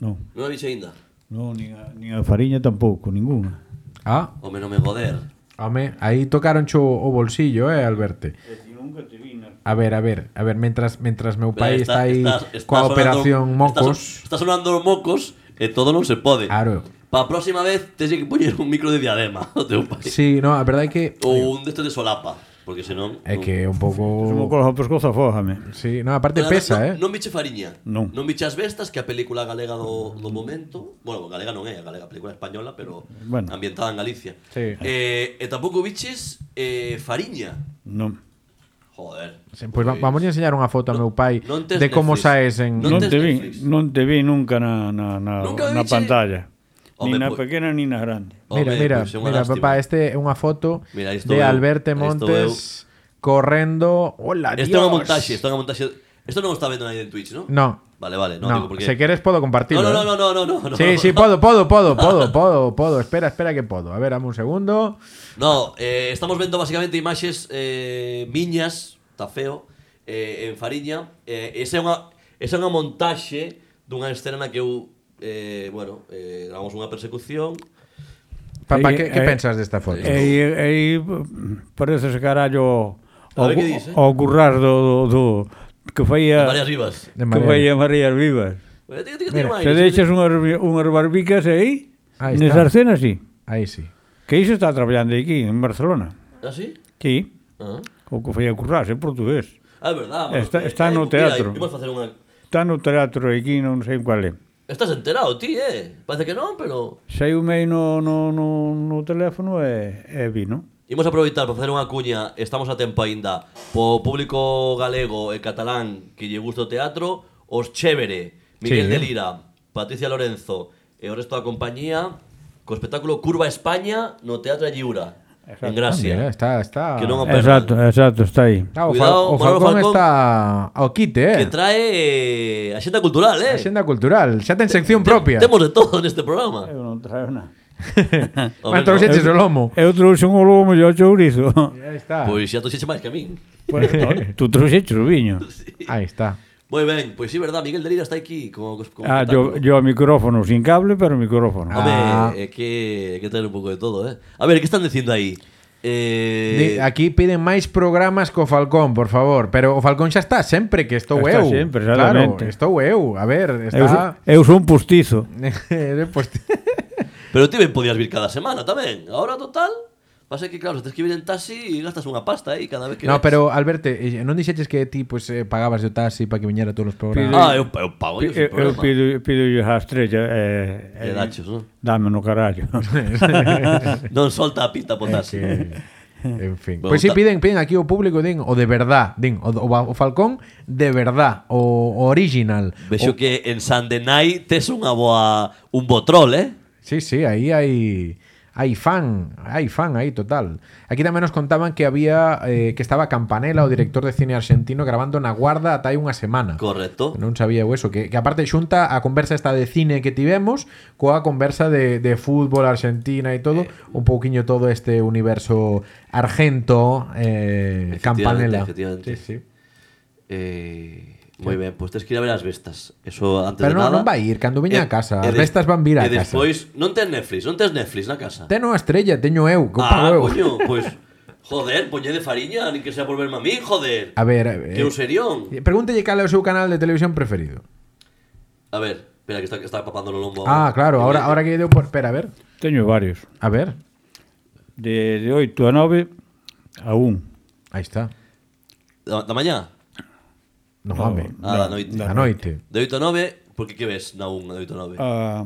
[SPEAKER 3] Non,
[SPEAKER 2] Non a viche aínda?
[SPEAKER 3] non, nin a, nin a fariña tampouco, ninguna.
[SPEAKER 1] Ah,
[SPEAKER 2] Home, non me joder.
[SPEAKER 1] home, aí tocaron cho o bolsillo, eh, Alberto.
[SPEAKER 3] Nunca te vina.
[SPEAKER 1] A ver, a ver, a ver, mentras, mentras meu
[SPEAKER 2] Pero
[SPEAKER 1] pai está, aí
[SPEAKER 2] está- está
[SPEAKER 1] coa
[SPEAKER 2] sonando-
[SPEAKER 1] operación
[SPEAKER 2] Está,
[SPEAKER 1] mocos.
[SPEAKER 2] so- está sonando os mocos e todo non se pode.
[SPEAKER 1] Claro.
[SPEAKER 2] Para a próxima vez tens que poñer un micro de diadema <laughs> ao teu pai.
[SPEAKER 1] Sí, no, a verdade é que
[SPEAKER 2] Ou un deste de solapa, porque senón...
[SPEAKER 1] é
[SPEAKER 2] non-
[SPEAKER 1] que é un
[SPEAKER 3] Como
[SPEAKER 1] pouco
[SPEAKER 3] coja o pescozo, afójame.
[SPEAKER 1] Sí, no, aparte
[SPEAKER 2] Pero
[SPEAKER 1] pesa,
[SPEAKER 2] non,
[SPEAKER 1] eh.
[SPEAKER 2] Non biche fariña.
[SPEAKER 3] Non.
[SPEAKER 2] Non biche as bestas, que a película galega do, do momento... Bueno, galega non é, a galega, a película española, pero
[SPEAKER 3] Bueno.
[SPEAKER 2] ambientada en Galicia.
[SPEAKER 1] Sí.
[SPEAKER 2] Eh, e tampouco biches eh, fariña.
[SPEAKER 3] Non.
[SPEAKER 2] Joder.
[SPEAKER 1] Pois pues, vamos a enseñar unha foto a meu pai
[SPEAKER 2] non tes
[SPEAKER 1] de como
[SPEAKER 2] Netflix.
[SPEAKER 1] saes en
[SPEAKER 2] Non
[SPEAKER 3] Non,
[SPEAKER 2] tes
[SPEAKER 3] te vi,
[SPEAKER 2] Netflix.
[SPEAKER 3] non te vi nunca na, na, na,
[SPEAKER 2] Nunca viche-
[SPEAKER 3] na pantalla.
[SPEAKER 2] Home,
[SPEAKER 3] Ni na
[SPEAKER 2] pois-
[SPEAKER 3] pequena ni na grande.
[SPEAKER 1] Mira,
[SPEAKER 2] Home,
[SPEAKER 1] mira,
[SPEAKER 2] pois é unha
[SPEAKER 1] mira,
[SPEAKER 2] pues, lástima.
[SPEAKER 1] papá, este é unha foto
[SPEAKER 2] Mira, isto
[SPEAKER 1] de
[SPEAKER 2] eu,
[SPEAKER 1] Alberto
[SPEAKER 2] isto
[SPEAKER 1] Montes correndo. Hola,
[SPEAKER 2] Isto é unha montaxe, isto é unha montaxe... Isto non o está vendo nadie en Twitch, non?
[SPEAKER 1] No.
[SPEAKER 2] Vale, vale, non,
[SPEAKER 1] no,
[SPEAKER 2] digo porque...
[SPEAKER 1] se queres podo compartilo.
[SPEAKER 2] No, no, no,
[SPEAKER 1] eh.
[SPEAKER 2] no, no, no, no.
[SPEAKER 1] Sí,
[SPEAKER 2] no,
[SPEAKER 1] sí,
[SPEAKER 2] no.
[SPEAKER 1] podo, podo, podo, podo, podo, podo. Espera, espera que podo. A ver, dame un segundo.
[SPEAKER 2] No, eh, estamos vendo basicamente imaxes eh, miñas, está feo, eh, en Fariña. Eh, esa, é unha, esa é unha montaxe dunha escena na que eu, eh, bueno, eh, gravamos unha persecución.
[SPEAKER 1] Papá,
[SPEAKER 3] Eh,
[SPEAKER 1] que, que
[SPEAKER 3] eh,
[SPEAKER 1] pensas desta foto?
[SPEAKER 3] E aí, e aí parece ese carallo
[SPEAKER 2] A
[SPEAKER 3] ao,
[SPEAKER 2] ver que dis, eh?
[SPEAKER 3] ao currar do, do, do que
[SPEAKER 2] De
[SPEAKER 3] faía
[SPEAKER 2] María Rivas.
[SPEAKER 1] De
[SPEAKER 3] que
[SPEAKER 1] María.
[SPEAKER 3] faía María Vivas.
[SPEAKER 2] Eh, tiña- tiña- tiña un
[SPEAKER 3] Se
[SPEAKER 2] aire,
[SPEAKER 3] deixas unhas, unhas barbicas aí,
[SPEAKER 1] Aí está.
[SPEAKER 3] nesas cenas, sí.
[SPEAKER 1] Aí sí.
[SPEAKER 3] Que iso está traballando aquí, en Barcelona.
[SPEAKER 2] Ah, sí?
[SPEAKER 3] Sí,
[SPEAKER 2] Ah,
[SPEAKER 3] o que faía currar, en portugués.
[SPEAKER 2] Ah, é verdad. bueno,
[SPEAKER 3] Está-
[SPEAKER 2] eh,
[SPEAKER 3] está
[SPEAKER 2] eh, mira,
[SPEAKER 3] no teatro.
[SPEAKER 2] imos facer unha...
[SPEAKER 3] Está no teatro aquí, non sei cual é.
[SPEAKER 2] Estás enterado, ti, eh? Parece que non, pero...
[SPEAKER 3] Saiu mei no, no, no, no teléfono e, e vi, non?
[SPEAKER 2] Imos aproveitar para facer unha cuña, estamos a tempo aínda, po público galego e catalán que lle gusta o teatro, os Chévere,
[SPEAKER 1] Sí.
[SPEAKER 2] Miguel de Lira, Patricia Lorenzo e o resto da compañía, co espectáculo Curva España no Teatro Lliura, en Gracia.
[SPEAKER 1] Mira, está, está.
[SPEAKER 2] Que non o-
[SPEAKER 3] Exacto, exacto, está aí.
[SPEAKER 1] Está, o,
[SPEAKER 2] Cuidado,
[SPEAKER 1] Fal- o
[SPEAKER 2] Manolo
[SPEAKER 1] Falcón,
[SPEAKER 2] Falcón.
[SPEAKER 1] está ao quite, eh.
[SPEAKER 2] Que trae eh, axenda cultural, eh?
[SPEAKER 1] Axenda cultural, xa ten sección propia.
[SPEAKER 2] Temos de todo neste programa.
[SPEAKER 3] Eu non traio <laughs> nada.
[SPEAKER 1] Mas trouxeches o lomo.
[SPEAKER 3] Eu trouxe un lomo e o chourizo.
[SPEAKER 1] Aí está.
[SPEAKER 2] Pois xa toxeche máis que a min.
[SPEAKER 3] Pues, tú trouxeches o viño.
[SPEAKER 1] Aí está.
[SPEAKER 2] Moi ben, pois sí, verdad, Miguel de Lira está aquí co, co, co
[SPEAKER 3] Ah, yo,
[SPEAKER 2] espectáculo.
[SPEAKER 3] yo a micrófono sin cable, pero micrófono.
[SPEAKER 2] Hombre,
[SPEAKER 1] Ah.
[SPEAKER 2] es eh, que hay que tener un poco de todo, ¿eh? A ver, ¿qué están diciendo ahí? Eh,
[SPEAKER 1] Di- Aquí piden máis programas co Falcón, por favor Pero o Falcón xa está sempre que estou
[SPEAKER 3] Está
[SPEAKER 1] eu
[SPEAKER 3] sempre,
[SPEAKER 1] Claro,
[SPEAKER 3] exactamente.
[SPEAKER 1] estou eu A ver,
[SPEAKER 3] eu, sou-
[SPEAKER 1] está...
[SPEAKER 3] eu sou un postizo.
[SPEAKER 1] <laughs> Eh,
[SPEAKER 2] <laughs>
[SPEAKER 1] pois ti-
[SPEAKER 2] Pero tú bien podías vir cada semana tamén. Ahora, total, pasa que, claro, se tens que vir en taxi e gastas unha pasta aí cada vez que
[SPEAKER 1] no,
[SPEAKER 2] ves.
[SPEAKER 1] pero Alberto, eh, non dixeches que ti pues, eh, pagabas de taxi para que viñera todos os programas
[SPEAKER 2] Ah, eu, eu pago yo,
[SPEAKER 3] Eu,
[SPEAKER 2] sin
[SPEAKER 3] eu
[SPEAKER 2] problema.
[SPEAKER 3] pido, pido a estrella eh,
[SPEAKER 2] E
[SPEAKER 3] e,
[SPEAKER 2] dachos, non?
[SPEAKER 3] dame no carallo.
[SPEAKER 2] non solta a pita por taxi.
[SPEAKER 1] En fin.
[SPEAKER 2] Vou
[SPEAKER 1] Pois si
[SPEAKER 2] ta-
[SPEAKER 1] piden, piden aquí o público din o de verdad, din o, o, o Falcón de verdad, o, o original. O-
[SPEAKER 2] Vexo que en Sandenai tes unha boa un botrol, eh?
[SPEAKER 1] Sí, sí, ahí hay hay fan, hay fan ahí total. Aquí tamén nos contaban que había eh, que estaba Campanella, o director de cine argentino grabando na guarda ata hai unha semana.
[SPEAKER 2] Correcto.
[SPEAKER 1] Non sabía eu eso, que, que aparte xunta a conversa esta de cine que tivemos coa conversa de, de fútbol argentina e
[SPEAKER 2] Eh.
[SPEAKER 1] todo, un pouquiño todo este universo argento eh,
[SPEAKER 2] Efectivamente,
[SPEAKER 1] campanela.
[SPEAKER 2] efectivamente.
[SPEAKER 1] Sí, sí.
[SPEAKER 2] Eh, moi ben, pois tes que ir a ver as bestas. Eso antes
[SPEAKER 1] Pero
[SPEAKER 2] de
[SPEAKER 1] non-
[SPEAKER 2] nada.
[SPEAKER 1] non vai ir, cando veña
[SPEAKER 2] E-
[SPEAKER 1] a casa. As
[SPEAKER 2] e des-
[SPEAKER 1] bestas van vir a
[SPEAKER 2] E
[SPEAKER 1] casa.
[SPEAKER 2] despois, non tes Netflix, non tes Netflix na casa.
[SPEAKER 1] Teno a estrella, teño eu, que o pago
[SPEAKER 2] ah,
[SPEAKER 1] eu.
[SPEAKER 2] coño, pois joder, poñede fariña, nin que sea por verme a min, joder.
[SPEAKER 1] A ver, eh,
[SPEAKER 2] que un serión.
[SPEAKER 1] pregúntelle cal é o seu canal de televisión preferido.
[SPEAKER 2] A ver, espera que está que está papando o lombo.
[SPEAKER 1] Ah, claro, ahora ahora que deu por, espera, a ver.
[SPEAKER 3] <laughs> Teño varios.
[SPEAKER 1] A ver.
[SPEAKER 3] De, de 8 a 9 a 1.
[SPEAKER 1] Aí está.
[SPEAKER 2] da, da mañá.
[SPEAKER 1] No mames.
[SPEAKER 2] Ah, da noite.
[SPEAKER 1] A noite.
[SPEAKER 2] De 8 a 9, porque que ves na 1, de 8 a 9.
[SPEAKER 3] Ah,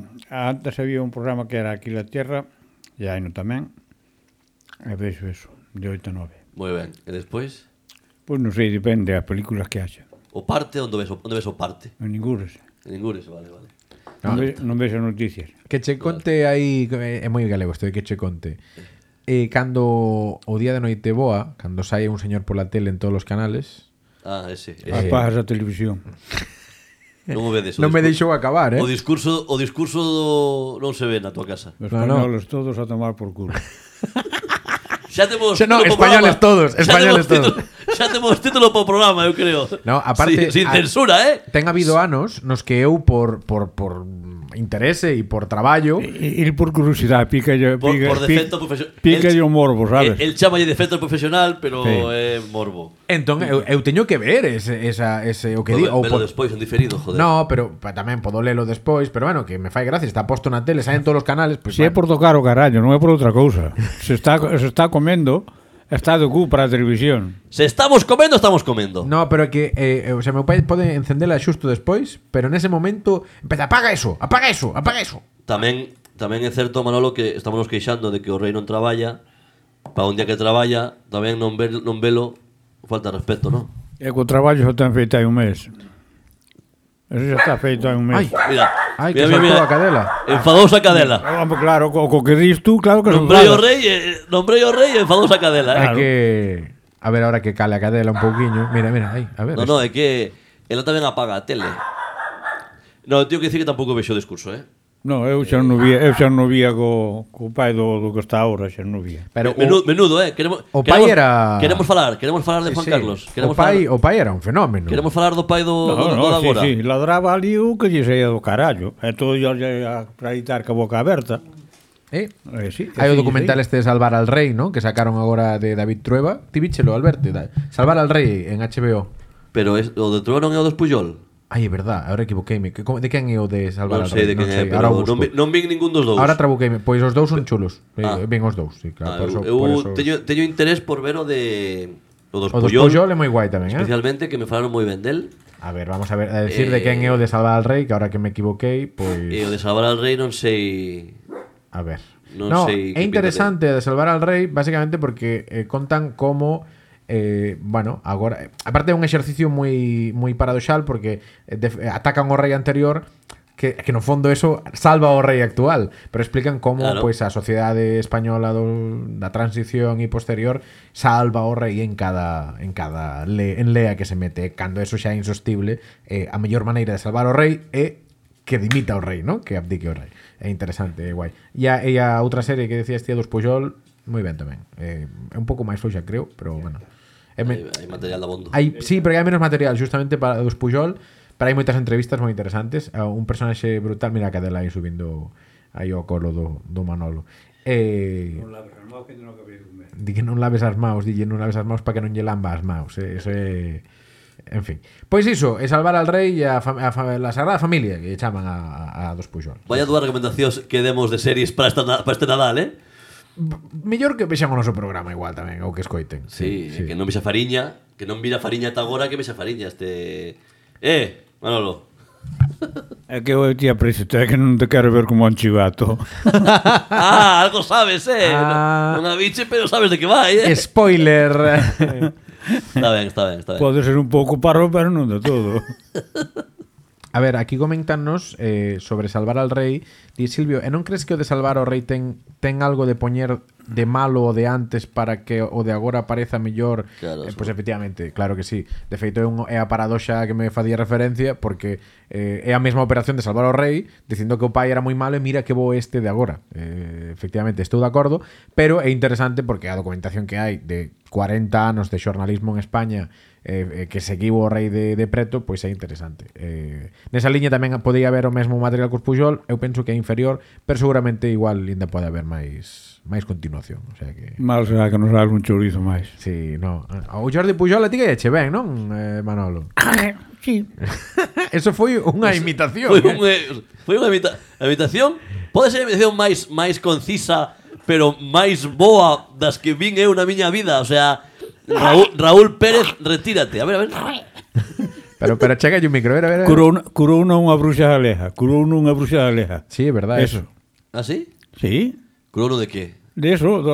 [SPEAKER 3] antes había un programa que era Aquí la Tierra, e hai no tamén. E vexo eso, de 8 a 9.
[SPEAKER 2] Moi ben. E despois,
[SPEAKER 3] Pois non sei, depende das películas que haxa.
[SPEAKER 2] o parte, onde ves, o- onde ves o parte?
[SPEAKER 3] Non ningures.
[SPEAKER 2] Ningures, vale, vale. Ah.
[SPEAKER 3] Non, ve, non ves as noticias.
[SPEAKER 1] Que che conte aí É moi galego isto de que che conte eh, Cando o día de noite boa Cando sai un señor pola tele en todos os canales
[SPEAKER 2] Ah, ese.
[SPEAKER 1] Eh,
[SPEAKER 2] ese.
[SPEAKER 3] As pajas da televisión.
[SPEAKER 2] non o vedes. o
[SPEAKER 1] Non me deixou
[SPEAKER 2] discur-
[SPEAKER 1] acabar, eh
[SPEAKER 2] O discurso, o discurso do... non se ve na tua casa.
[SPEAKER 3] Os
[SPEAKER 1] No, no.
[SPEAKER 3] españoles todos a tomar por culo.
[SPEAKER 2] Xa temos
[SPEAKER 1] Xa non,
[SPEAKER 2] título pro
[SPEAKER 1] españoles
[SPEAKER 2] programa.
[SPEAKER 1] todos,
[SPEAKER 2] Xa
[SPEAKER 1] españoles
[SPEAKER 2] temos título- <laughs> Xa temos título para o programa, eu creo.
[SPEAKER 1] No, aparte-
[SPEAKER 2] Sin, sin
[SPEAKER 1] a-
[SPEAKER 2] censura, eh?
[SPEAKER 1] Ten habido anos nos que eu por, por, por interese e por traballo
[SPEAKER 3] Ir por curiosidade, pica,
[SPEAKER 2] Por,
[SPEAKER 3] pica,
[SPEAKER 2] por defecto profesional.
[SPEAKER 3] pica o morbo, sabes?
[SPEAKER 2] El, el chamalle defecto profesional, pero
[SPEAKER 3] Sí.
[SPEAKER 2] é morbo.
[SPEAKER 1] Entón eu, eu teño que ver ese, esa, ese o que di
[SPEAKER 2] Joder,
[SPEAKER 1] ou
[SPEAKER 2] velo
[SPEAKER 1] po-
[SPEAKER 2] despois en diferido, joder.
[SPEAKER 1] No, pero pa- tamén podo lelo despois Pero bueno, que me fai gracia Está posto na tele, saen todos os canales pues,
[SPEAKER 3] Si é por tocar o carallo, non é por outra cousa. Se está, se está comendo, está do cu para a televisión.
[SPEAKER 2] Se estamos comendo, estamos comendo.
[SPEAKER 1] No, pero é que eh, eh, o sea, meu pai pode encendela xusto despois, pero nese momento, empeza, apaga eso, apaga eso, apaga eso.
[SPEAKER 2] Tamén tamén é certo, Manolo, que estamos nos queixando de que o rei non traballa, para un día que traballa, tamén non, ver, non velo, falta de respeto, non?
[SPEAKER 3] E co traballo xa ten feito hai un mes. Eso xa está feito hai un mes.
[SPEAKER 1] Ai,
[SPEAKER 2] Mira,
[SPEAKER 1] ai, que
[SPEAKER 2] mira,
[SPEAKER 1] saltou
[SPEAKER 2] mira, mira.
[SPEAKER 1] a cadela.
[SPEAKER 2] Enfadouse a cadela.
[SPEAKER 3] Ah, Vamos, claro, co, co que dis tú, claro que son
[SPEAKER 2] Nombrei o
[SPEAKER 3] claro.
[SPEAKER 2] rei, eh, nombrei o rei e enfadouse a cadela, eh?
[SPEAKER 1] É que a ver ahora que cale a cadela un pouquiño. Mira, mira, aí, a ver.
[SPEAKER 2] No, no, é que ela tamén apaga a tele. No, teño que dicir que tampouco vexo o discurso, eh?
[SPEAKER 3] No, eu xa non vía, eu xa non vía co, co pai do, do que está agora, xa non vía.
[SPEAKER 1] pero
[SPEAKER 2] Me- menudo, menudo, eh? Queremos,
[SPEAKER 1] o pai
[SPEAKER 2] queremos,
[SPEAKER 1] era-
[SPEAKER 2] Queremos falar, queremos falar
[SPEAKER 1] oh,
[SPEAKER 2] de
[SPEAKER 1] sí,
[SPEAKER 2] Juan
[SPEAKER 1] sí.
[SPEAKER 2] Carlos.
[SPEAKER 1] o
[SPEAKER 2] Queremos
[SPEAKER 1] pai,
[SPEAKER 2] falar,
[SPEAKER 1] o pai era un fenómeno.
[SPEAKER 2] queremos falar do pai do, do, do,
[SPEAKER 3] No, no,
[SPEAKER 2] de
[SPEAKER 3] sí,
[SPEAKER 2] agora.
[SPEAKER 3] sí, ladraba ali o que lle saía do carallo. E todo lle a praitar ca boca aberta.
[SPEAKER 1] Eh?
[SPEAKER 3] Eh, sí,
[SPEAKER 1] Hai o
[SPEAKER 3] así,
[SPEAKER 1] documental
[SPEAKER 3] sí.
[SPEAKER 1] este de Salvar al Rei, ¿no? Que sacaron agora de David Trueba. Tivíchelo, Alberto. da- Salvar al Rei en HBO.
[SPEAKER 2] Pero es, o de Trueba non é o dos Puyol.
[SPEAKER 1] Ai, é verdad, ahora equivoqueime. Que- como- De quen é o de Salvar
[SPEAKER 2] Non
[SPEAKER 1] al
[SPEAKER 2] sei
[SPEAKER 1] Rei?
[SPEAKER 2] de quen é,
[SPEAKER 1] ahora o
[SPEAKER 2] pero non,
[SPEAKER 1] busco.
[SPEAKER 2] vi- non vin ningún dos dous.
[SPEAKER 1] Ahora trabuqueime, pois os dous son chulos.
[SPEAKER 2] Ah.
[SPEAKER 1] Eh, Ven os dous, sí, claro.
[SPEAKER 2] Ah,
[SPEAKER 1] por eso,
[SPEAKER 2] eu
[SPEAKER 1] por
[SPEAKER 2] eu
[SPEAKER 1] eso-
[SPEAKER 2] teño, teño interés por ver o de o dos
[SPEAKER 1] O dos
[SPEAKER 2] Puyol,
[SPEAKER 1] Puyol é moi guai tamén, eh?
[SPEAKER 2] especialmente que me falaron moi ben del.
[SPEAKER 1] A ver, vamos a ver, a decir
[SPEAKER 2] Eh,
[SPEAKER 1] de quen é o de Salvar al Rei, que ahora que me equivoquei, pois
[SPEAKER 2] E o de Salvar al Rei non sei
[SPEAKER 1] a ver.
[SPEAKER 2] non
[SPEAKER 1] no,
[SPEAKER 2] sei que
[SPEAKER 1] é interesante de Salvar al Rei basicamente porque eh, contan como eh, bueno, agora eh, aparte é un exercicio moi moi paradoxal porque eh, def- eh, atacan o rei anterior que, que no fondo eso salva o rei actual, pero explican pues, como
[SPEAKER 2] Claro.
[SPEAKER 1] pois a sociedade española do, da transición e posterior salva o rei en cada en cada le, en lea que se mete, cando eso xa é insostible, eh, a mellor maneira de salvar o rei é que dimita o rei, ¿no? Que abdique o rei. É interesante, é guai. E a, e a outra serie que decías tía dos Pujol, moi ben tamén. Eh, É un pouco máis floxa, creo, pero bueno. É me-
[SPEAKER 2] hai material da bondo.
[SPEAKER 1] Em- Hai, sí, pero hai menos material justamente para dos Pujol, pero hai moitas entrevistas moi interesantes. A un personaxe brutal, mira que Adela aí subindo aí o colo do, do Manolo. Eh, Di que non laves as maus, dille non laves as maus para que non lle lamba as maus. Eh, eso é... En fin. Pois iso, é salvar al rei e a, fam a, fam a Sagrada Familia, que lle chaman a, a, a dos Pujol.
[SPEAKER 2] Vaya dúas recomendacións que demos de series para, esta, na- para este Nadal, eh?
[SPEAKER 1] Mellor que vexan o noso programa igual tamén, ou que escoiten.
[SPEAKER 2] Sí, sí, que non vexa Fariña, que non vira Fariña ata agora que vexa Fariña este... Eh, Manolo.
[SPEAKER 3] E É que eu te aprecio, é que non te quero ver como
[SPEAKER 2] <laughs>
[SPEAKER 3] un chivato.
[SPEAKER 2] ah, algo sabes, eh.
[SPEAKER 1] Ah.
[SPEAKER 2] Non, non a biche, pero sabes de que vai, eh.
[SPEAKER 1] Spoiler.
[SPEAKER 2] Está ben, está ben, está ben.
[SPEAKER 3] Pode ser un pouco parro, pero non de todo.
[SPEAKER 1] A ver, aquí comentannos eh, sobre salvar al rei. Di Silvio, e non crees que o de salvar ao rei ten, ten algo de poñer de malo o de antes para que o de agora pareza mellor?
[SPEAKER 2] Claro,
[SPEAKER 1] eh,
[SPEAKER 2] sí.
[SPEAKER 1] pois efectivamente, claro que sí. De feito, é, un, é a paradoxa que me facía referencia porque eh, é a mesma operación de salvar ao rei dicindo que o pai era moi malo e mira que bo é este de agora. Eh, efectivamente, estou de acordo, pero é interesante porque a documentación que hai de 40 anos de xornalismo en España eh, eh, que seguiu o rei de, de preto, pois é interesante. Eh, nesa liña tamén podía haber o mesmo material que os Pujol, eu penso que é inferior, pero seguramente igual ainda pode haber máis máis continuación, o sea que
[SPEAKER 3] Mal será que nos hagas un chorizo máis.
[SPEAKER 1] Sí, no. eh, O Jordi Pujol a ti que eche ben, non, eh, Manolo?
[SPEAKER 3] Sí.
[SPEAKER 1] <laughs> Eso foi unha imitación.
[SPEAKER 2] Foi, un,
[SPEAKER 1] eh.
[SPEAKER 2] eh, foi unha imita imitación Pode ser a imitación máis máis concisa Pero máis boa das que vin eu na miña vida O sea, Raúl, Raúl Pérez, retírate A ver, a ver
[SPEAKER 1] Pero, pero chega un micro, a ver, a ver. a ver.
[SPEAKER 3] Curou, curou unha bruxa galeja. Curou unha bruxa galeja.
[SPEAKER 1] Sí, é verdade.
[SPEAKER 3] Eso.
[SPEAKER 2] Así?
[SPEAKER 3] Sí.
[SPEAKER 2] Crono ¿Ah, de que?
[SPEAKER 3] De eso. Do...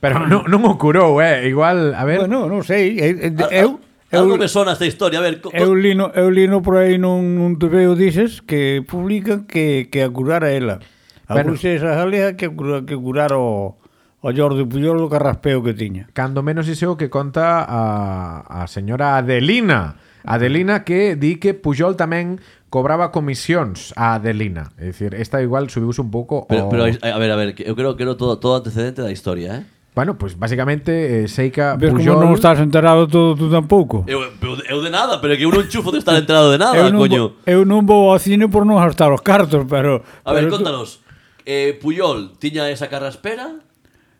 [SPEAKER 1] Pero non, non o curou, eh. Igual, a ver.
[SPEAKER 3] Bueno, non sei. eh, eh,
[SPEAKER 2] A- a-
[SPEAKER 3] Eu, eu,
[SPEAKER 2] Algo me sona esta historia A ver, co- co-
[SPEAKER 3] eu, lino, eu lino por aí nun, nun tebeo dices que publican que, que a curar a ela. A
[SPEAKER 1] Bueno.
[SPEAKER 3] bruxa esa galeja que, cura- que curar o, o Jordi Puyol o carraspeo que tiña.
[SPEAKER 1] Cando menos ese o que conta a, a señora Adelina. Adelina que di que Pujol tamén cobraba comisións a Adelina. É dicir, esta igual subiuse un pouco o...
[SPEAKER 2] Pero, pero a, a ver, a ver que Eu creo que era todo, todo antecedente da historia, eh
[SPEAKER 1] Bueno, pois pues, basicamente eh,
[SPEAKER 2] Ah,
[SPEAKER 1] Seika
[SPEAKER 3] Ves como
[SPEAKER 1] Pujol...
[SPEAKER 3] non estás enterado todo tú tampouco.
[SPEAKER 2] Eu, eu, eu de nada, pero é que eu non chufo de estar enterado de nada,
[SPEAKER 3] eu, non
[SPEAKER 2] coño
[SPEAKER 3] vou, eu non vou ao cine por non gastar os cartos, pero...
[SPEAKER 2] A ver,
[SPEAKER 3] pero tú-
[SPEAKER 2] contanos eh, Puyol tiña esa carraspera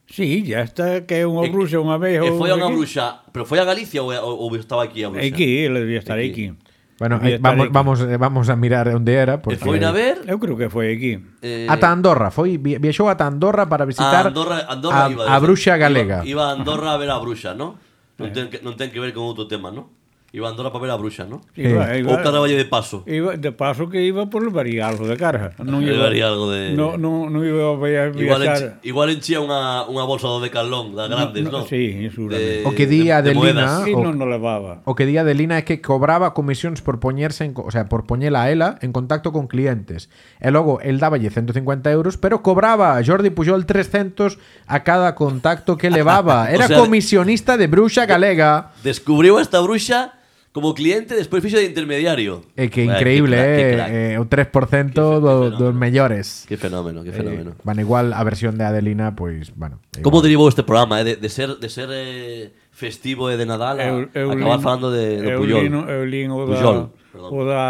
[SPEAKER 3] Sí, ya está, que é
[SPEAKER 2] E-
[SPEAKER 3] unha bruxa, unha veja...
[SPEAKER 2] E foi a unha
[SPEAKER 3] aquí.
[SPEAKER 2] bruxa Pero foi a Galicia ou, ou, ou estaba aquí a Eh, bruxa?
[SPEAKER 3] Aquí, ele debía estar
[SPEAKER 2] Aquí.
[SPEAKER 3] aquí.
[SPEAKER 1] Bueno, eh,
[SPEAKER 3] Debía estar
[SPEAKER 1] vamos,
[SPEAKER 3] aquí.
[SPEAKER 1] vamos, eh, vamos a mirar onde era.
[SPEAKER 2] E
[SPEAKER 1] Porque...
[SPEAKER 2] foi na ver
[SPEAKER 3] Eu creo que foi aquí.
[SPEAKER 2] Eh,
[SPEAKER 1] Ata Andorra, foi vi- viaxou ata Andorra para
[SPEAKER 2] a
[SPEAKER 1] visitar
[SPEAKER 2] Andorra,
[SPEAKER 1] a-
[SPEAKER 2] Andorra iba
[SPEAKER 1] a, bruxa galega.
[SPEAKER 2] Iba, iba a Andorra a ver a bruxa,
[SPEAKER 3] <laughs>
[SPEAKER 2] ¿no? Non ten, que, non ten que ver con outro tema, ¿no? Iba a Andorra para ver a bruxa, ¿no?
[SPEAKER 3] Iba,
[SPEAKER 1] Eh,
[SPEAKER 2] Ou
[SPEAKER 3] iba,
[SPEAKER 2] Caravalle de paso.
[SPEAKER 3] iba, de paso que iba por levaría algo de carga. Non iba,
[SPEAKER 2] Levaría algo Ah, de-
[SPEAKER 3] No, no, no iba a via-
[SPEAKER 2] Igual,
[SPEAKER 3] viaxar...
[SPEAKER 2] enchi- igual enchía unha, unha bolsa do Decathlon, da grandes, ¿no?
[SPEAKER 3] no, sí, seguramente.
[SPEAKER 1] O que di a Adelina- Ah,
[SPEAKER 2] moedas.
[SPEAKER 3] Sí,
[SPEAKER 1] o-
[SPEAKER 3] non o levaba.
[SPEAKER 1] O que di Adelina é que cobraba comisións por poñerse en, co- o sea, por poñela a ela en contacto con clientes. E logo el dáballe 150 euros, pero cobraba a Jordi Pujol 300 a cada contacto que
[SPEAKER 2] <laughs>
[SPEAKER 1] levaba. Era
[SPEAKER 2] sea,
[SPEAKER 1] comisionista de bruxa galega.
[SPEAKER 2] Descubriu a esta bruxa como cliente, despois fixo de intermediario.
[SPEAKER 1] É que
[SPEAKER 2] Ué,
[SPEAKER 1] Eh, increíble,
[SPEAKER 2] crack,
[SPEAKER 1] eh,
[SPEAKER 2] crack.
[SPEAKER 1] eh, o 3% do, dos mellores.
[SPEAKER 2] Que
[SPEAKER 1] Eh,
[SPEAKER 2] fenómeno, que fenómeno.
[SPEAKER 1] Bueno, igual a versión de Adelina, pois, bueno. é
[SPEAKER 2] Como
[SPEAKER 1] igual.
[SPEAKER 2] derivou este programa, eh? de, de ser, de ser eh, festivo e de Nadal a acabar
[SPEAKER 3] lin-
[SPEAKER 2] falando Ah, de, do
[SPEAKER 3] eu
[SPEAKER 2] Puyol.
[SPEAKER 3] lin- eu lin o da,
[SPEAKER 2] Puyol, perdón.
[SPEAKER 3] o da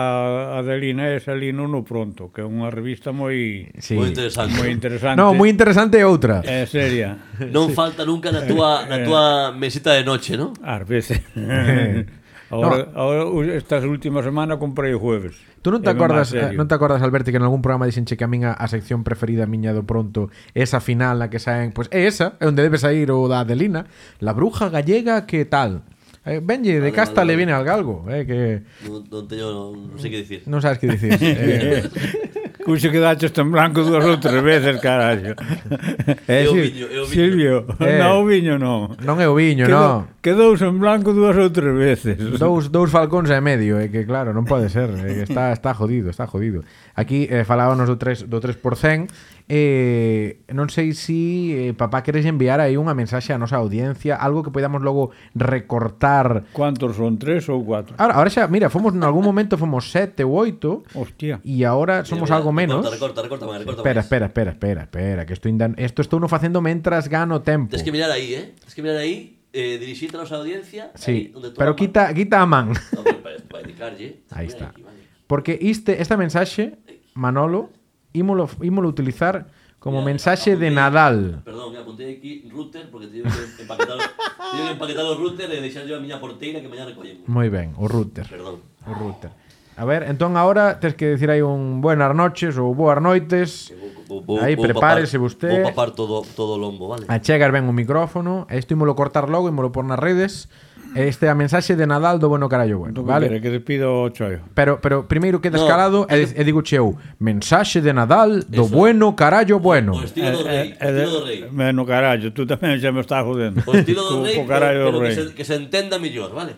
[SPEAKER 3] Adelina esa lino no pronto, que é unha revista moi
[SPEAKER 1] Sí.
[SPEAKER 2] Moi interesante.
[SPEAKER 3] moi
[SPEAKER 2] <laughs>
[SPEAKER 3] interesante.
[SPEAKER 1] No, moi interesante é outra.
[SPEAKER 3] É seria.
[SPEAKER 2] Non falta nunca na túa,
[SPEAKER 3] Eh,
[SPEAKER 2] na túa mesita de noche, ¿no?
[SPEAKER 3] Ás veces.
[SPEAKER 1] Eh.
[SPEAKER 3] <laughs> Ahora, ahora u- estas últimas semanas comprei o jueves.
[SPEAKER 1] Tú non te
[SPEAKER 3] É ben
[SPEAKER 1] acordas,
[SPEAKER 3] máis
[SPEAKER 1] eh,
[SPEAKER 3] serio.
[SPEAKER 1] non te acordas Alberti que en algún programa dixenche que a miña a sección preferida miña do pronto, esa final na que saen, pois pues, é esa, é onde debe sair o da Adelina, la bruja gallega que tal. Eh, Benlle, de
[SPEAKER 2] Vale,
[SPEAKER 1] casta le
[SPEAKER 2] vale, vale.
[SPEAKER 1] viene algo algo, eh, que
[SPEAKER 2] Non, non teño, non sei que dicir.
[SPEAKER 1] non sabes que <laughs> dicir. eh,
[SPEAKER 3] <laughs> Cuxo quedaches tan blanco dúas ou tres veces, carallo.
[SPEAKER 2] É
[SPEAKER 3] Eh,
[SPEAKER 2] o
[SPEAKER 3] Sil-
[SPEAKER 2] viño, é o viño.
[SPEAKER 3] Silvio,
[SPEAKER 1] Eh.
[SPEAKER 3] non o viño non.
[SPEAKER 1] non é o viño,
[SPEAKER 3] Quedou,
[SPEAKER 1] no.
[SPEAKER 3] quedou en blanco dúas ou tres veces.
[SPEAKER 1] Dous, dous falcóns e medio, é que claro, non pode ser, é que está está jodido, está jodido. Aquí eh, falábamos do 3 do 3%, eh non sei si eh, papá queres enviar aí unha mensaxe á nosa audiencia, algo que podamos logo recortar.
[SPEAKER 3] Cuántos son? Tres ou cuatro?
[SPEAKER 1] Ahora, ahora xa, mira, fomos en algún momento fomos 7 ou 8
[SPEAKER 3] Hostia.
[SPEAKER 1] e agora somos algo menos.
[SPEAKER 2] Recorta, recorta, recorta, máis, recorta
[SPEAKER 1] Espera,
[SPEAKER 2] máis.
[SPEAKER 1] espera, espera, espera, espera, que estou indan... esto estou no facendo mentras gano tempo.
[SPEAKER 2] Tens que mirar aí, eh? Tens que mirar aí, eh, dirixirte a nosa audiencia, aí,
[SPEAKER 1] Sí,
[SPEAKER 2] onde toda
[SPEAKER 1] pero
[SPEAKER 2] a man-
[SPEAKER 1] quita quita a man.
[SPEAKER 2] No, pero para- para indicarlle. Tens que
[SPEAKER 1] Ahí
[SPEAKER 2] mirar
[SPEAKER 1] está.
[SPEAKER 2] aquí, vale.
[SPEAKER 1] Porque este, esta mensaxe, Manolo, ímolo, ímolo utilizar como
[SPEAKER 2] Mira,
[SPEAKER 1] mensaxe de
[SPEAKER 2] apuntei-
[SPEAKER 1] Nadal.
[SPEAKER 2] Perdón, que apuntei aquí router porque teño que empaquetar, teño que empaquetar o router e deixar yo a miña porteira que mañá recollemos.
[SPEAKER 1] Moi ben, o router.
[SPEAKER 2] Perdón.
[SPEAKER 1] O router. A ver, entón agora tes que decir aí un buenas noches ou boas noites.
[SPEAKER 2] Que Vou, vou,
[SPEAKER 1] Aí,
[SPEAKER 2] vou
[SPEAKER 1] prepárese
[SPEAKER 2] papar-
[SPEAKER 1] vosté.
[SPEAKER 2] Vou papar todo, todo o lombo, vale?
[SPEAKER 1] Achegas ben o micrófono, e isto ímolo cortar logo, ímolo por nas redes, Este é a mensaxe de Nadal do bueno carallo bueno,
[SPEAKER 3] Do Entón, que
[SPEAKER 1] vale?
[SPEAKER 3] quere, que despido o choio.
[SPEAKER 1] Pero, pero primeiro queda
[SPEAKER 2] No,
[SPEAKER 1] escalado e, e digo eu, mensaxe de Nadal do
[SPEAKER 2] Eso.
[SPEAKER 1] bueno carallo bueno.
[SPEAKER 2] O
[SPEAKER 3] Eh,
[SPEAKER 2] estilo do rei, o estilo do rei.
[SPEAKER 3] Menos carallo, tú tamén xa me estás jodendo.
[SPEAKER 2] O estilo do
[SPEAKER 3] Co-
[SPEAKER 2] rei,
[SPEAKER 3] co carallo
[SPEAKER 2] pero,
[SPEAKER 3] do
[SPEAKER 2] pero que,
[SPEAKER 3] rei.
[SPEAKER 2] se, que se entenda mellor, vale?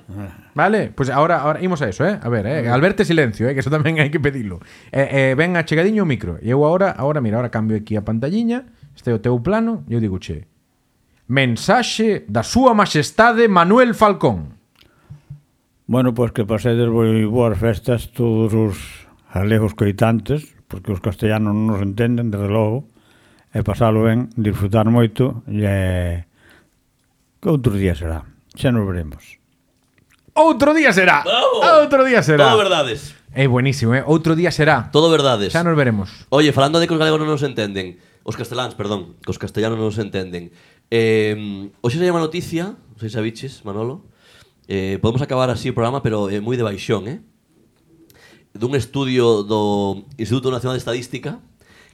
[SPEAKER 1] Vale, pois pues agora, agora imos a eso, eh? A ver, eh? Alberto silencio, eh? que eso tamén hai que pedilo. Eh, eh, ven achegadiño o micro. E eu agora, agora mira, agora cambio aquí a pantalliña, este é o teu plano, e eu digo, che, mensaxe da súa majestade Manuel Falcón.
[SPEAKER 3] Bueno, pois que pasedes moi boas festas todos os galegos coitantes, porque os castellanos non nos entenden, desde logo, e pasalo ben, disfrutar moito, e que outro día será. Xa nos veremos.
[SPEAKER 1] Outro día será.
[SPEAKER 2] Bravo.
[SPEAKER 1] Outro Ah, día será.
[SPEAKER 2] Todo verdades.
[SPEAKER 1] É eh, buenísimo, eh? Outro día será.
[SPEAKER 2] Todo verdades.
[SPEAKER 1] Xa nos
[SPEAKER 2] <laughs>
[SPEAKER 1] veremos.
[SPEAKER 2] Oye, falando de que os galegos non nos entenden Os casteláns, perdón Que os castellanos non nos entenden eh, Hoxe se llama noticia Non sei se sabiches, Manolo eh, Podemos acabar así o programa Pero eh, moi de baixón, eh Dun estudio do Instituto Nacional de Estadística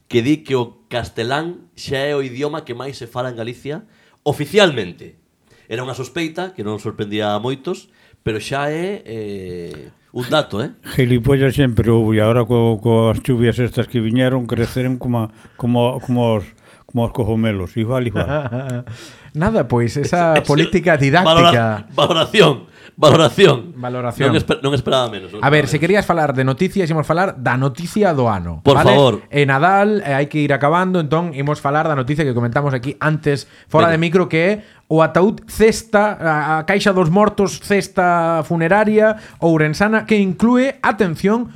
[SPEAKER 2] Que di que o castelán xa é o idioma que máis se fala en Galicia Oficialmente Era unha sospeita que non sorprendía a moitos Pero xa é eh, un dato, eh
[SPEAKER 3] Gilipollas sempre houve, e agora co, coas chuvias estas que viñeron, creceron como, como, como os como os cojomelos,
[SPEAKER 1] <laughs>
[SPEAKER 3] igual, igual.
[SPEAKER 1] Nada, pois esa
[SPEAKER 2] Eso-
[SPEAKER 1] política didáctica.
[SPEAKER 2] Valora- valoración, valoración.
[SPEAKER 1] Valoración.
[SPEAKER 2] Non, esper- non esperaba menos. non
[SPEAKER 1] A ver,
[SPEAKER 2] esperaba
[SPEAKER 1] se
[SPEAKER 2] menos.
[SPEAKER 1] querías falar de noticias, ímos falar da noticia do ano.
[SPEAKER 2] Por
[SPEAKER 1] ¿vale?
[SPEAKER 2] favor.
[SPEAKER 1] E Nadal, eh, hai que ir acabando, entón imos falar da noticia que comentamos aquí antes, fora de
[SPEAKER 2] Venga.
[SPEAKER 1] micro, que é o ataúd cesta, a, a caixa dos mortos cesta funeraria ourensana, que inclúe, atención,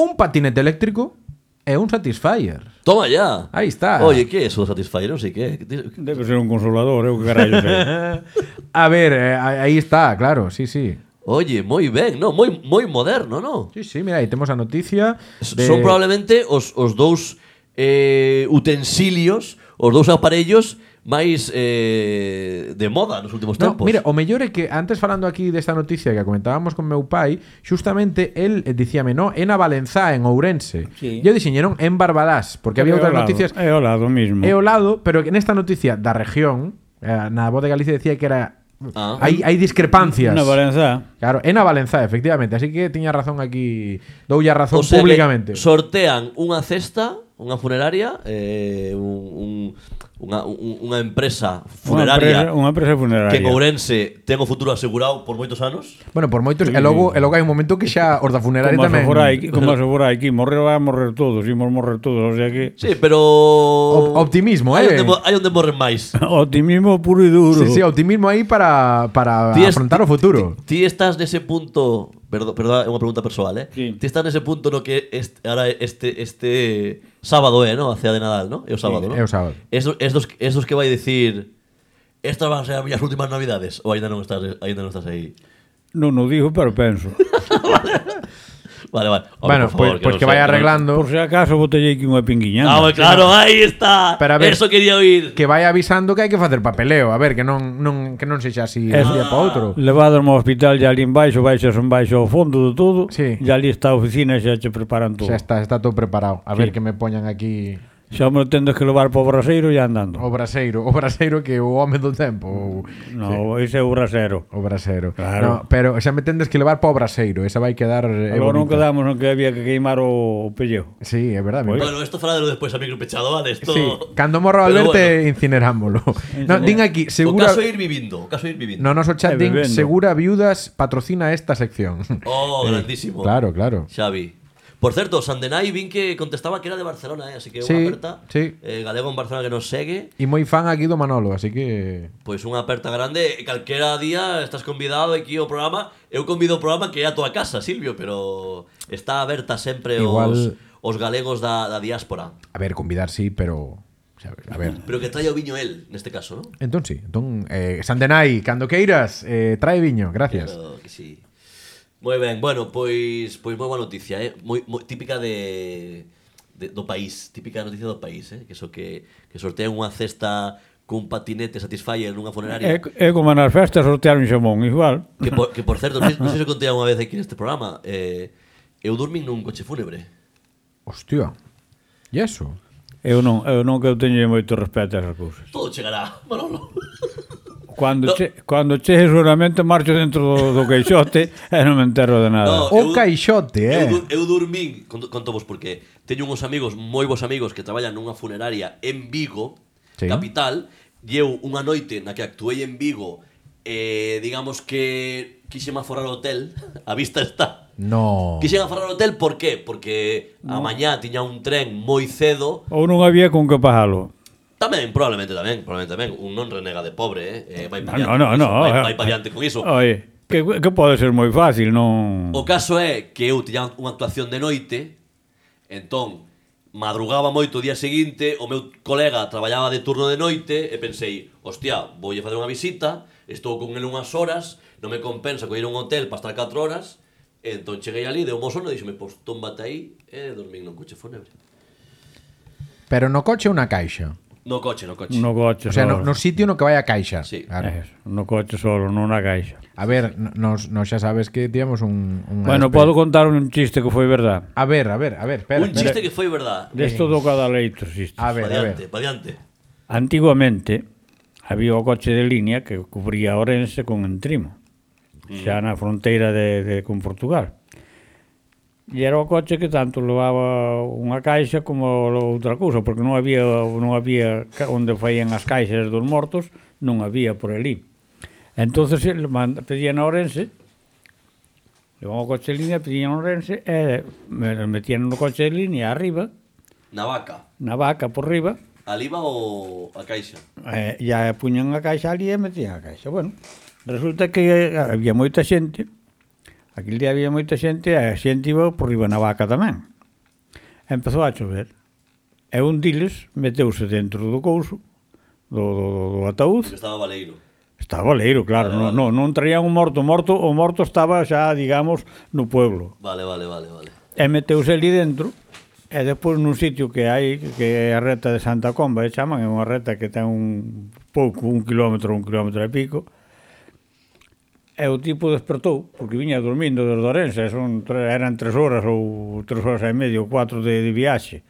[SPEAKER 1] un patinete eléctrico e un Satisfyer.
[SPEAKER 2] <laughs> Toma ya.
[SPEAKER 1] Ahí está.
[SPEAKER 2] Oye, ¿qué es eso? Satisfyer, non sei que. é.
[SPEAKER 3] Debe ser un consolador, eu que carallo sei.
[SPEAKER 1] A ver, eh, a- ahí está, claro, sí, sí.
[SPEAKER 2] Oye, moi ben, no, moi moi moderno, no?
[SPEAKER 1] Sí, sí, mira, aí temos a noticia de...
[SPEAKER 2] Son probablemente os os dous eh utensilios, os dous aparellos máis eh de moda nos últimos
[SPEAKER 1] No,
[SPEAKER 2] tempos.
[SPEAKER 1] mira, o mellor é que antes falando aquí desta noticia que comentábamos con meu pai, justamente el eh, dicíame, no, en a Valenzá, en Ourense.
[SPEAKER 3] Sí.
[SPEAKER 1] Yo diseñaron en Barbadás, porque había
[SPEAKER 3] É
[SPEAKER 1] outras
[SPEAKER 3] ao lado,
[SPEAKER 1] noticias
[SPEAKER 3] É o lado mismo.
[SPEAKER 1] e o lado, pero que nesta noticia da región, eh, na voz de Galicia decía que era
[SPEAKER 2] Ah.
[SPEAKER 1] hai hai discrepancias.
[SPEAKER 3] Na Valenza.
[SPEAKER 1] Claro, en a Valenzá, efectivamente, así que tiña razón aquí, doulle a razón
[SPEAKER 2] O sea que
[SPEAKER 1] públicamente.
[SPEAKER 2] sortean unha cesta, unha funeraria, eh, un, un, unha, un- unha empresa funeraria
[SPEAKER 3] Unha empresa funeraria.
[SPEAKER 2] que en Ourense ten o futuro asegurado por moitos anos.
[SPEAKER 1] Bueno, por moitos, e logo, e logo hai un momento que xa os da funeraria
[SPEAKER 3] Como
[SPEAKER 1] tamén.
[SPEAKER 3] se fora aquí, como se fora aquí, morrer vai a morrer todos, imos morrer todos, o sea que
[SPEAKER 2] Sí, pero...
[SPEAKER 1] Op- optimismo,
[SPEAKER 2] hai
[SPEAKER 1] eh.
[SPEAKER 2] Onde, mo- hai onde morren máis.
[SPEAKER 3] optimismo puro e duro.
[SPEAKER 1] Sí, sí, optimismo aí para, para
[SPEAKER 2] Ti es-
[SPEAKER 1] afrontar o futuro.
[SPEAKER 2] Ti estás nese punto... Perdón, perdón, é unha pregunta persoal, eh?
[SPEAKER 3] Sí.
[SPEAKER 2] Ti estás nese punto no que este, ahora este este sábado é, eh, no? A cea de Nadal, no? É o sábado,
[SPEAKER 1] Sí, é
[SPEAKER 2] no?
[SPEAKER 1] o sábado.
[SPEAKER 2] Es, do- es, dos, es dos que vai dicir... Estas van a ser as miñas últimas navidades ou aínda non estás aínda non estás aí.
[SPEAKER 3] Non o digo, pero penso.
[SPEAKER 2] Vale, vale. Hombre,
[SPEAKER 1] bueno,
[SPEAKER 2] por favor,
[SPEAKER 1] pues, pues
[SPEAKER 2] non
[SPEAKER 1] que
[SPEAKER 2] sei,
[SPEAKER 1] vaya
[SPEAKER 2] non-
[SPEAKER 1] arreglando.
[SPEAKER 3] Por si acaso botellei aquí unha pinguiñana.
[SPEAKER 2] Ah, bueno, claro, aí está.
[SPEAKER 1] Pero a ver-
[SPEAKER 2] Eso quería oír.
[SPEAKER 1] Que vaya avisando que hai que facer papeleo. A ver, que non, non, que non sexa así de un día para outro.
[SPEAKER 3] Levados ao hospital e ali en baixo, baixas un baixo ao fondo de todo,
[SPEAKER 1] Sí.
[SPEAKER 3] e ali está a oficina e xa che preparan todo.
[SPEAKER 1] Xa
[SPEAKER 3] Xa,
[SPEAKER 1] está, está todo preparado. A
[SPEAKER 3] Sí.
[SPEAKER 1] ver que me poñan aquí
[SPEAKER 3] me tendes que levar para o braseiro e andando.
[SPEAKER 1] o <laughs> braseiro. O braseiro que é o home do tempo. O,
[SPEAKER 3] No, ese é o braseiro.
[SPEAKER 1] o braseiro. No,
[SPEAKER 3] Claro.
[SPEAKER 1] pero xa me tendes que levar para o braseiro. Esa vai quedar... eh,
[SPEAKER 3] Agora
[SPEAKER 1] bonita.
[SPEAKER 3] non quedamos no que había que queimar o, o pellejo.
[SPEAKER 1] Sí, é verdade. me
[SPEAKER 3] Pois.
[SPEAKER 2] Bueno, esto fará de lo después a micro pechado, vale, esto.
[SPEAKER 1] Pues- Sí, cando morro
[SPEAKER 2] Pero
[SPEAKER 1] Alberto
[SPEAKER 2] bueno,
[SPEAKER 3] <laughs>
[SPEAKER 1] incinerámolo. No, din aquí,
[SPEAKER 2] O
[SPEAKER 1] segura...
[SPEAKER 2] caso é ir vivindo, o caso é ir vivindo.
[SPEAKER 1] No noso chat
[SPEAKER 3] Eh,
[SPEAKER 1] din,
[SPEAKER 3] vivendo.
[SPEAKER 1] segura viudas patrocina esta
[SPEAKER 2] <laughs>
[SPEAKER 1] sección.
[SPEAKER 2] Oh, grandísimo.
[SPEAKER 1] Claro, claro.
[SPEAKER 2] Xavi. Por certo, Sandenai vin que contestaba que era de Barcelona, eh, así que
[SPEAKER 1] Sí,
[SPEAKER 2] unha aperta.
[SPEAKER 1] sí.
[SPEAKER 2] Eh, galego en Barcelona que nos segue,
[SPEAKER 1] E moi fan aquí do Manolo, así que...
[SPEAKER 2] pois unha aperta grande, e calquera día estás convidado aquí ao programa. Eu convido o programa que é a tua casa, Silvio, pero está aberta sempre
[SPEAKER 1] Igual-
[SPEAKER 2] os os galegos da, da diáspora.
[SPEAKER 1] A ver, convidar sí, pero... sabes, A ver.
[SPEAKER 2] Pero que traia o viño el, neste caso, non?
[SPEAKER 1] Entón sí, entón eh, Sandenai, cando queiras, eh, trae viño, gracias.
[SPEAKER 2] Claro Oh, que sí. Moi ben, bueno, pois pois moi boa noticia, eh? Moi, moi típica de, de do país, típica noticia do país, eh? Que so que que sortean unha cesta cun patinete Satisfyer nunha
[SPEAKER 3] É,
[SPEAKER 2] funeraria.
[SPEAKER 3] é como nas festas sortearon xamón, igual.
[SPEAKER 2] Que por, que por certo, non sei- non sei se contei unha vez aquí neste programa, eh, eu dormín nun coche fúnebre.
[SPEAKER 1] Hostia. E eso?
[SPEAKER 3] Eu non, eu non que eu teño moito respeto a esas cousas.
[SPEAKER 2] <laughs> Todo chegará, Manolo.
[SPEAKER 3] O Cando,
[SPEAKER 2] No.
[SPEAKER 3] che, cando chegue seguramente marcho dentro do, do queixote e non me entero de nada.
[SPEAKER 2] No,
[SPEAKER 1] O
[SPEAKER 2] eu-
[SPEAKER 1] caixote, eh.
[SPEAKER 2] Eu, dur- eu dormín, cont- conto vos porque teño uns amigos, moi bons amigos que traballan nunha funeraria en Vigo,
[SPEAKER 1] Sí.
[SPEAKER 2] sí. capital, e eu unha noite na que actuei en Vigo, eh, digamos que quixen aforrar o hotel, <laughs> a vista está.
[SPEAKER 1] No.
[SPEAKER 3] Oh.
[SPEAKER 2] Quixen aforrar o hotel por qué? Porque a mañá tiña un tren moi cedo,
[SPEAKER 3] Ou non había con que pagalo.
[SPEAKER 2] Tamén, probablemente tamén, probablemente tamén. Un non renega de pobre, eh? eh vai pa
[SPEAKER 3] No,
[SPEAKER 2] diante con
[SPEAKER 3] no, no,
[SPEAKER 2] iso, Vai,
[SPEAKER 3] eh.
[SPEAKER 2] vai pa diante con iso.
[SPEAKER 3] Oye, que, que pode ser moi fácil, non...
[SPEAKER 2] O caso é que eu tiña unha actuación de noite, entón madrugaba moito o día seguinte, o meu colega traballaba de turno de noite e pensei, hostia, voulle facer unha visita, estou con el unhas horas, non me compensa coñer un hotel para estar 4 horas, e entón cheguei ali, deu mo sono e dixome, pois tómbate aí e dormín no coche fúnebre.
[SPEAKER 1] Pero no coche una caixa.
[SPEAKER 2] No coche, no coche.
[SPEAKER 3] No coche
[SPEAKER 1] O sea, no,
[SPEAKER 3] solo.
[SPEAKER 1] no sitio no que vaya caixa.
[SPEAKER 2] Sí.
[SPEAKER 1] Claro.
[SPEAKER 3] Eso, no coche solo, nunha caixa.
[SPEAKER 1] A ver, no- nos, nos xa sabes que tivemos un... un
[SPEAKER 3] Bueno, podo contar un chiste que foi verdad.
[SPEAKER 1] A ver, a ver, a ver, espera.
[SPEAKER 2] un chiste que foi verdad.
[SPEAKER 3] Desto do cadaleito existe.
[SPEAKER 1] A ver,
[SPEAKER 2] pa
[SPEAKER 1] a ver.
[SPEAKER 2] diante, pa diante.
[SPEAKER 3] Antiguamente había o coche de línea que cubría Orense con Entrimo, xa na fronteira de, de con Portugal. E era o coche que tanto levaba unha caixa como outra cousa, porque non había non había ca- onde faían as caixas dos mortos, non había por ali. Entonces el man- pedían a Orense Levaban o coche de línea, pedían a Orense e me- metían no coche de línea arriba,
[SPEAKER 2] Na vaca.
[SPEAKER 3] na vaca por riba,
[SPEAKER 2] Ali va o a caixa.
[SPEAKER 3] Eh, ya puñan a caixa ali e metían a caixa. Bueno, resulta que había moita xente, aquel día había moita xente, e a xente iba por riba na vaca tamén. Empezou a chover. E un diles meteuse dentro do couso, do, do, do, do
[SPEAKER 2] Que
[SPEAKER 3] ataúd.
[SPEAKER 2] estaba baleiro.
[SPEAKER 3] Estaba leiro, claro, non, non, non traían un morto, o morto, o morto estaba xa, digamos, no pueblo.
[SPEAKER 2] Vale, vale, vale, vale.
[SPEAKER 3] E meteuse ali dentro E despois nun sitio que hai Que é a reta de Santa Comba E chaman, é unha reta que ten un pouco Un kilómetro, un kilómetro e pico E o tipo despertou Porque viña dormindo desde Orense son, tre- Eran tres horas ou tres horas e media Ou cuatro de, de viaxe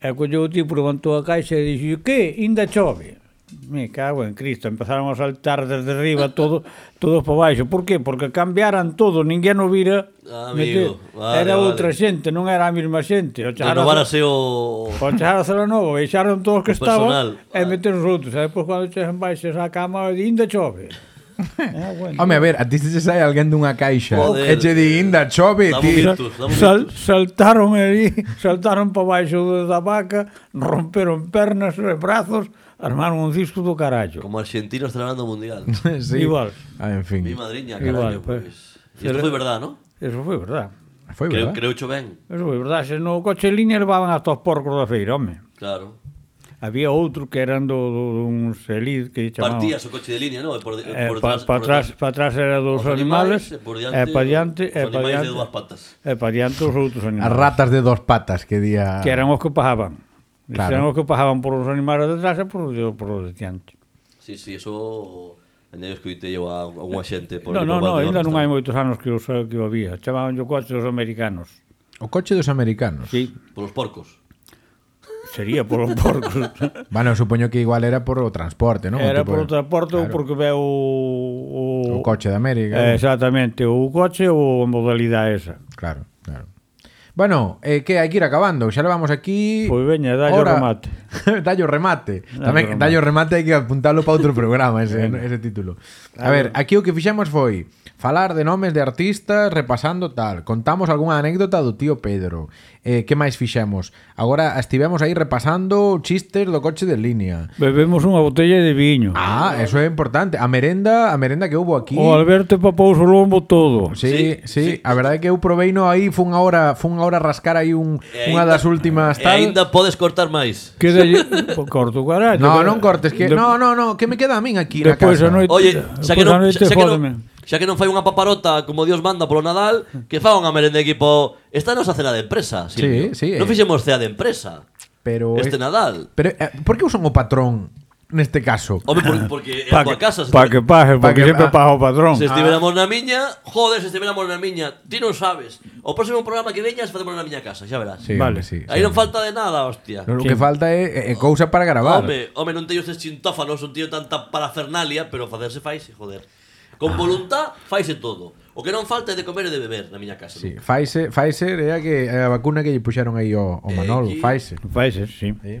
[SPEAKER 3] E colleu o tipo, levantou a caixa e dixo, que? Inda chove. Me cago en Cristo, empezaron a saltar desde arriba
[SPEAKER 2] <laughs>
[SPEAKER 3] todo, todos para baixo. Por que? Porque cambiaran todo, ninguén o vira.
[SPEAKER 2] Ah, Amigo,
[SPEAKER 3] meter.
[SPEAKER 2] vale,
[SPEAKER 3] era
[SPEAKER 2] vale.
[SPEAKER 3] outra xente, non era a mesma xente. O
[SPEAKER 2] No, no van a ser o...
[SPEAKER 3] O chegar a Celanova, deixaron todos
[SPEAKER 2] O
[SPEAKER 3] que
[SPEAKER 2] personal.
[SPEAKER 3] estaban e meteron os outros. E depois, cando chegan baixo a cama, di, inda chove. ah, bueno.
[SPEAKER 1] Home, a ver, a ti se sai alguén dunha caixa. E
[SPEAKER 2] Joder.
[SPEAKER 1] che di, inda, chove,
[SPEAKER 2] Dame un
[SPEAKER 1] ti.
[SPEAKER 2] minuto. Dame un
[SPEAKER 3] Sal,
[SPEAKER 2] minuto.
[SPEAKER 3] saltaron ali, <laughs> saltaron para baixo da vaca, romperon pernas e brazos, armaron un disco do carallo.
[SPEAKER 2] Como argentinos celebrando o
[SPEAKER 3] <laughs>
[SPEAKER 2] mundial.
[SPEAKER 1] <laughs> Sí.
[SPEAKER 3] Igual.
[SPEAKER 1] Ah, en fin.
[SPEAKER 2] Mi madriña, carajo.
[SPEAKER 3] Igual, pues.
[SPEAKER 2] pues. Y esto fue verdad, ¿no?
[SPEAKER 3] Eso foi verdad.
[SPEAKER 1] Foi verdad.
[SPEAKER 2] Creo, creo hecho ben.
[SPEAKER 3] Eso foi verdad. Se no coche en línea levaban hasta os porcos da feira, home.
[SPEAKER 2] Claro.
[SPEAKER 3] Había outro que eran do, do, duns elid que chamaban...
[SPEAKER 2] Partía su coche de línea, ¿no? E Por, e
[SPEAKER 3] Eh,
[SPEAKER 2] por
[SPEAKER 3] pa,
[SPEAKER 2] detrás-
[SPEAKER 3] pa
[SPEAKER 2] por
[SPEAKER 3] atrás, pa atrás era dos
[SPEAKER 2] Os
[SPEAKER 3] animales,
[SPEAKER 2] animais, e por
[SPEAKER 3] e
[SPEAKER 2] diante,
[SPEAKER 3] pa diante,
[SPEAKER 2] os
[SPEAKER 3] e pa
[SPEAKER 2] animais de
[SPEAKER 3] diante,
[SPEAKER 2] dúas patas.
[SPEAKER 3] e pa diante os outros
[SPEAKER 1] As
[SPEAKER 3] animales.
[SPEAKER 1] ratas de dos patas que día...
[SPEAKER 3] Que eran os que pajaban.
[SPEAKER 1] Claro.
[SPEAKER 3] Claro. Eran os que pajaban por os animales detrás e por, os de- por os de diante.
[SPEAKER 2] Sí, sí, eso... Ainda escuite yo a unha xente por
[SPEAKER 3] Eh,
[SPEAKER 2] ali
[SPEAKER 3] No, no,
[SPEAKER 2] por Barcelona,
[SPEAKER 3] no, ainda non
[SPEAKER 2] está.
[SPEAKER 3] hai moitos anos que o, que o había. Chamaban yo coche dos americanos.
[SPEAKER 1] O coche dos americanos.
[SPEAKER 3] Sí,
[SPEAKER 2] Por os porcos.
[SPEAKER 3] sería por os <laughs> porcos.
[SPEAKER 1] Bueno, supoño que igual era por o transporte, non?
[SPEAKER 3] Era
[SPEAKER 1] Tipo,
[SPEAKER 3] por o transporte ou
[SPEAKER 1] claro.
[SPEAKER 3] porque ve o... O,
[SPEAKER 1] O coche de América.
[SPEAKER 3] Eh, exactamente, o coche ou a modalidade esa.
[SPEAKER 1] Claro, claro. Bueno, eh, que hai que ir acabando, xa levamos aquí
[SPEAKER 3] Pois veña, dalle o remate.
[SPEAKER 1] <laughs> dallo remate.
[SPEAKER 3] Dalle
[SPEAKER 1] Tamén
[SPEAKER 3] o remate.
[SPEAKER 1] dallo remate hai que apuntalo para outro programa ese, ese título. A ver, aquí o que fixemos foi falar de nomes de artistas, repasando tal, contamos algunha anécdota do tío Pedro. Eh, que máis fixemos? Agora estivemos aí repasando chistes do coche de línea.
[SPEAKER 3] Bebemos unha botella de viño.
[SPEAKER 1] Ah, eso é importante. A merenda, a merenda que houbo aquí.
[SPEAKER 3] O Alberto papou o lombo todo.
[SPEAKER 1] Sí, sí,
[SPEAKER 2] Sí,
[SPEAKER 1] sí, a verdade é que eu proveino aí fun ahora, fun ahora rascar aí un
[SPEAKER 2] E
[SPEAKER 1] unha
[SPEAKER 2] aínda-
[SPEAKER 1] das últimas
[SPEAKER 2] E
[SPEAKER 1] tal.
[SPEAKER 2] ainda podes cortar máis.
[SPEAKER 3] Que dalle... Po- Corto o carallo.
[SPEAKER 1] No,
[SPEAKER 3] que-
[SPEAKER 1] non cortes, que
[SPEAKER 3] de-
[SPEAKER 1] no, no, no, que me queda a min aquí
[SPEAKER 3] Depois
[SPEAKER 1] na casa.
[SPEAKER 3] a noite-
[SPEAKER 2] Oye, xa que
[SPEAKER 3] Pois
[SPEAKER 2] non,
[SPEAKER 3] a noite
[SPEAKER 2] xa, xa que non,
[SPEAKER 3] fódeme.
[SPEAKER 2] xa que non fai unha paparota como Dios manda polo Nadal, que fa unha merenda de equipo. Esta é a nosa cena de empresa, Silvio.
[SPEAKER 1] Sí, sí,
[SPEAKER 2] Non
[SPEAKER 1] eh.
[SPEAKER 2] fixemos cea de empresa.
[SPEAKER 1] Pero
[SPEAKER 2] Este
[SPEAKER 1] es-
[SPEAKER 2] Nadal.
[SPEAKER 1] Pero eh, por que usan o patrón neste caso.
[SPEAKER 2] Home, porque, porque é a
[SPEAKER 3] Ah, Pa
[SPEAKER 2] tua
[SPEAKER 3] que,
[SPEAKER 2] casa se,
[SPEAKER 3] pa que Ah. paje,
[SPEAKER 1] pa
[SPEAKER 3] porque
[SPEAKER 1] que
[SPEAKER 3] siempre
[SPEAKER 1] pa-
[SPEAKER 3] paja o patrón.
[SPEAKER 2] se estiveramos na miña Joder, se estiveramos na miña Ti non sabes O próximo programa que veñas Facemos na miña casa, xa verás
[SPEAKER 1] Sí,
[SPEAKER 3] Vale.
[SPEAKER 1] vale, sí.
[SPEAKER 2] Aí
[SPEAKER 1] sí.
[SPEAKER 2] non falta de nada, hostia
[SPEAKER 1] No, lo
[SPEAKER 3] Sí.
[SPEAKER 1] que falta é, é cousa para gravar.
[SPEAKER 2] Home, home, non teño estes chintófanos, non teño tanta parafernalia, pero facerse faise, joder. Con voluntad faise todo. O que non falta é de comer e de beber na miña casa.
[SPEAKER 1] Sí, Pfizer, Pfizer é a que é a vacuna que lle puxeron aí ao, ao
[SPEAKER 2] Eh,
[SPEAKER 1] Manolo,
[SPEAKER 2] aquí.
[SPEAKER 1] Pfizer.
[SPEAKER 3] Países, sí.
[SPEAKER 1] Sí, eh,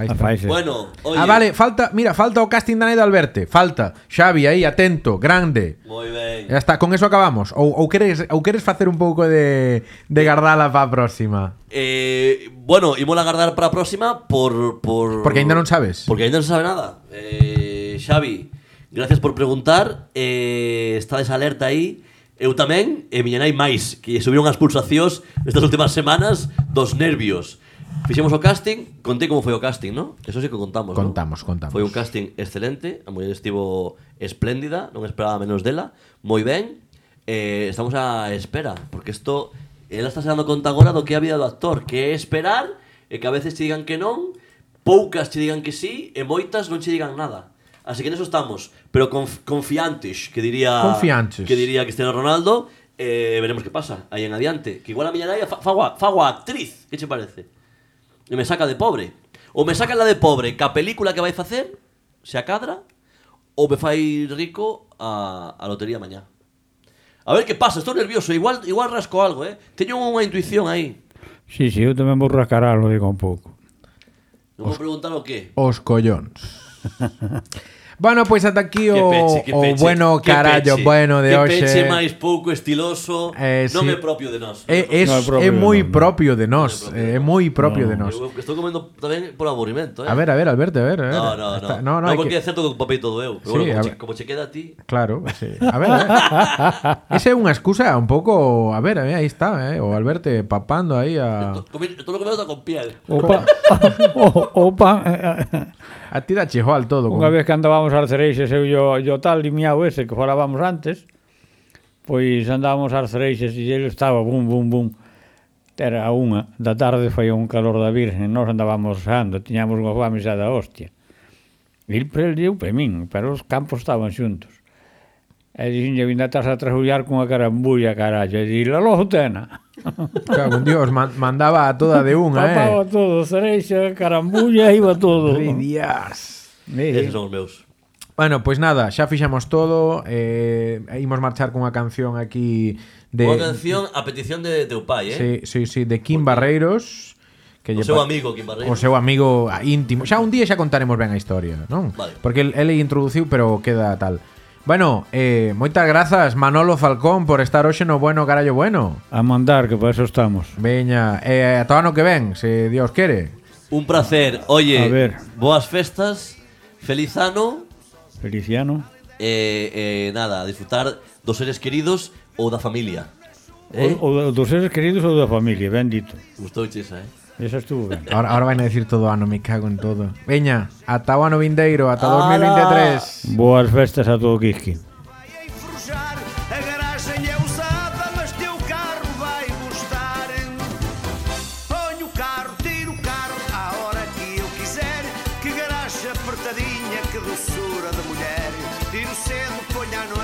[SPEAKER 1] Aí
[SPEAKER 3] A
[SPEAKER 1] está.
[SPEAKER 3] países.
[SPEAKER 2] Bueno, oye,
[SPEAKER 1] Ah, vale, falta, mira, falta o casting da Neda Alberte, falta. Xavi aí atento, grande.
[SPEAKER 2] Moi ben.
[SPEAKER 1] Ya está, con eso acabamos. Ou, ou queres ou queres facer un pouco de de gardala para a próxima?
[SPEAKER 2] Eh, bueno, ímola agardar para a próxima por, por...
[SPEAKER 1] Porque aínda non sabes.
[SPEAKER 2] Porque aínda non se sabe nada. Eh, Xavi, gracias por preguntar. Eh, estades alerta aí. Eu tamén, e miña nai máis, que lle subiron as pulsacións nestas últimas semanas dos nervios. Fixemos o casting, contei como foi o casting, non? Eso sí que contamos, non?
[SPEAKER 1] Contamos, contamos.
[SPEAKER 2] Foi un casting excelente, a muller estivo espléndida, non esperaba menos dela, moi ben. Eh, estamos á espera, porque isto ela está se dando conta agora do que é a vida do actor, que é esperar e que a veces te digan que non, poucas te digan que sí e moitas non te digan nada. Así que neso estamos, pero conf confiantes, que diría
[SPEAKER 1] Confiantes.
[SPEAKER 2] que diría Cristiano Ronaldo, eh, veremos que pasa aí en adiante, que igual a miña nai fa, fago, a- fago a actriz, que che parece? e me saca de pobre. Ou me saca la de pobre que a película que vai facer se acadra ou me fai rico a, a lotería mañá. A ver que pasa, estou nervioso, igual igual rasco algo, eh. Teño unha intuición aí.
[SPEAKER 3] Sí, sí, eu tamén vou rascar algo, digo un pouco.
[SPEAKER 2] Non vou preguntar o que.
[SPEAKER 1] Os collóns.
[SPEAKER 2] <laughs>
[SPEAKER 1] bueno, pois ata aquí o,
[SPEAKER 2] Que peche, que
[SPEAKER 1] o
[SPEAKER 2] peche,
[SPEAKER 1] bueno
[SPEAKER 2] que
[SPEAKER 1] carallo
[SPEAKER 2] peche,
[SPEAKER 1] bueno de
[SPEAKER 2] que
[SPEAKER 1] hoxe.
[SPEAKER 2] peche máis pouco estiloso,
[SPEAKER 1] Eh,
[SPEAKER 2] non
[SPEAKER 1] sí. Eh,
[SPEAKER 2] é propio de nós.
[SPEAKER 1] É, E, é,
[SPEAKER 3] No é
[SPEAKER 1] é
[SPEAKER 3] propio de
[SPEAKER 1] moi
[SPEAKER 3] nós, no.
[SPEAKER 1] propio de nós, eh, é moi propio de nós.
[SPEAKER 2] Eu que estou comendo tamén por aburrimento, eh.
[SPEAKER 1] A ver, a ver, Alberto, a ver, a ver.
[SPEAKER 2] No, no, no.
[SPEAKER 1] Está-
[SPEAKER 2] No,
[SPEAKER 1] hay
[SPEAKER 2] porque
[SPEAKER 1] que-
[SPEAKER 2] é certo que papei todo eu.
[SPEAKER 1] Sí,
[SPEAKER 2] Pero bueno,
[SPEAKER 1] a
[SPEAKER 2] como, che,
[SPEAKER 1] ver.
[SPEAKER 2] como che queda a ti,
[SPEAKER 1] Claro, sí. A ver, a ver. Esa es una excusa un poco. A ver, a ver, ahí está, ¿eh? O Alberto papando ahí a.
[SPEAKER 2] to- comi- todo lo que me dá con piel.
[SPEAKER 3] Opa, opa,
[SPEAKER 1] A ti da chijol todo.
[SPEAKER 3] Unha
[SPEAKER 1] con-
[SPEAKER 3] vez que andábamos ás cereixas eu e o, e o tal limiao ese que falábamos antes, pois andábamos ás cereixas e ele estaba bum, bum, bum. Era a unha da tarde, foi un calor da virgen, nós andábamos ando, tiñamos unha fame xa da hostia. E el pre el e eu pre min, pero os campos estaban xuntos. E dixenlle, vinda estás a trajullar cunha carambulla, carallo. E dixenlle, alojo tena.
[SPEAKER 1] Cago en Dios, man- mandaba a toda de una,
[SPEAKER 3] Papaba
[SPEAKER 1] ¿eh?
[SPEAKER 3] todo, cereixa, carambulla, iba todo.
[SPEAKER 1] Ay, Dios.
[SPEAKER 3] Eh,
[SPEAKER 2] Esos son os meus.
[SPEAKER 1] Bueno, pois nada, xa fixamos todo eh, Imos marchar cunha canción aquí de,
[SPEAKER 2] Unha canción a petición de teu pai, eh?
[SPEAKER 1] sí, sí, sí, de Kim Barreiros que
[SPEAKER 2] O
[SPEAKER 1] lle
[SPEAKER 2] seu
[SPEAKER 1] pa-
[SPEAKER 2] amigo, Kim Barreiro.
[SPEAKER 1] O seu amigo ah, íntimo. Xa un día xa contaremos ben a historia, non?
[SPEAKER 2] Vale.
[SPEAKER 1] Porque el, ele introduciu, pero queda tal. Bueno, eh, moitas grazas Manolo Falcón por estar hoxe no bueno carallo bueno.
[SPEAKER 3] a mandar, que para eso estamos.
[SPEAKER 1] Veña, eh, ata o ano que ven, se Dios quere.
[SPEAKER 2] Un placer. Oye,
[SPEAKER 3] A ver.
[SPEAKER 2] boas festas, feliz ano
[SPEAKER 3] Feliciano.
[SPEAKER 2] e eh, nada, disfrutar dos seres queridos ou da familia. Eh?
[SPEAKER 3] O, o dos seres queridos ou da familia, bendito.
[SPEAKER 2] Gustouche esa, eh?
[SPEAKER 3] Esa
[SPEAKER 1] <laughs>
[SPEAKER 3] estuvo ben.
[SPEAKER 1] Ahora, ahora van a decir todo ano, me cago en todo. Veña, ata o ano vindeiro, ata
[SPEAKER 2] Ala.
[SPEAKER 1] e 2023.
[SPEAKER 3] Boas festas a todo Quisqui.
[SPEAKER 5] Vai enfrujar, a garagem é usada, mas teu carro vai gostar. Ponho o carro, tiro o carro, à hora que eu quiser. Que garagem apertadinha, que doçura de mulher. Tiro cedo, ponho à noite.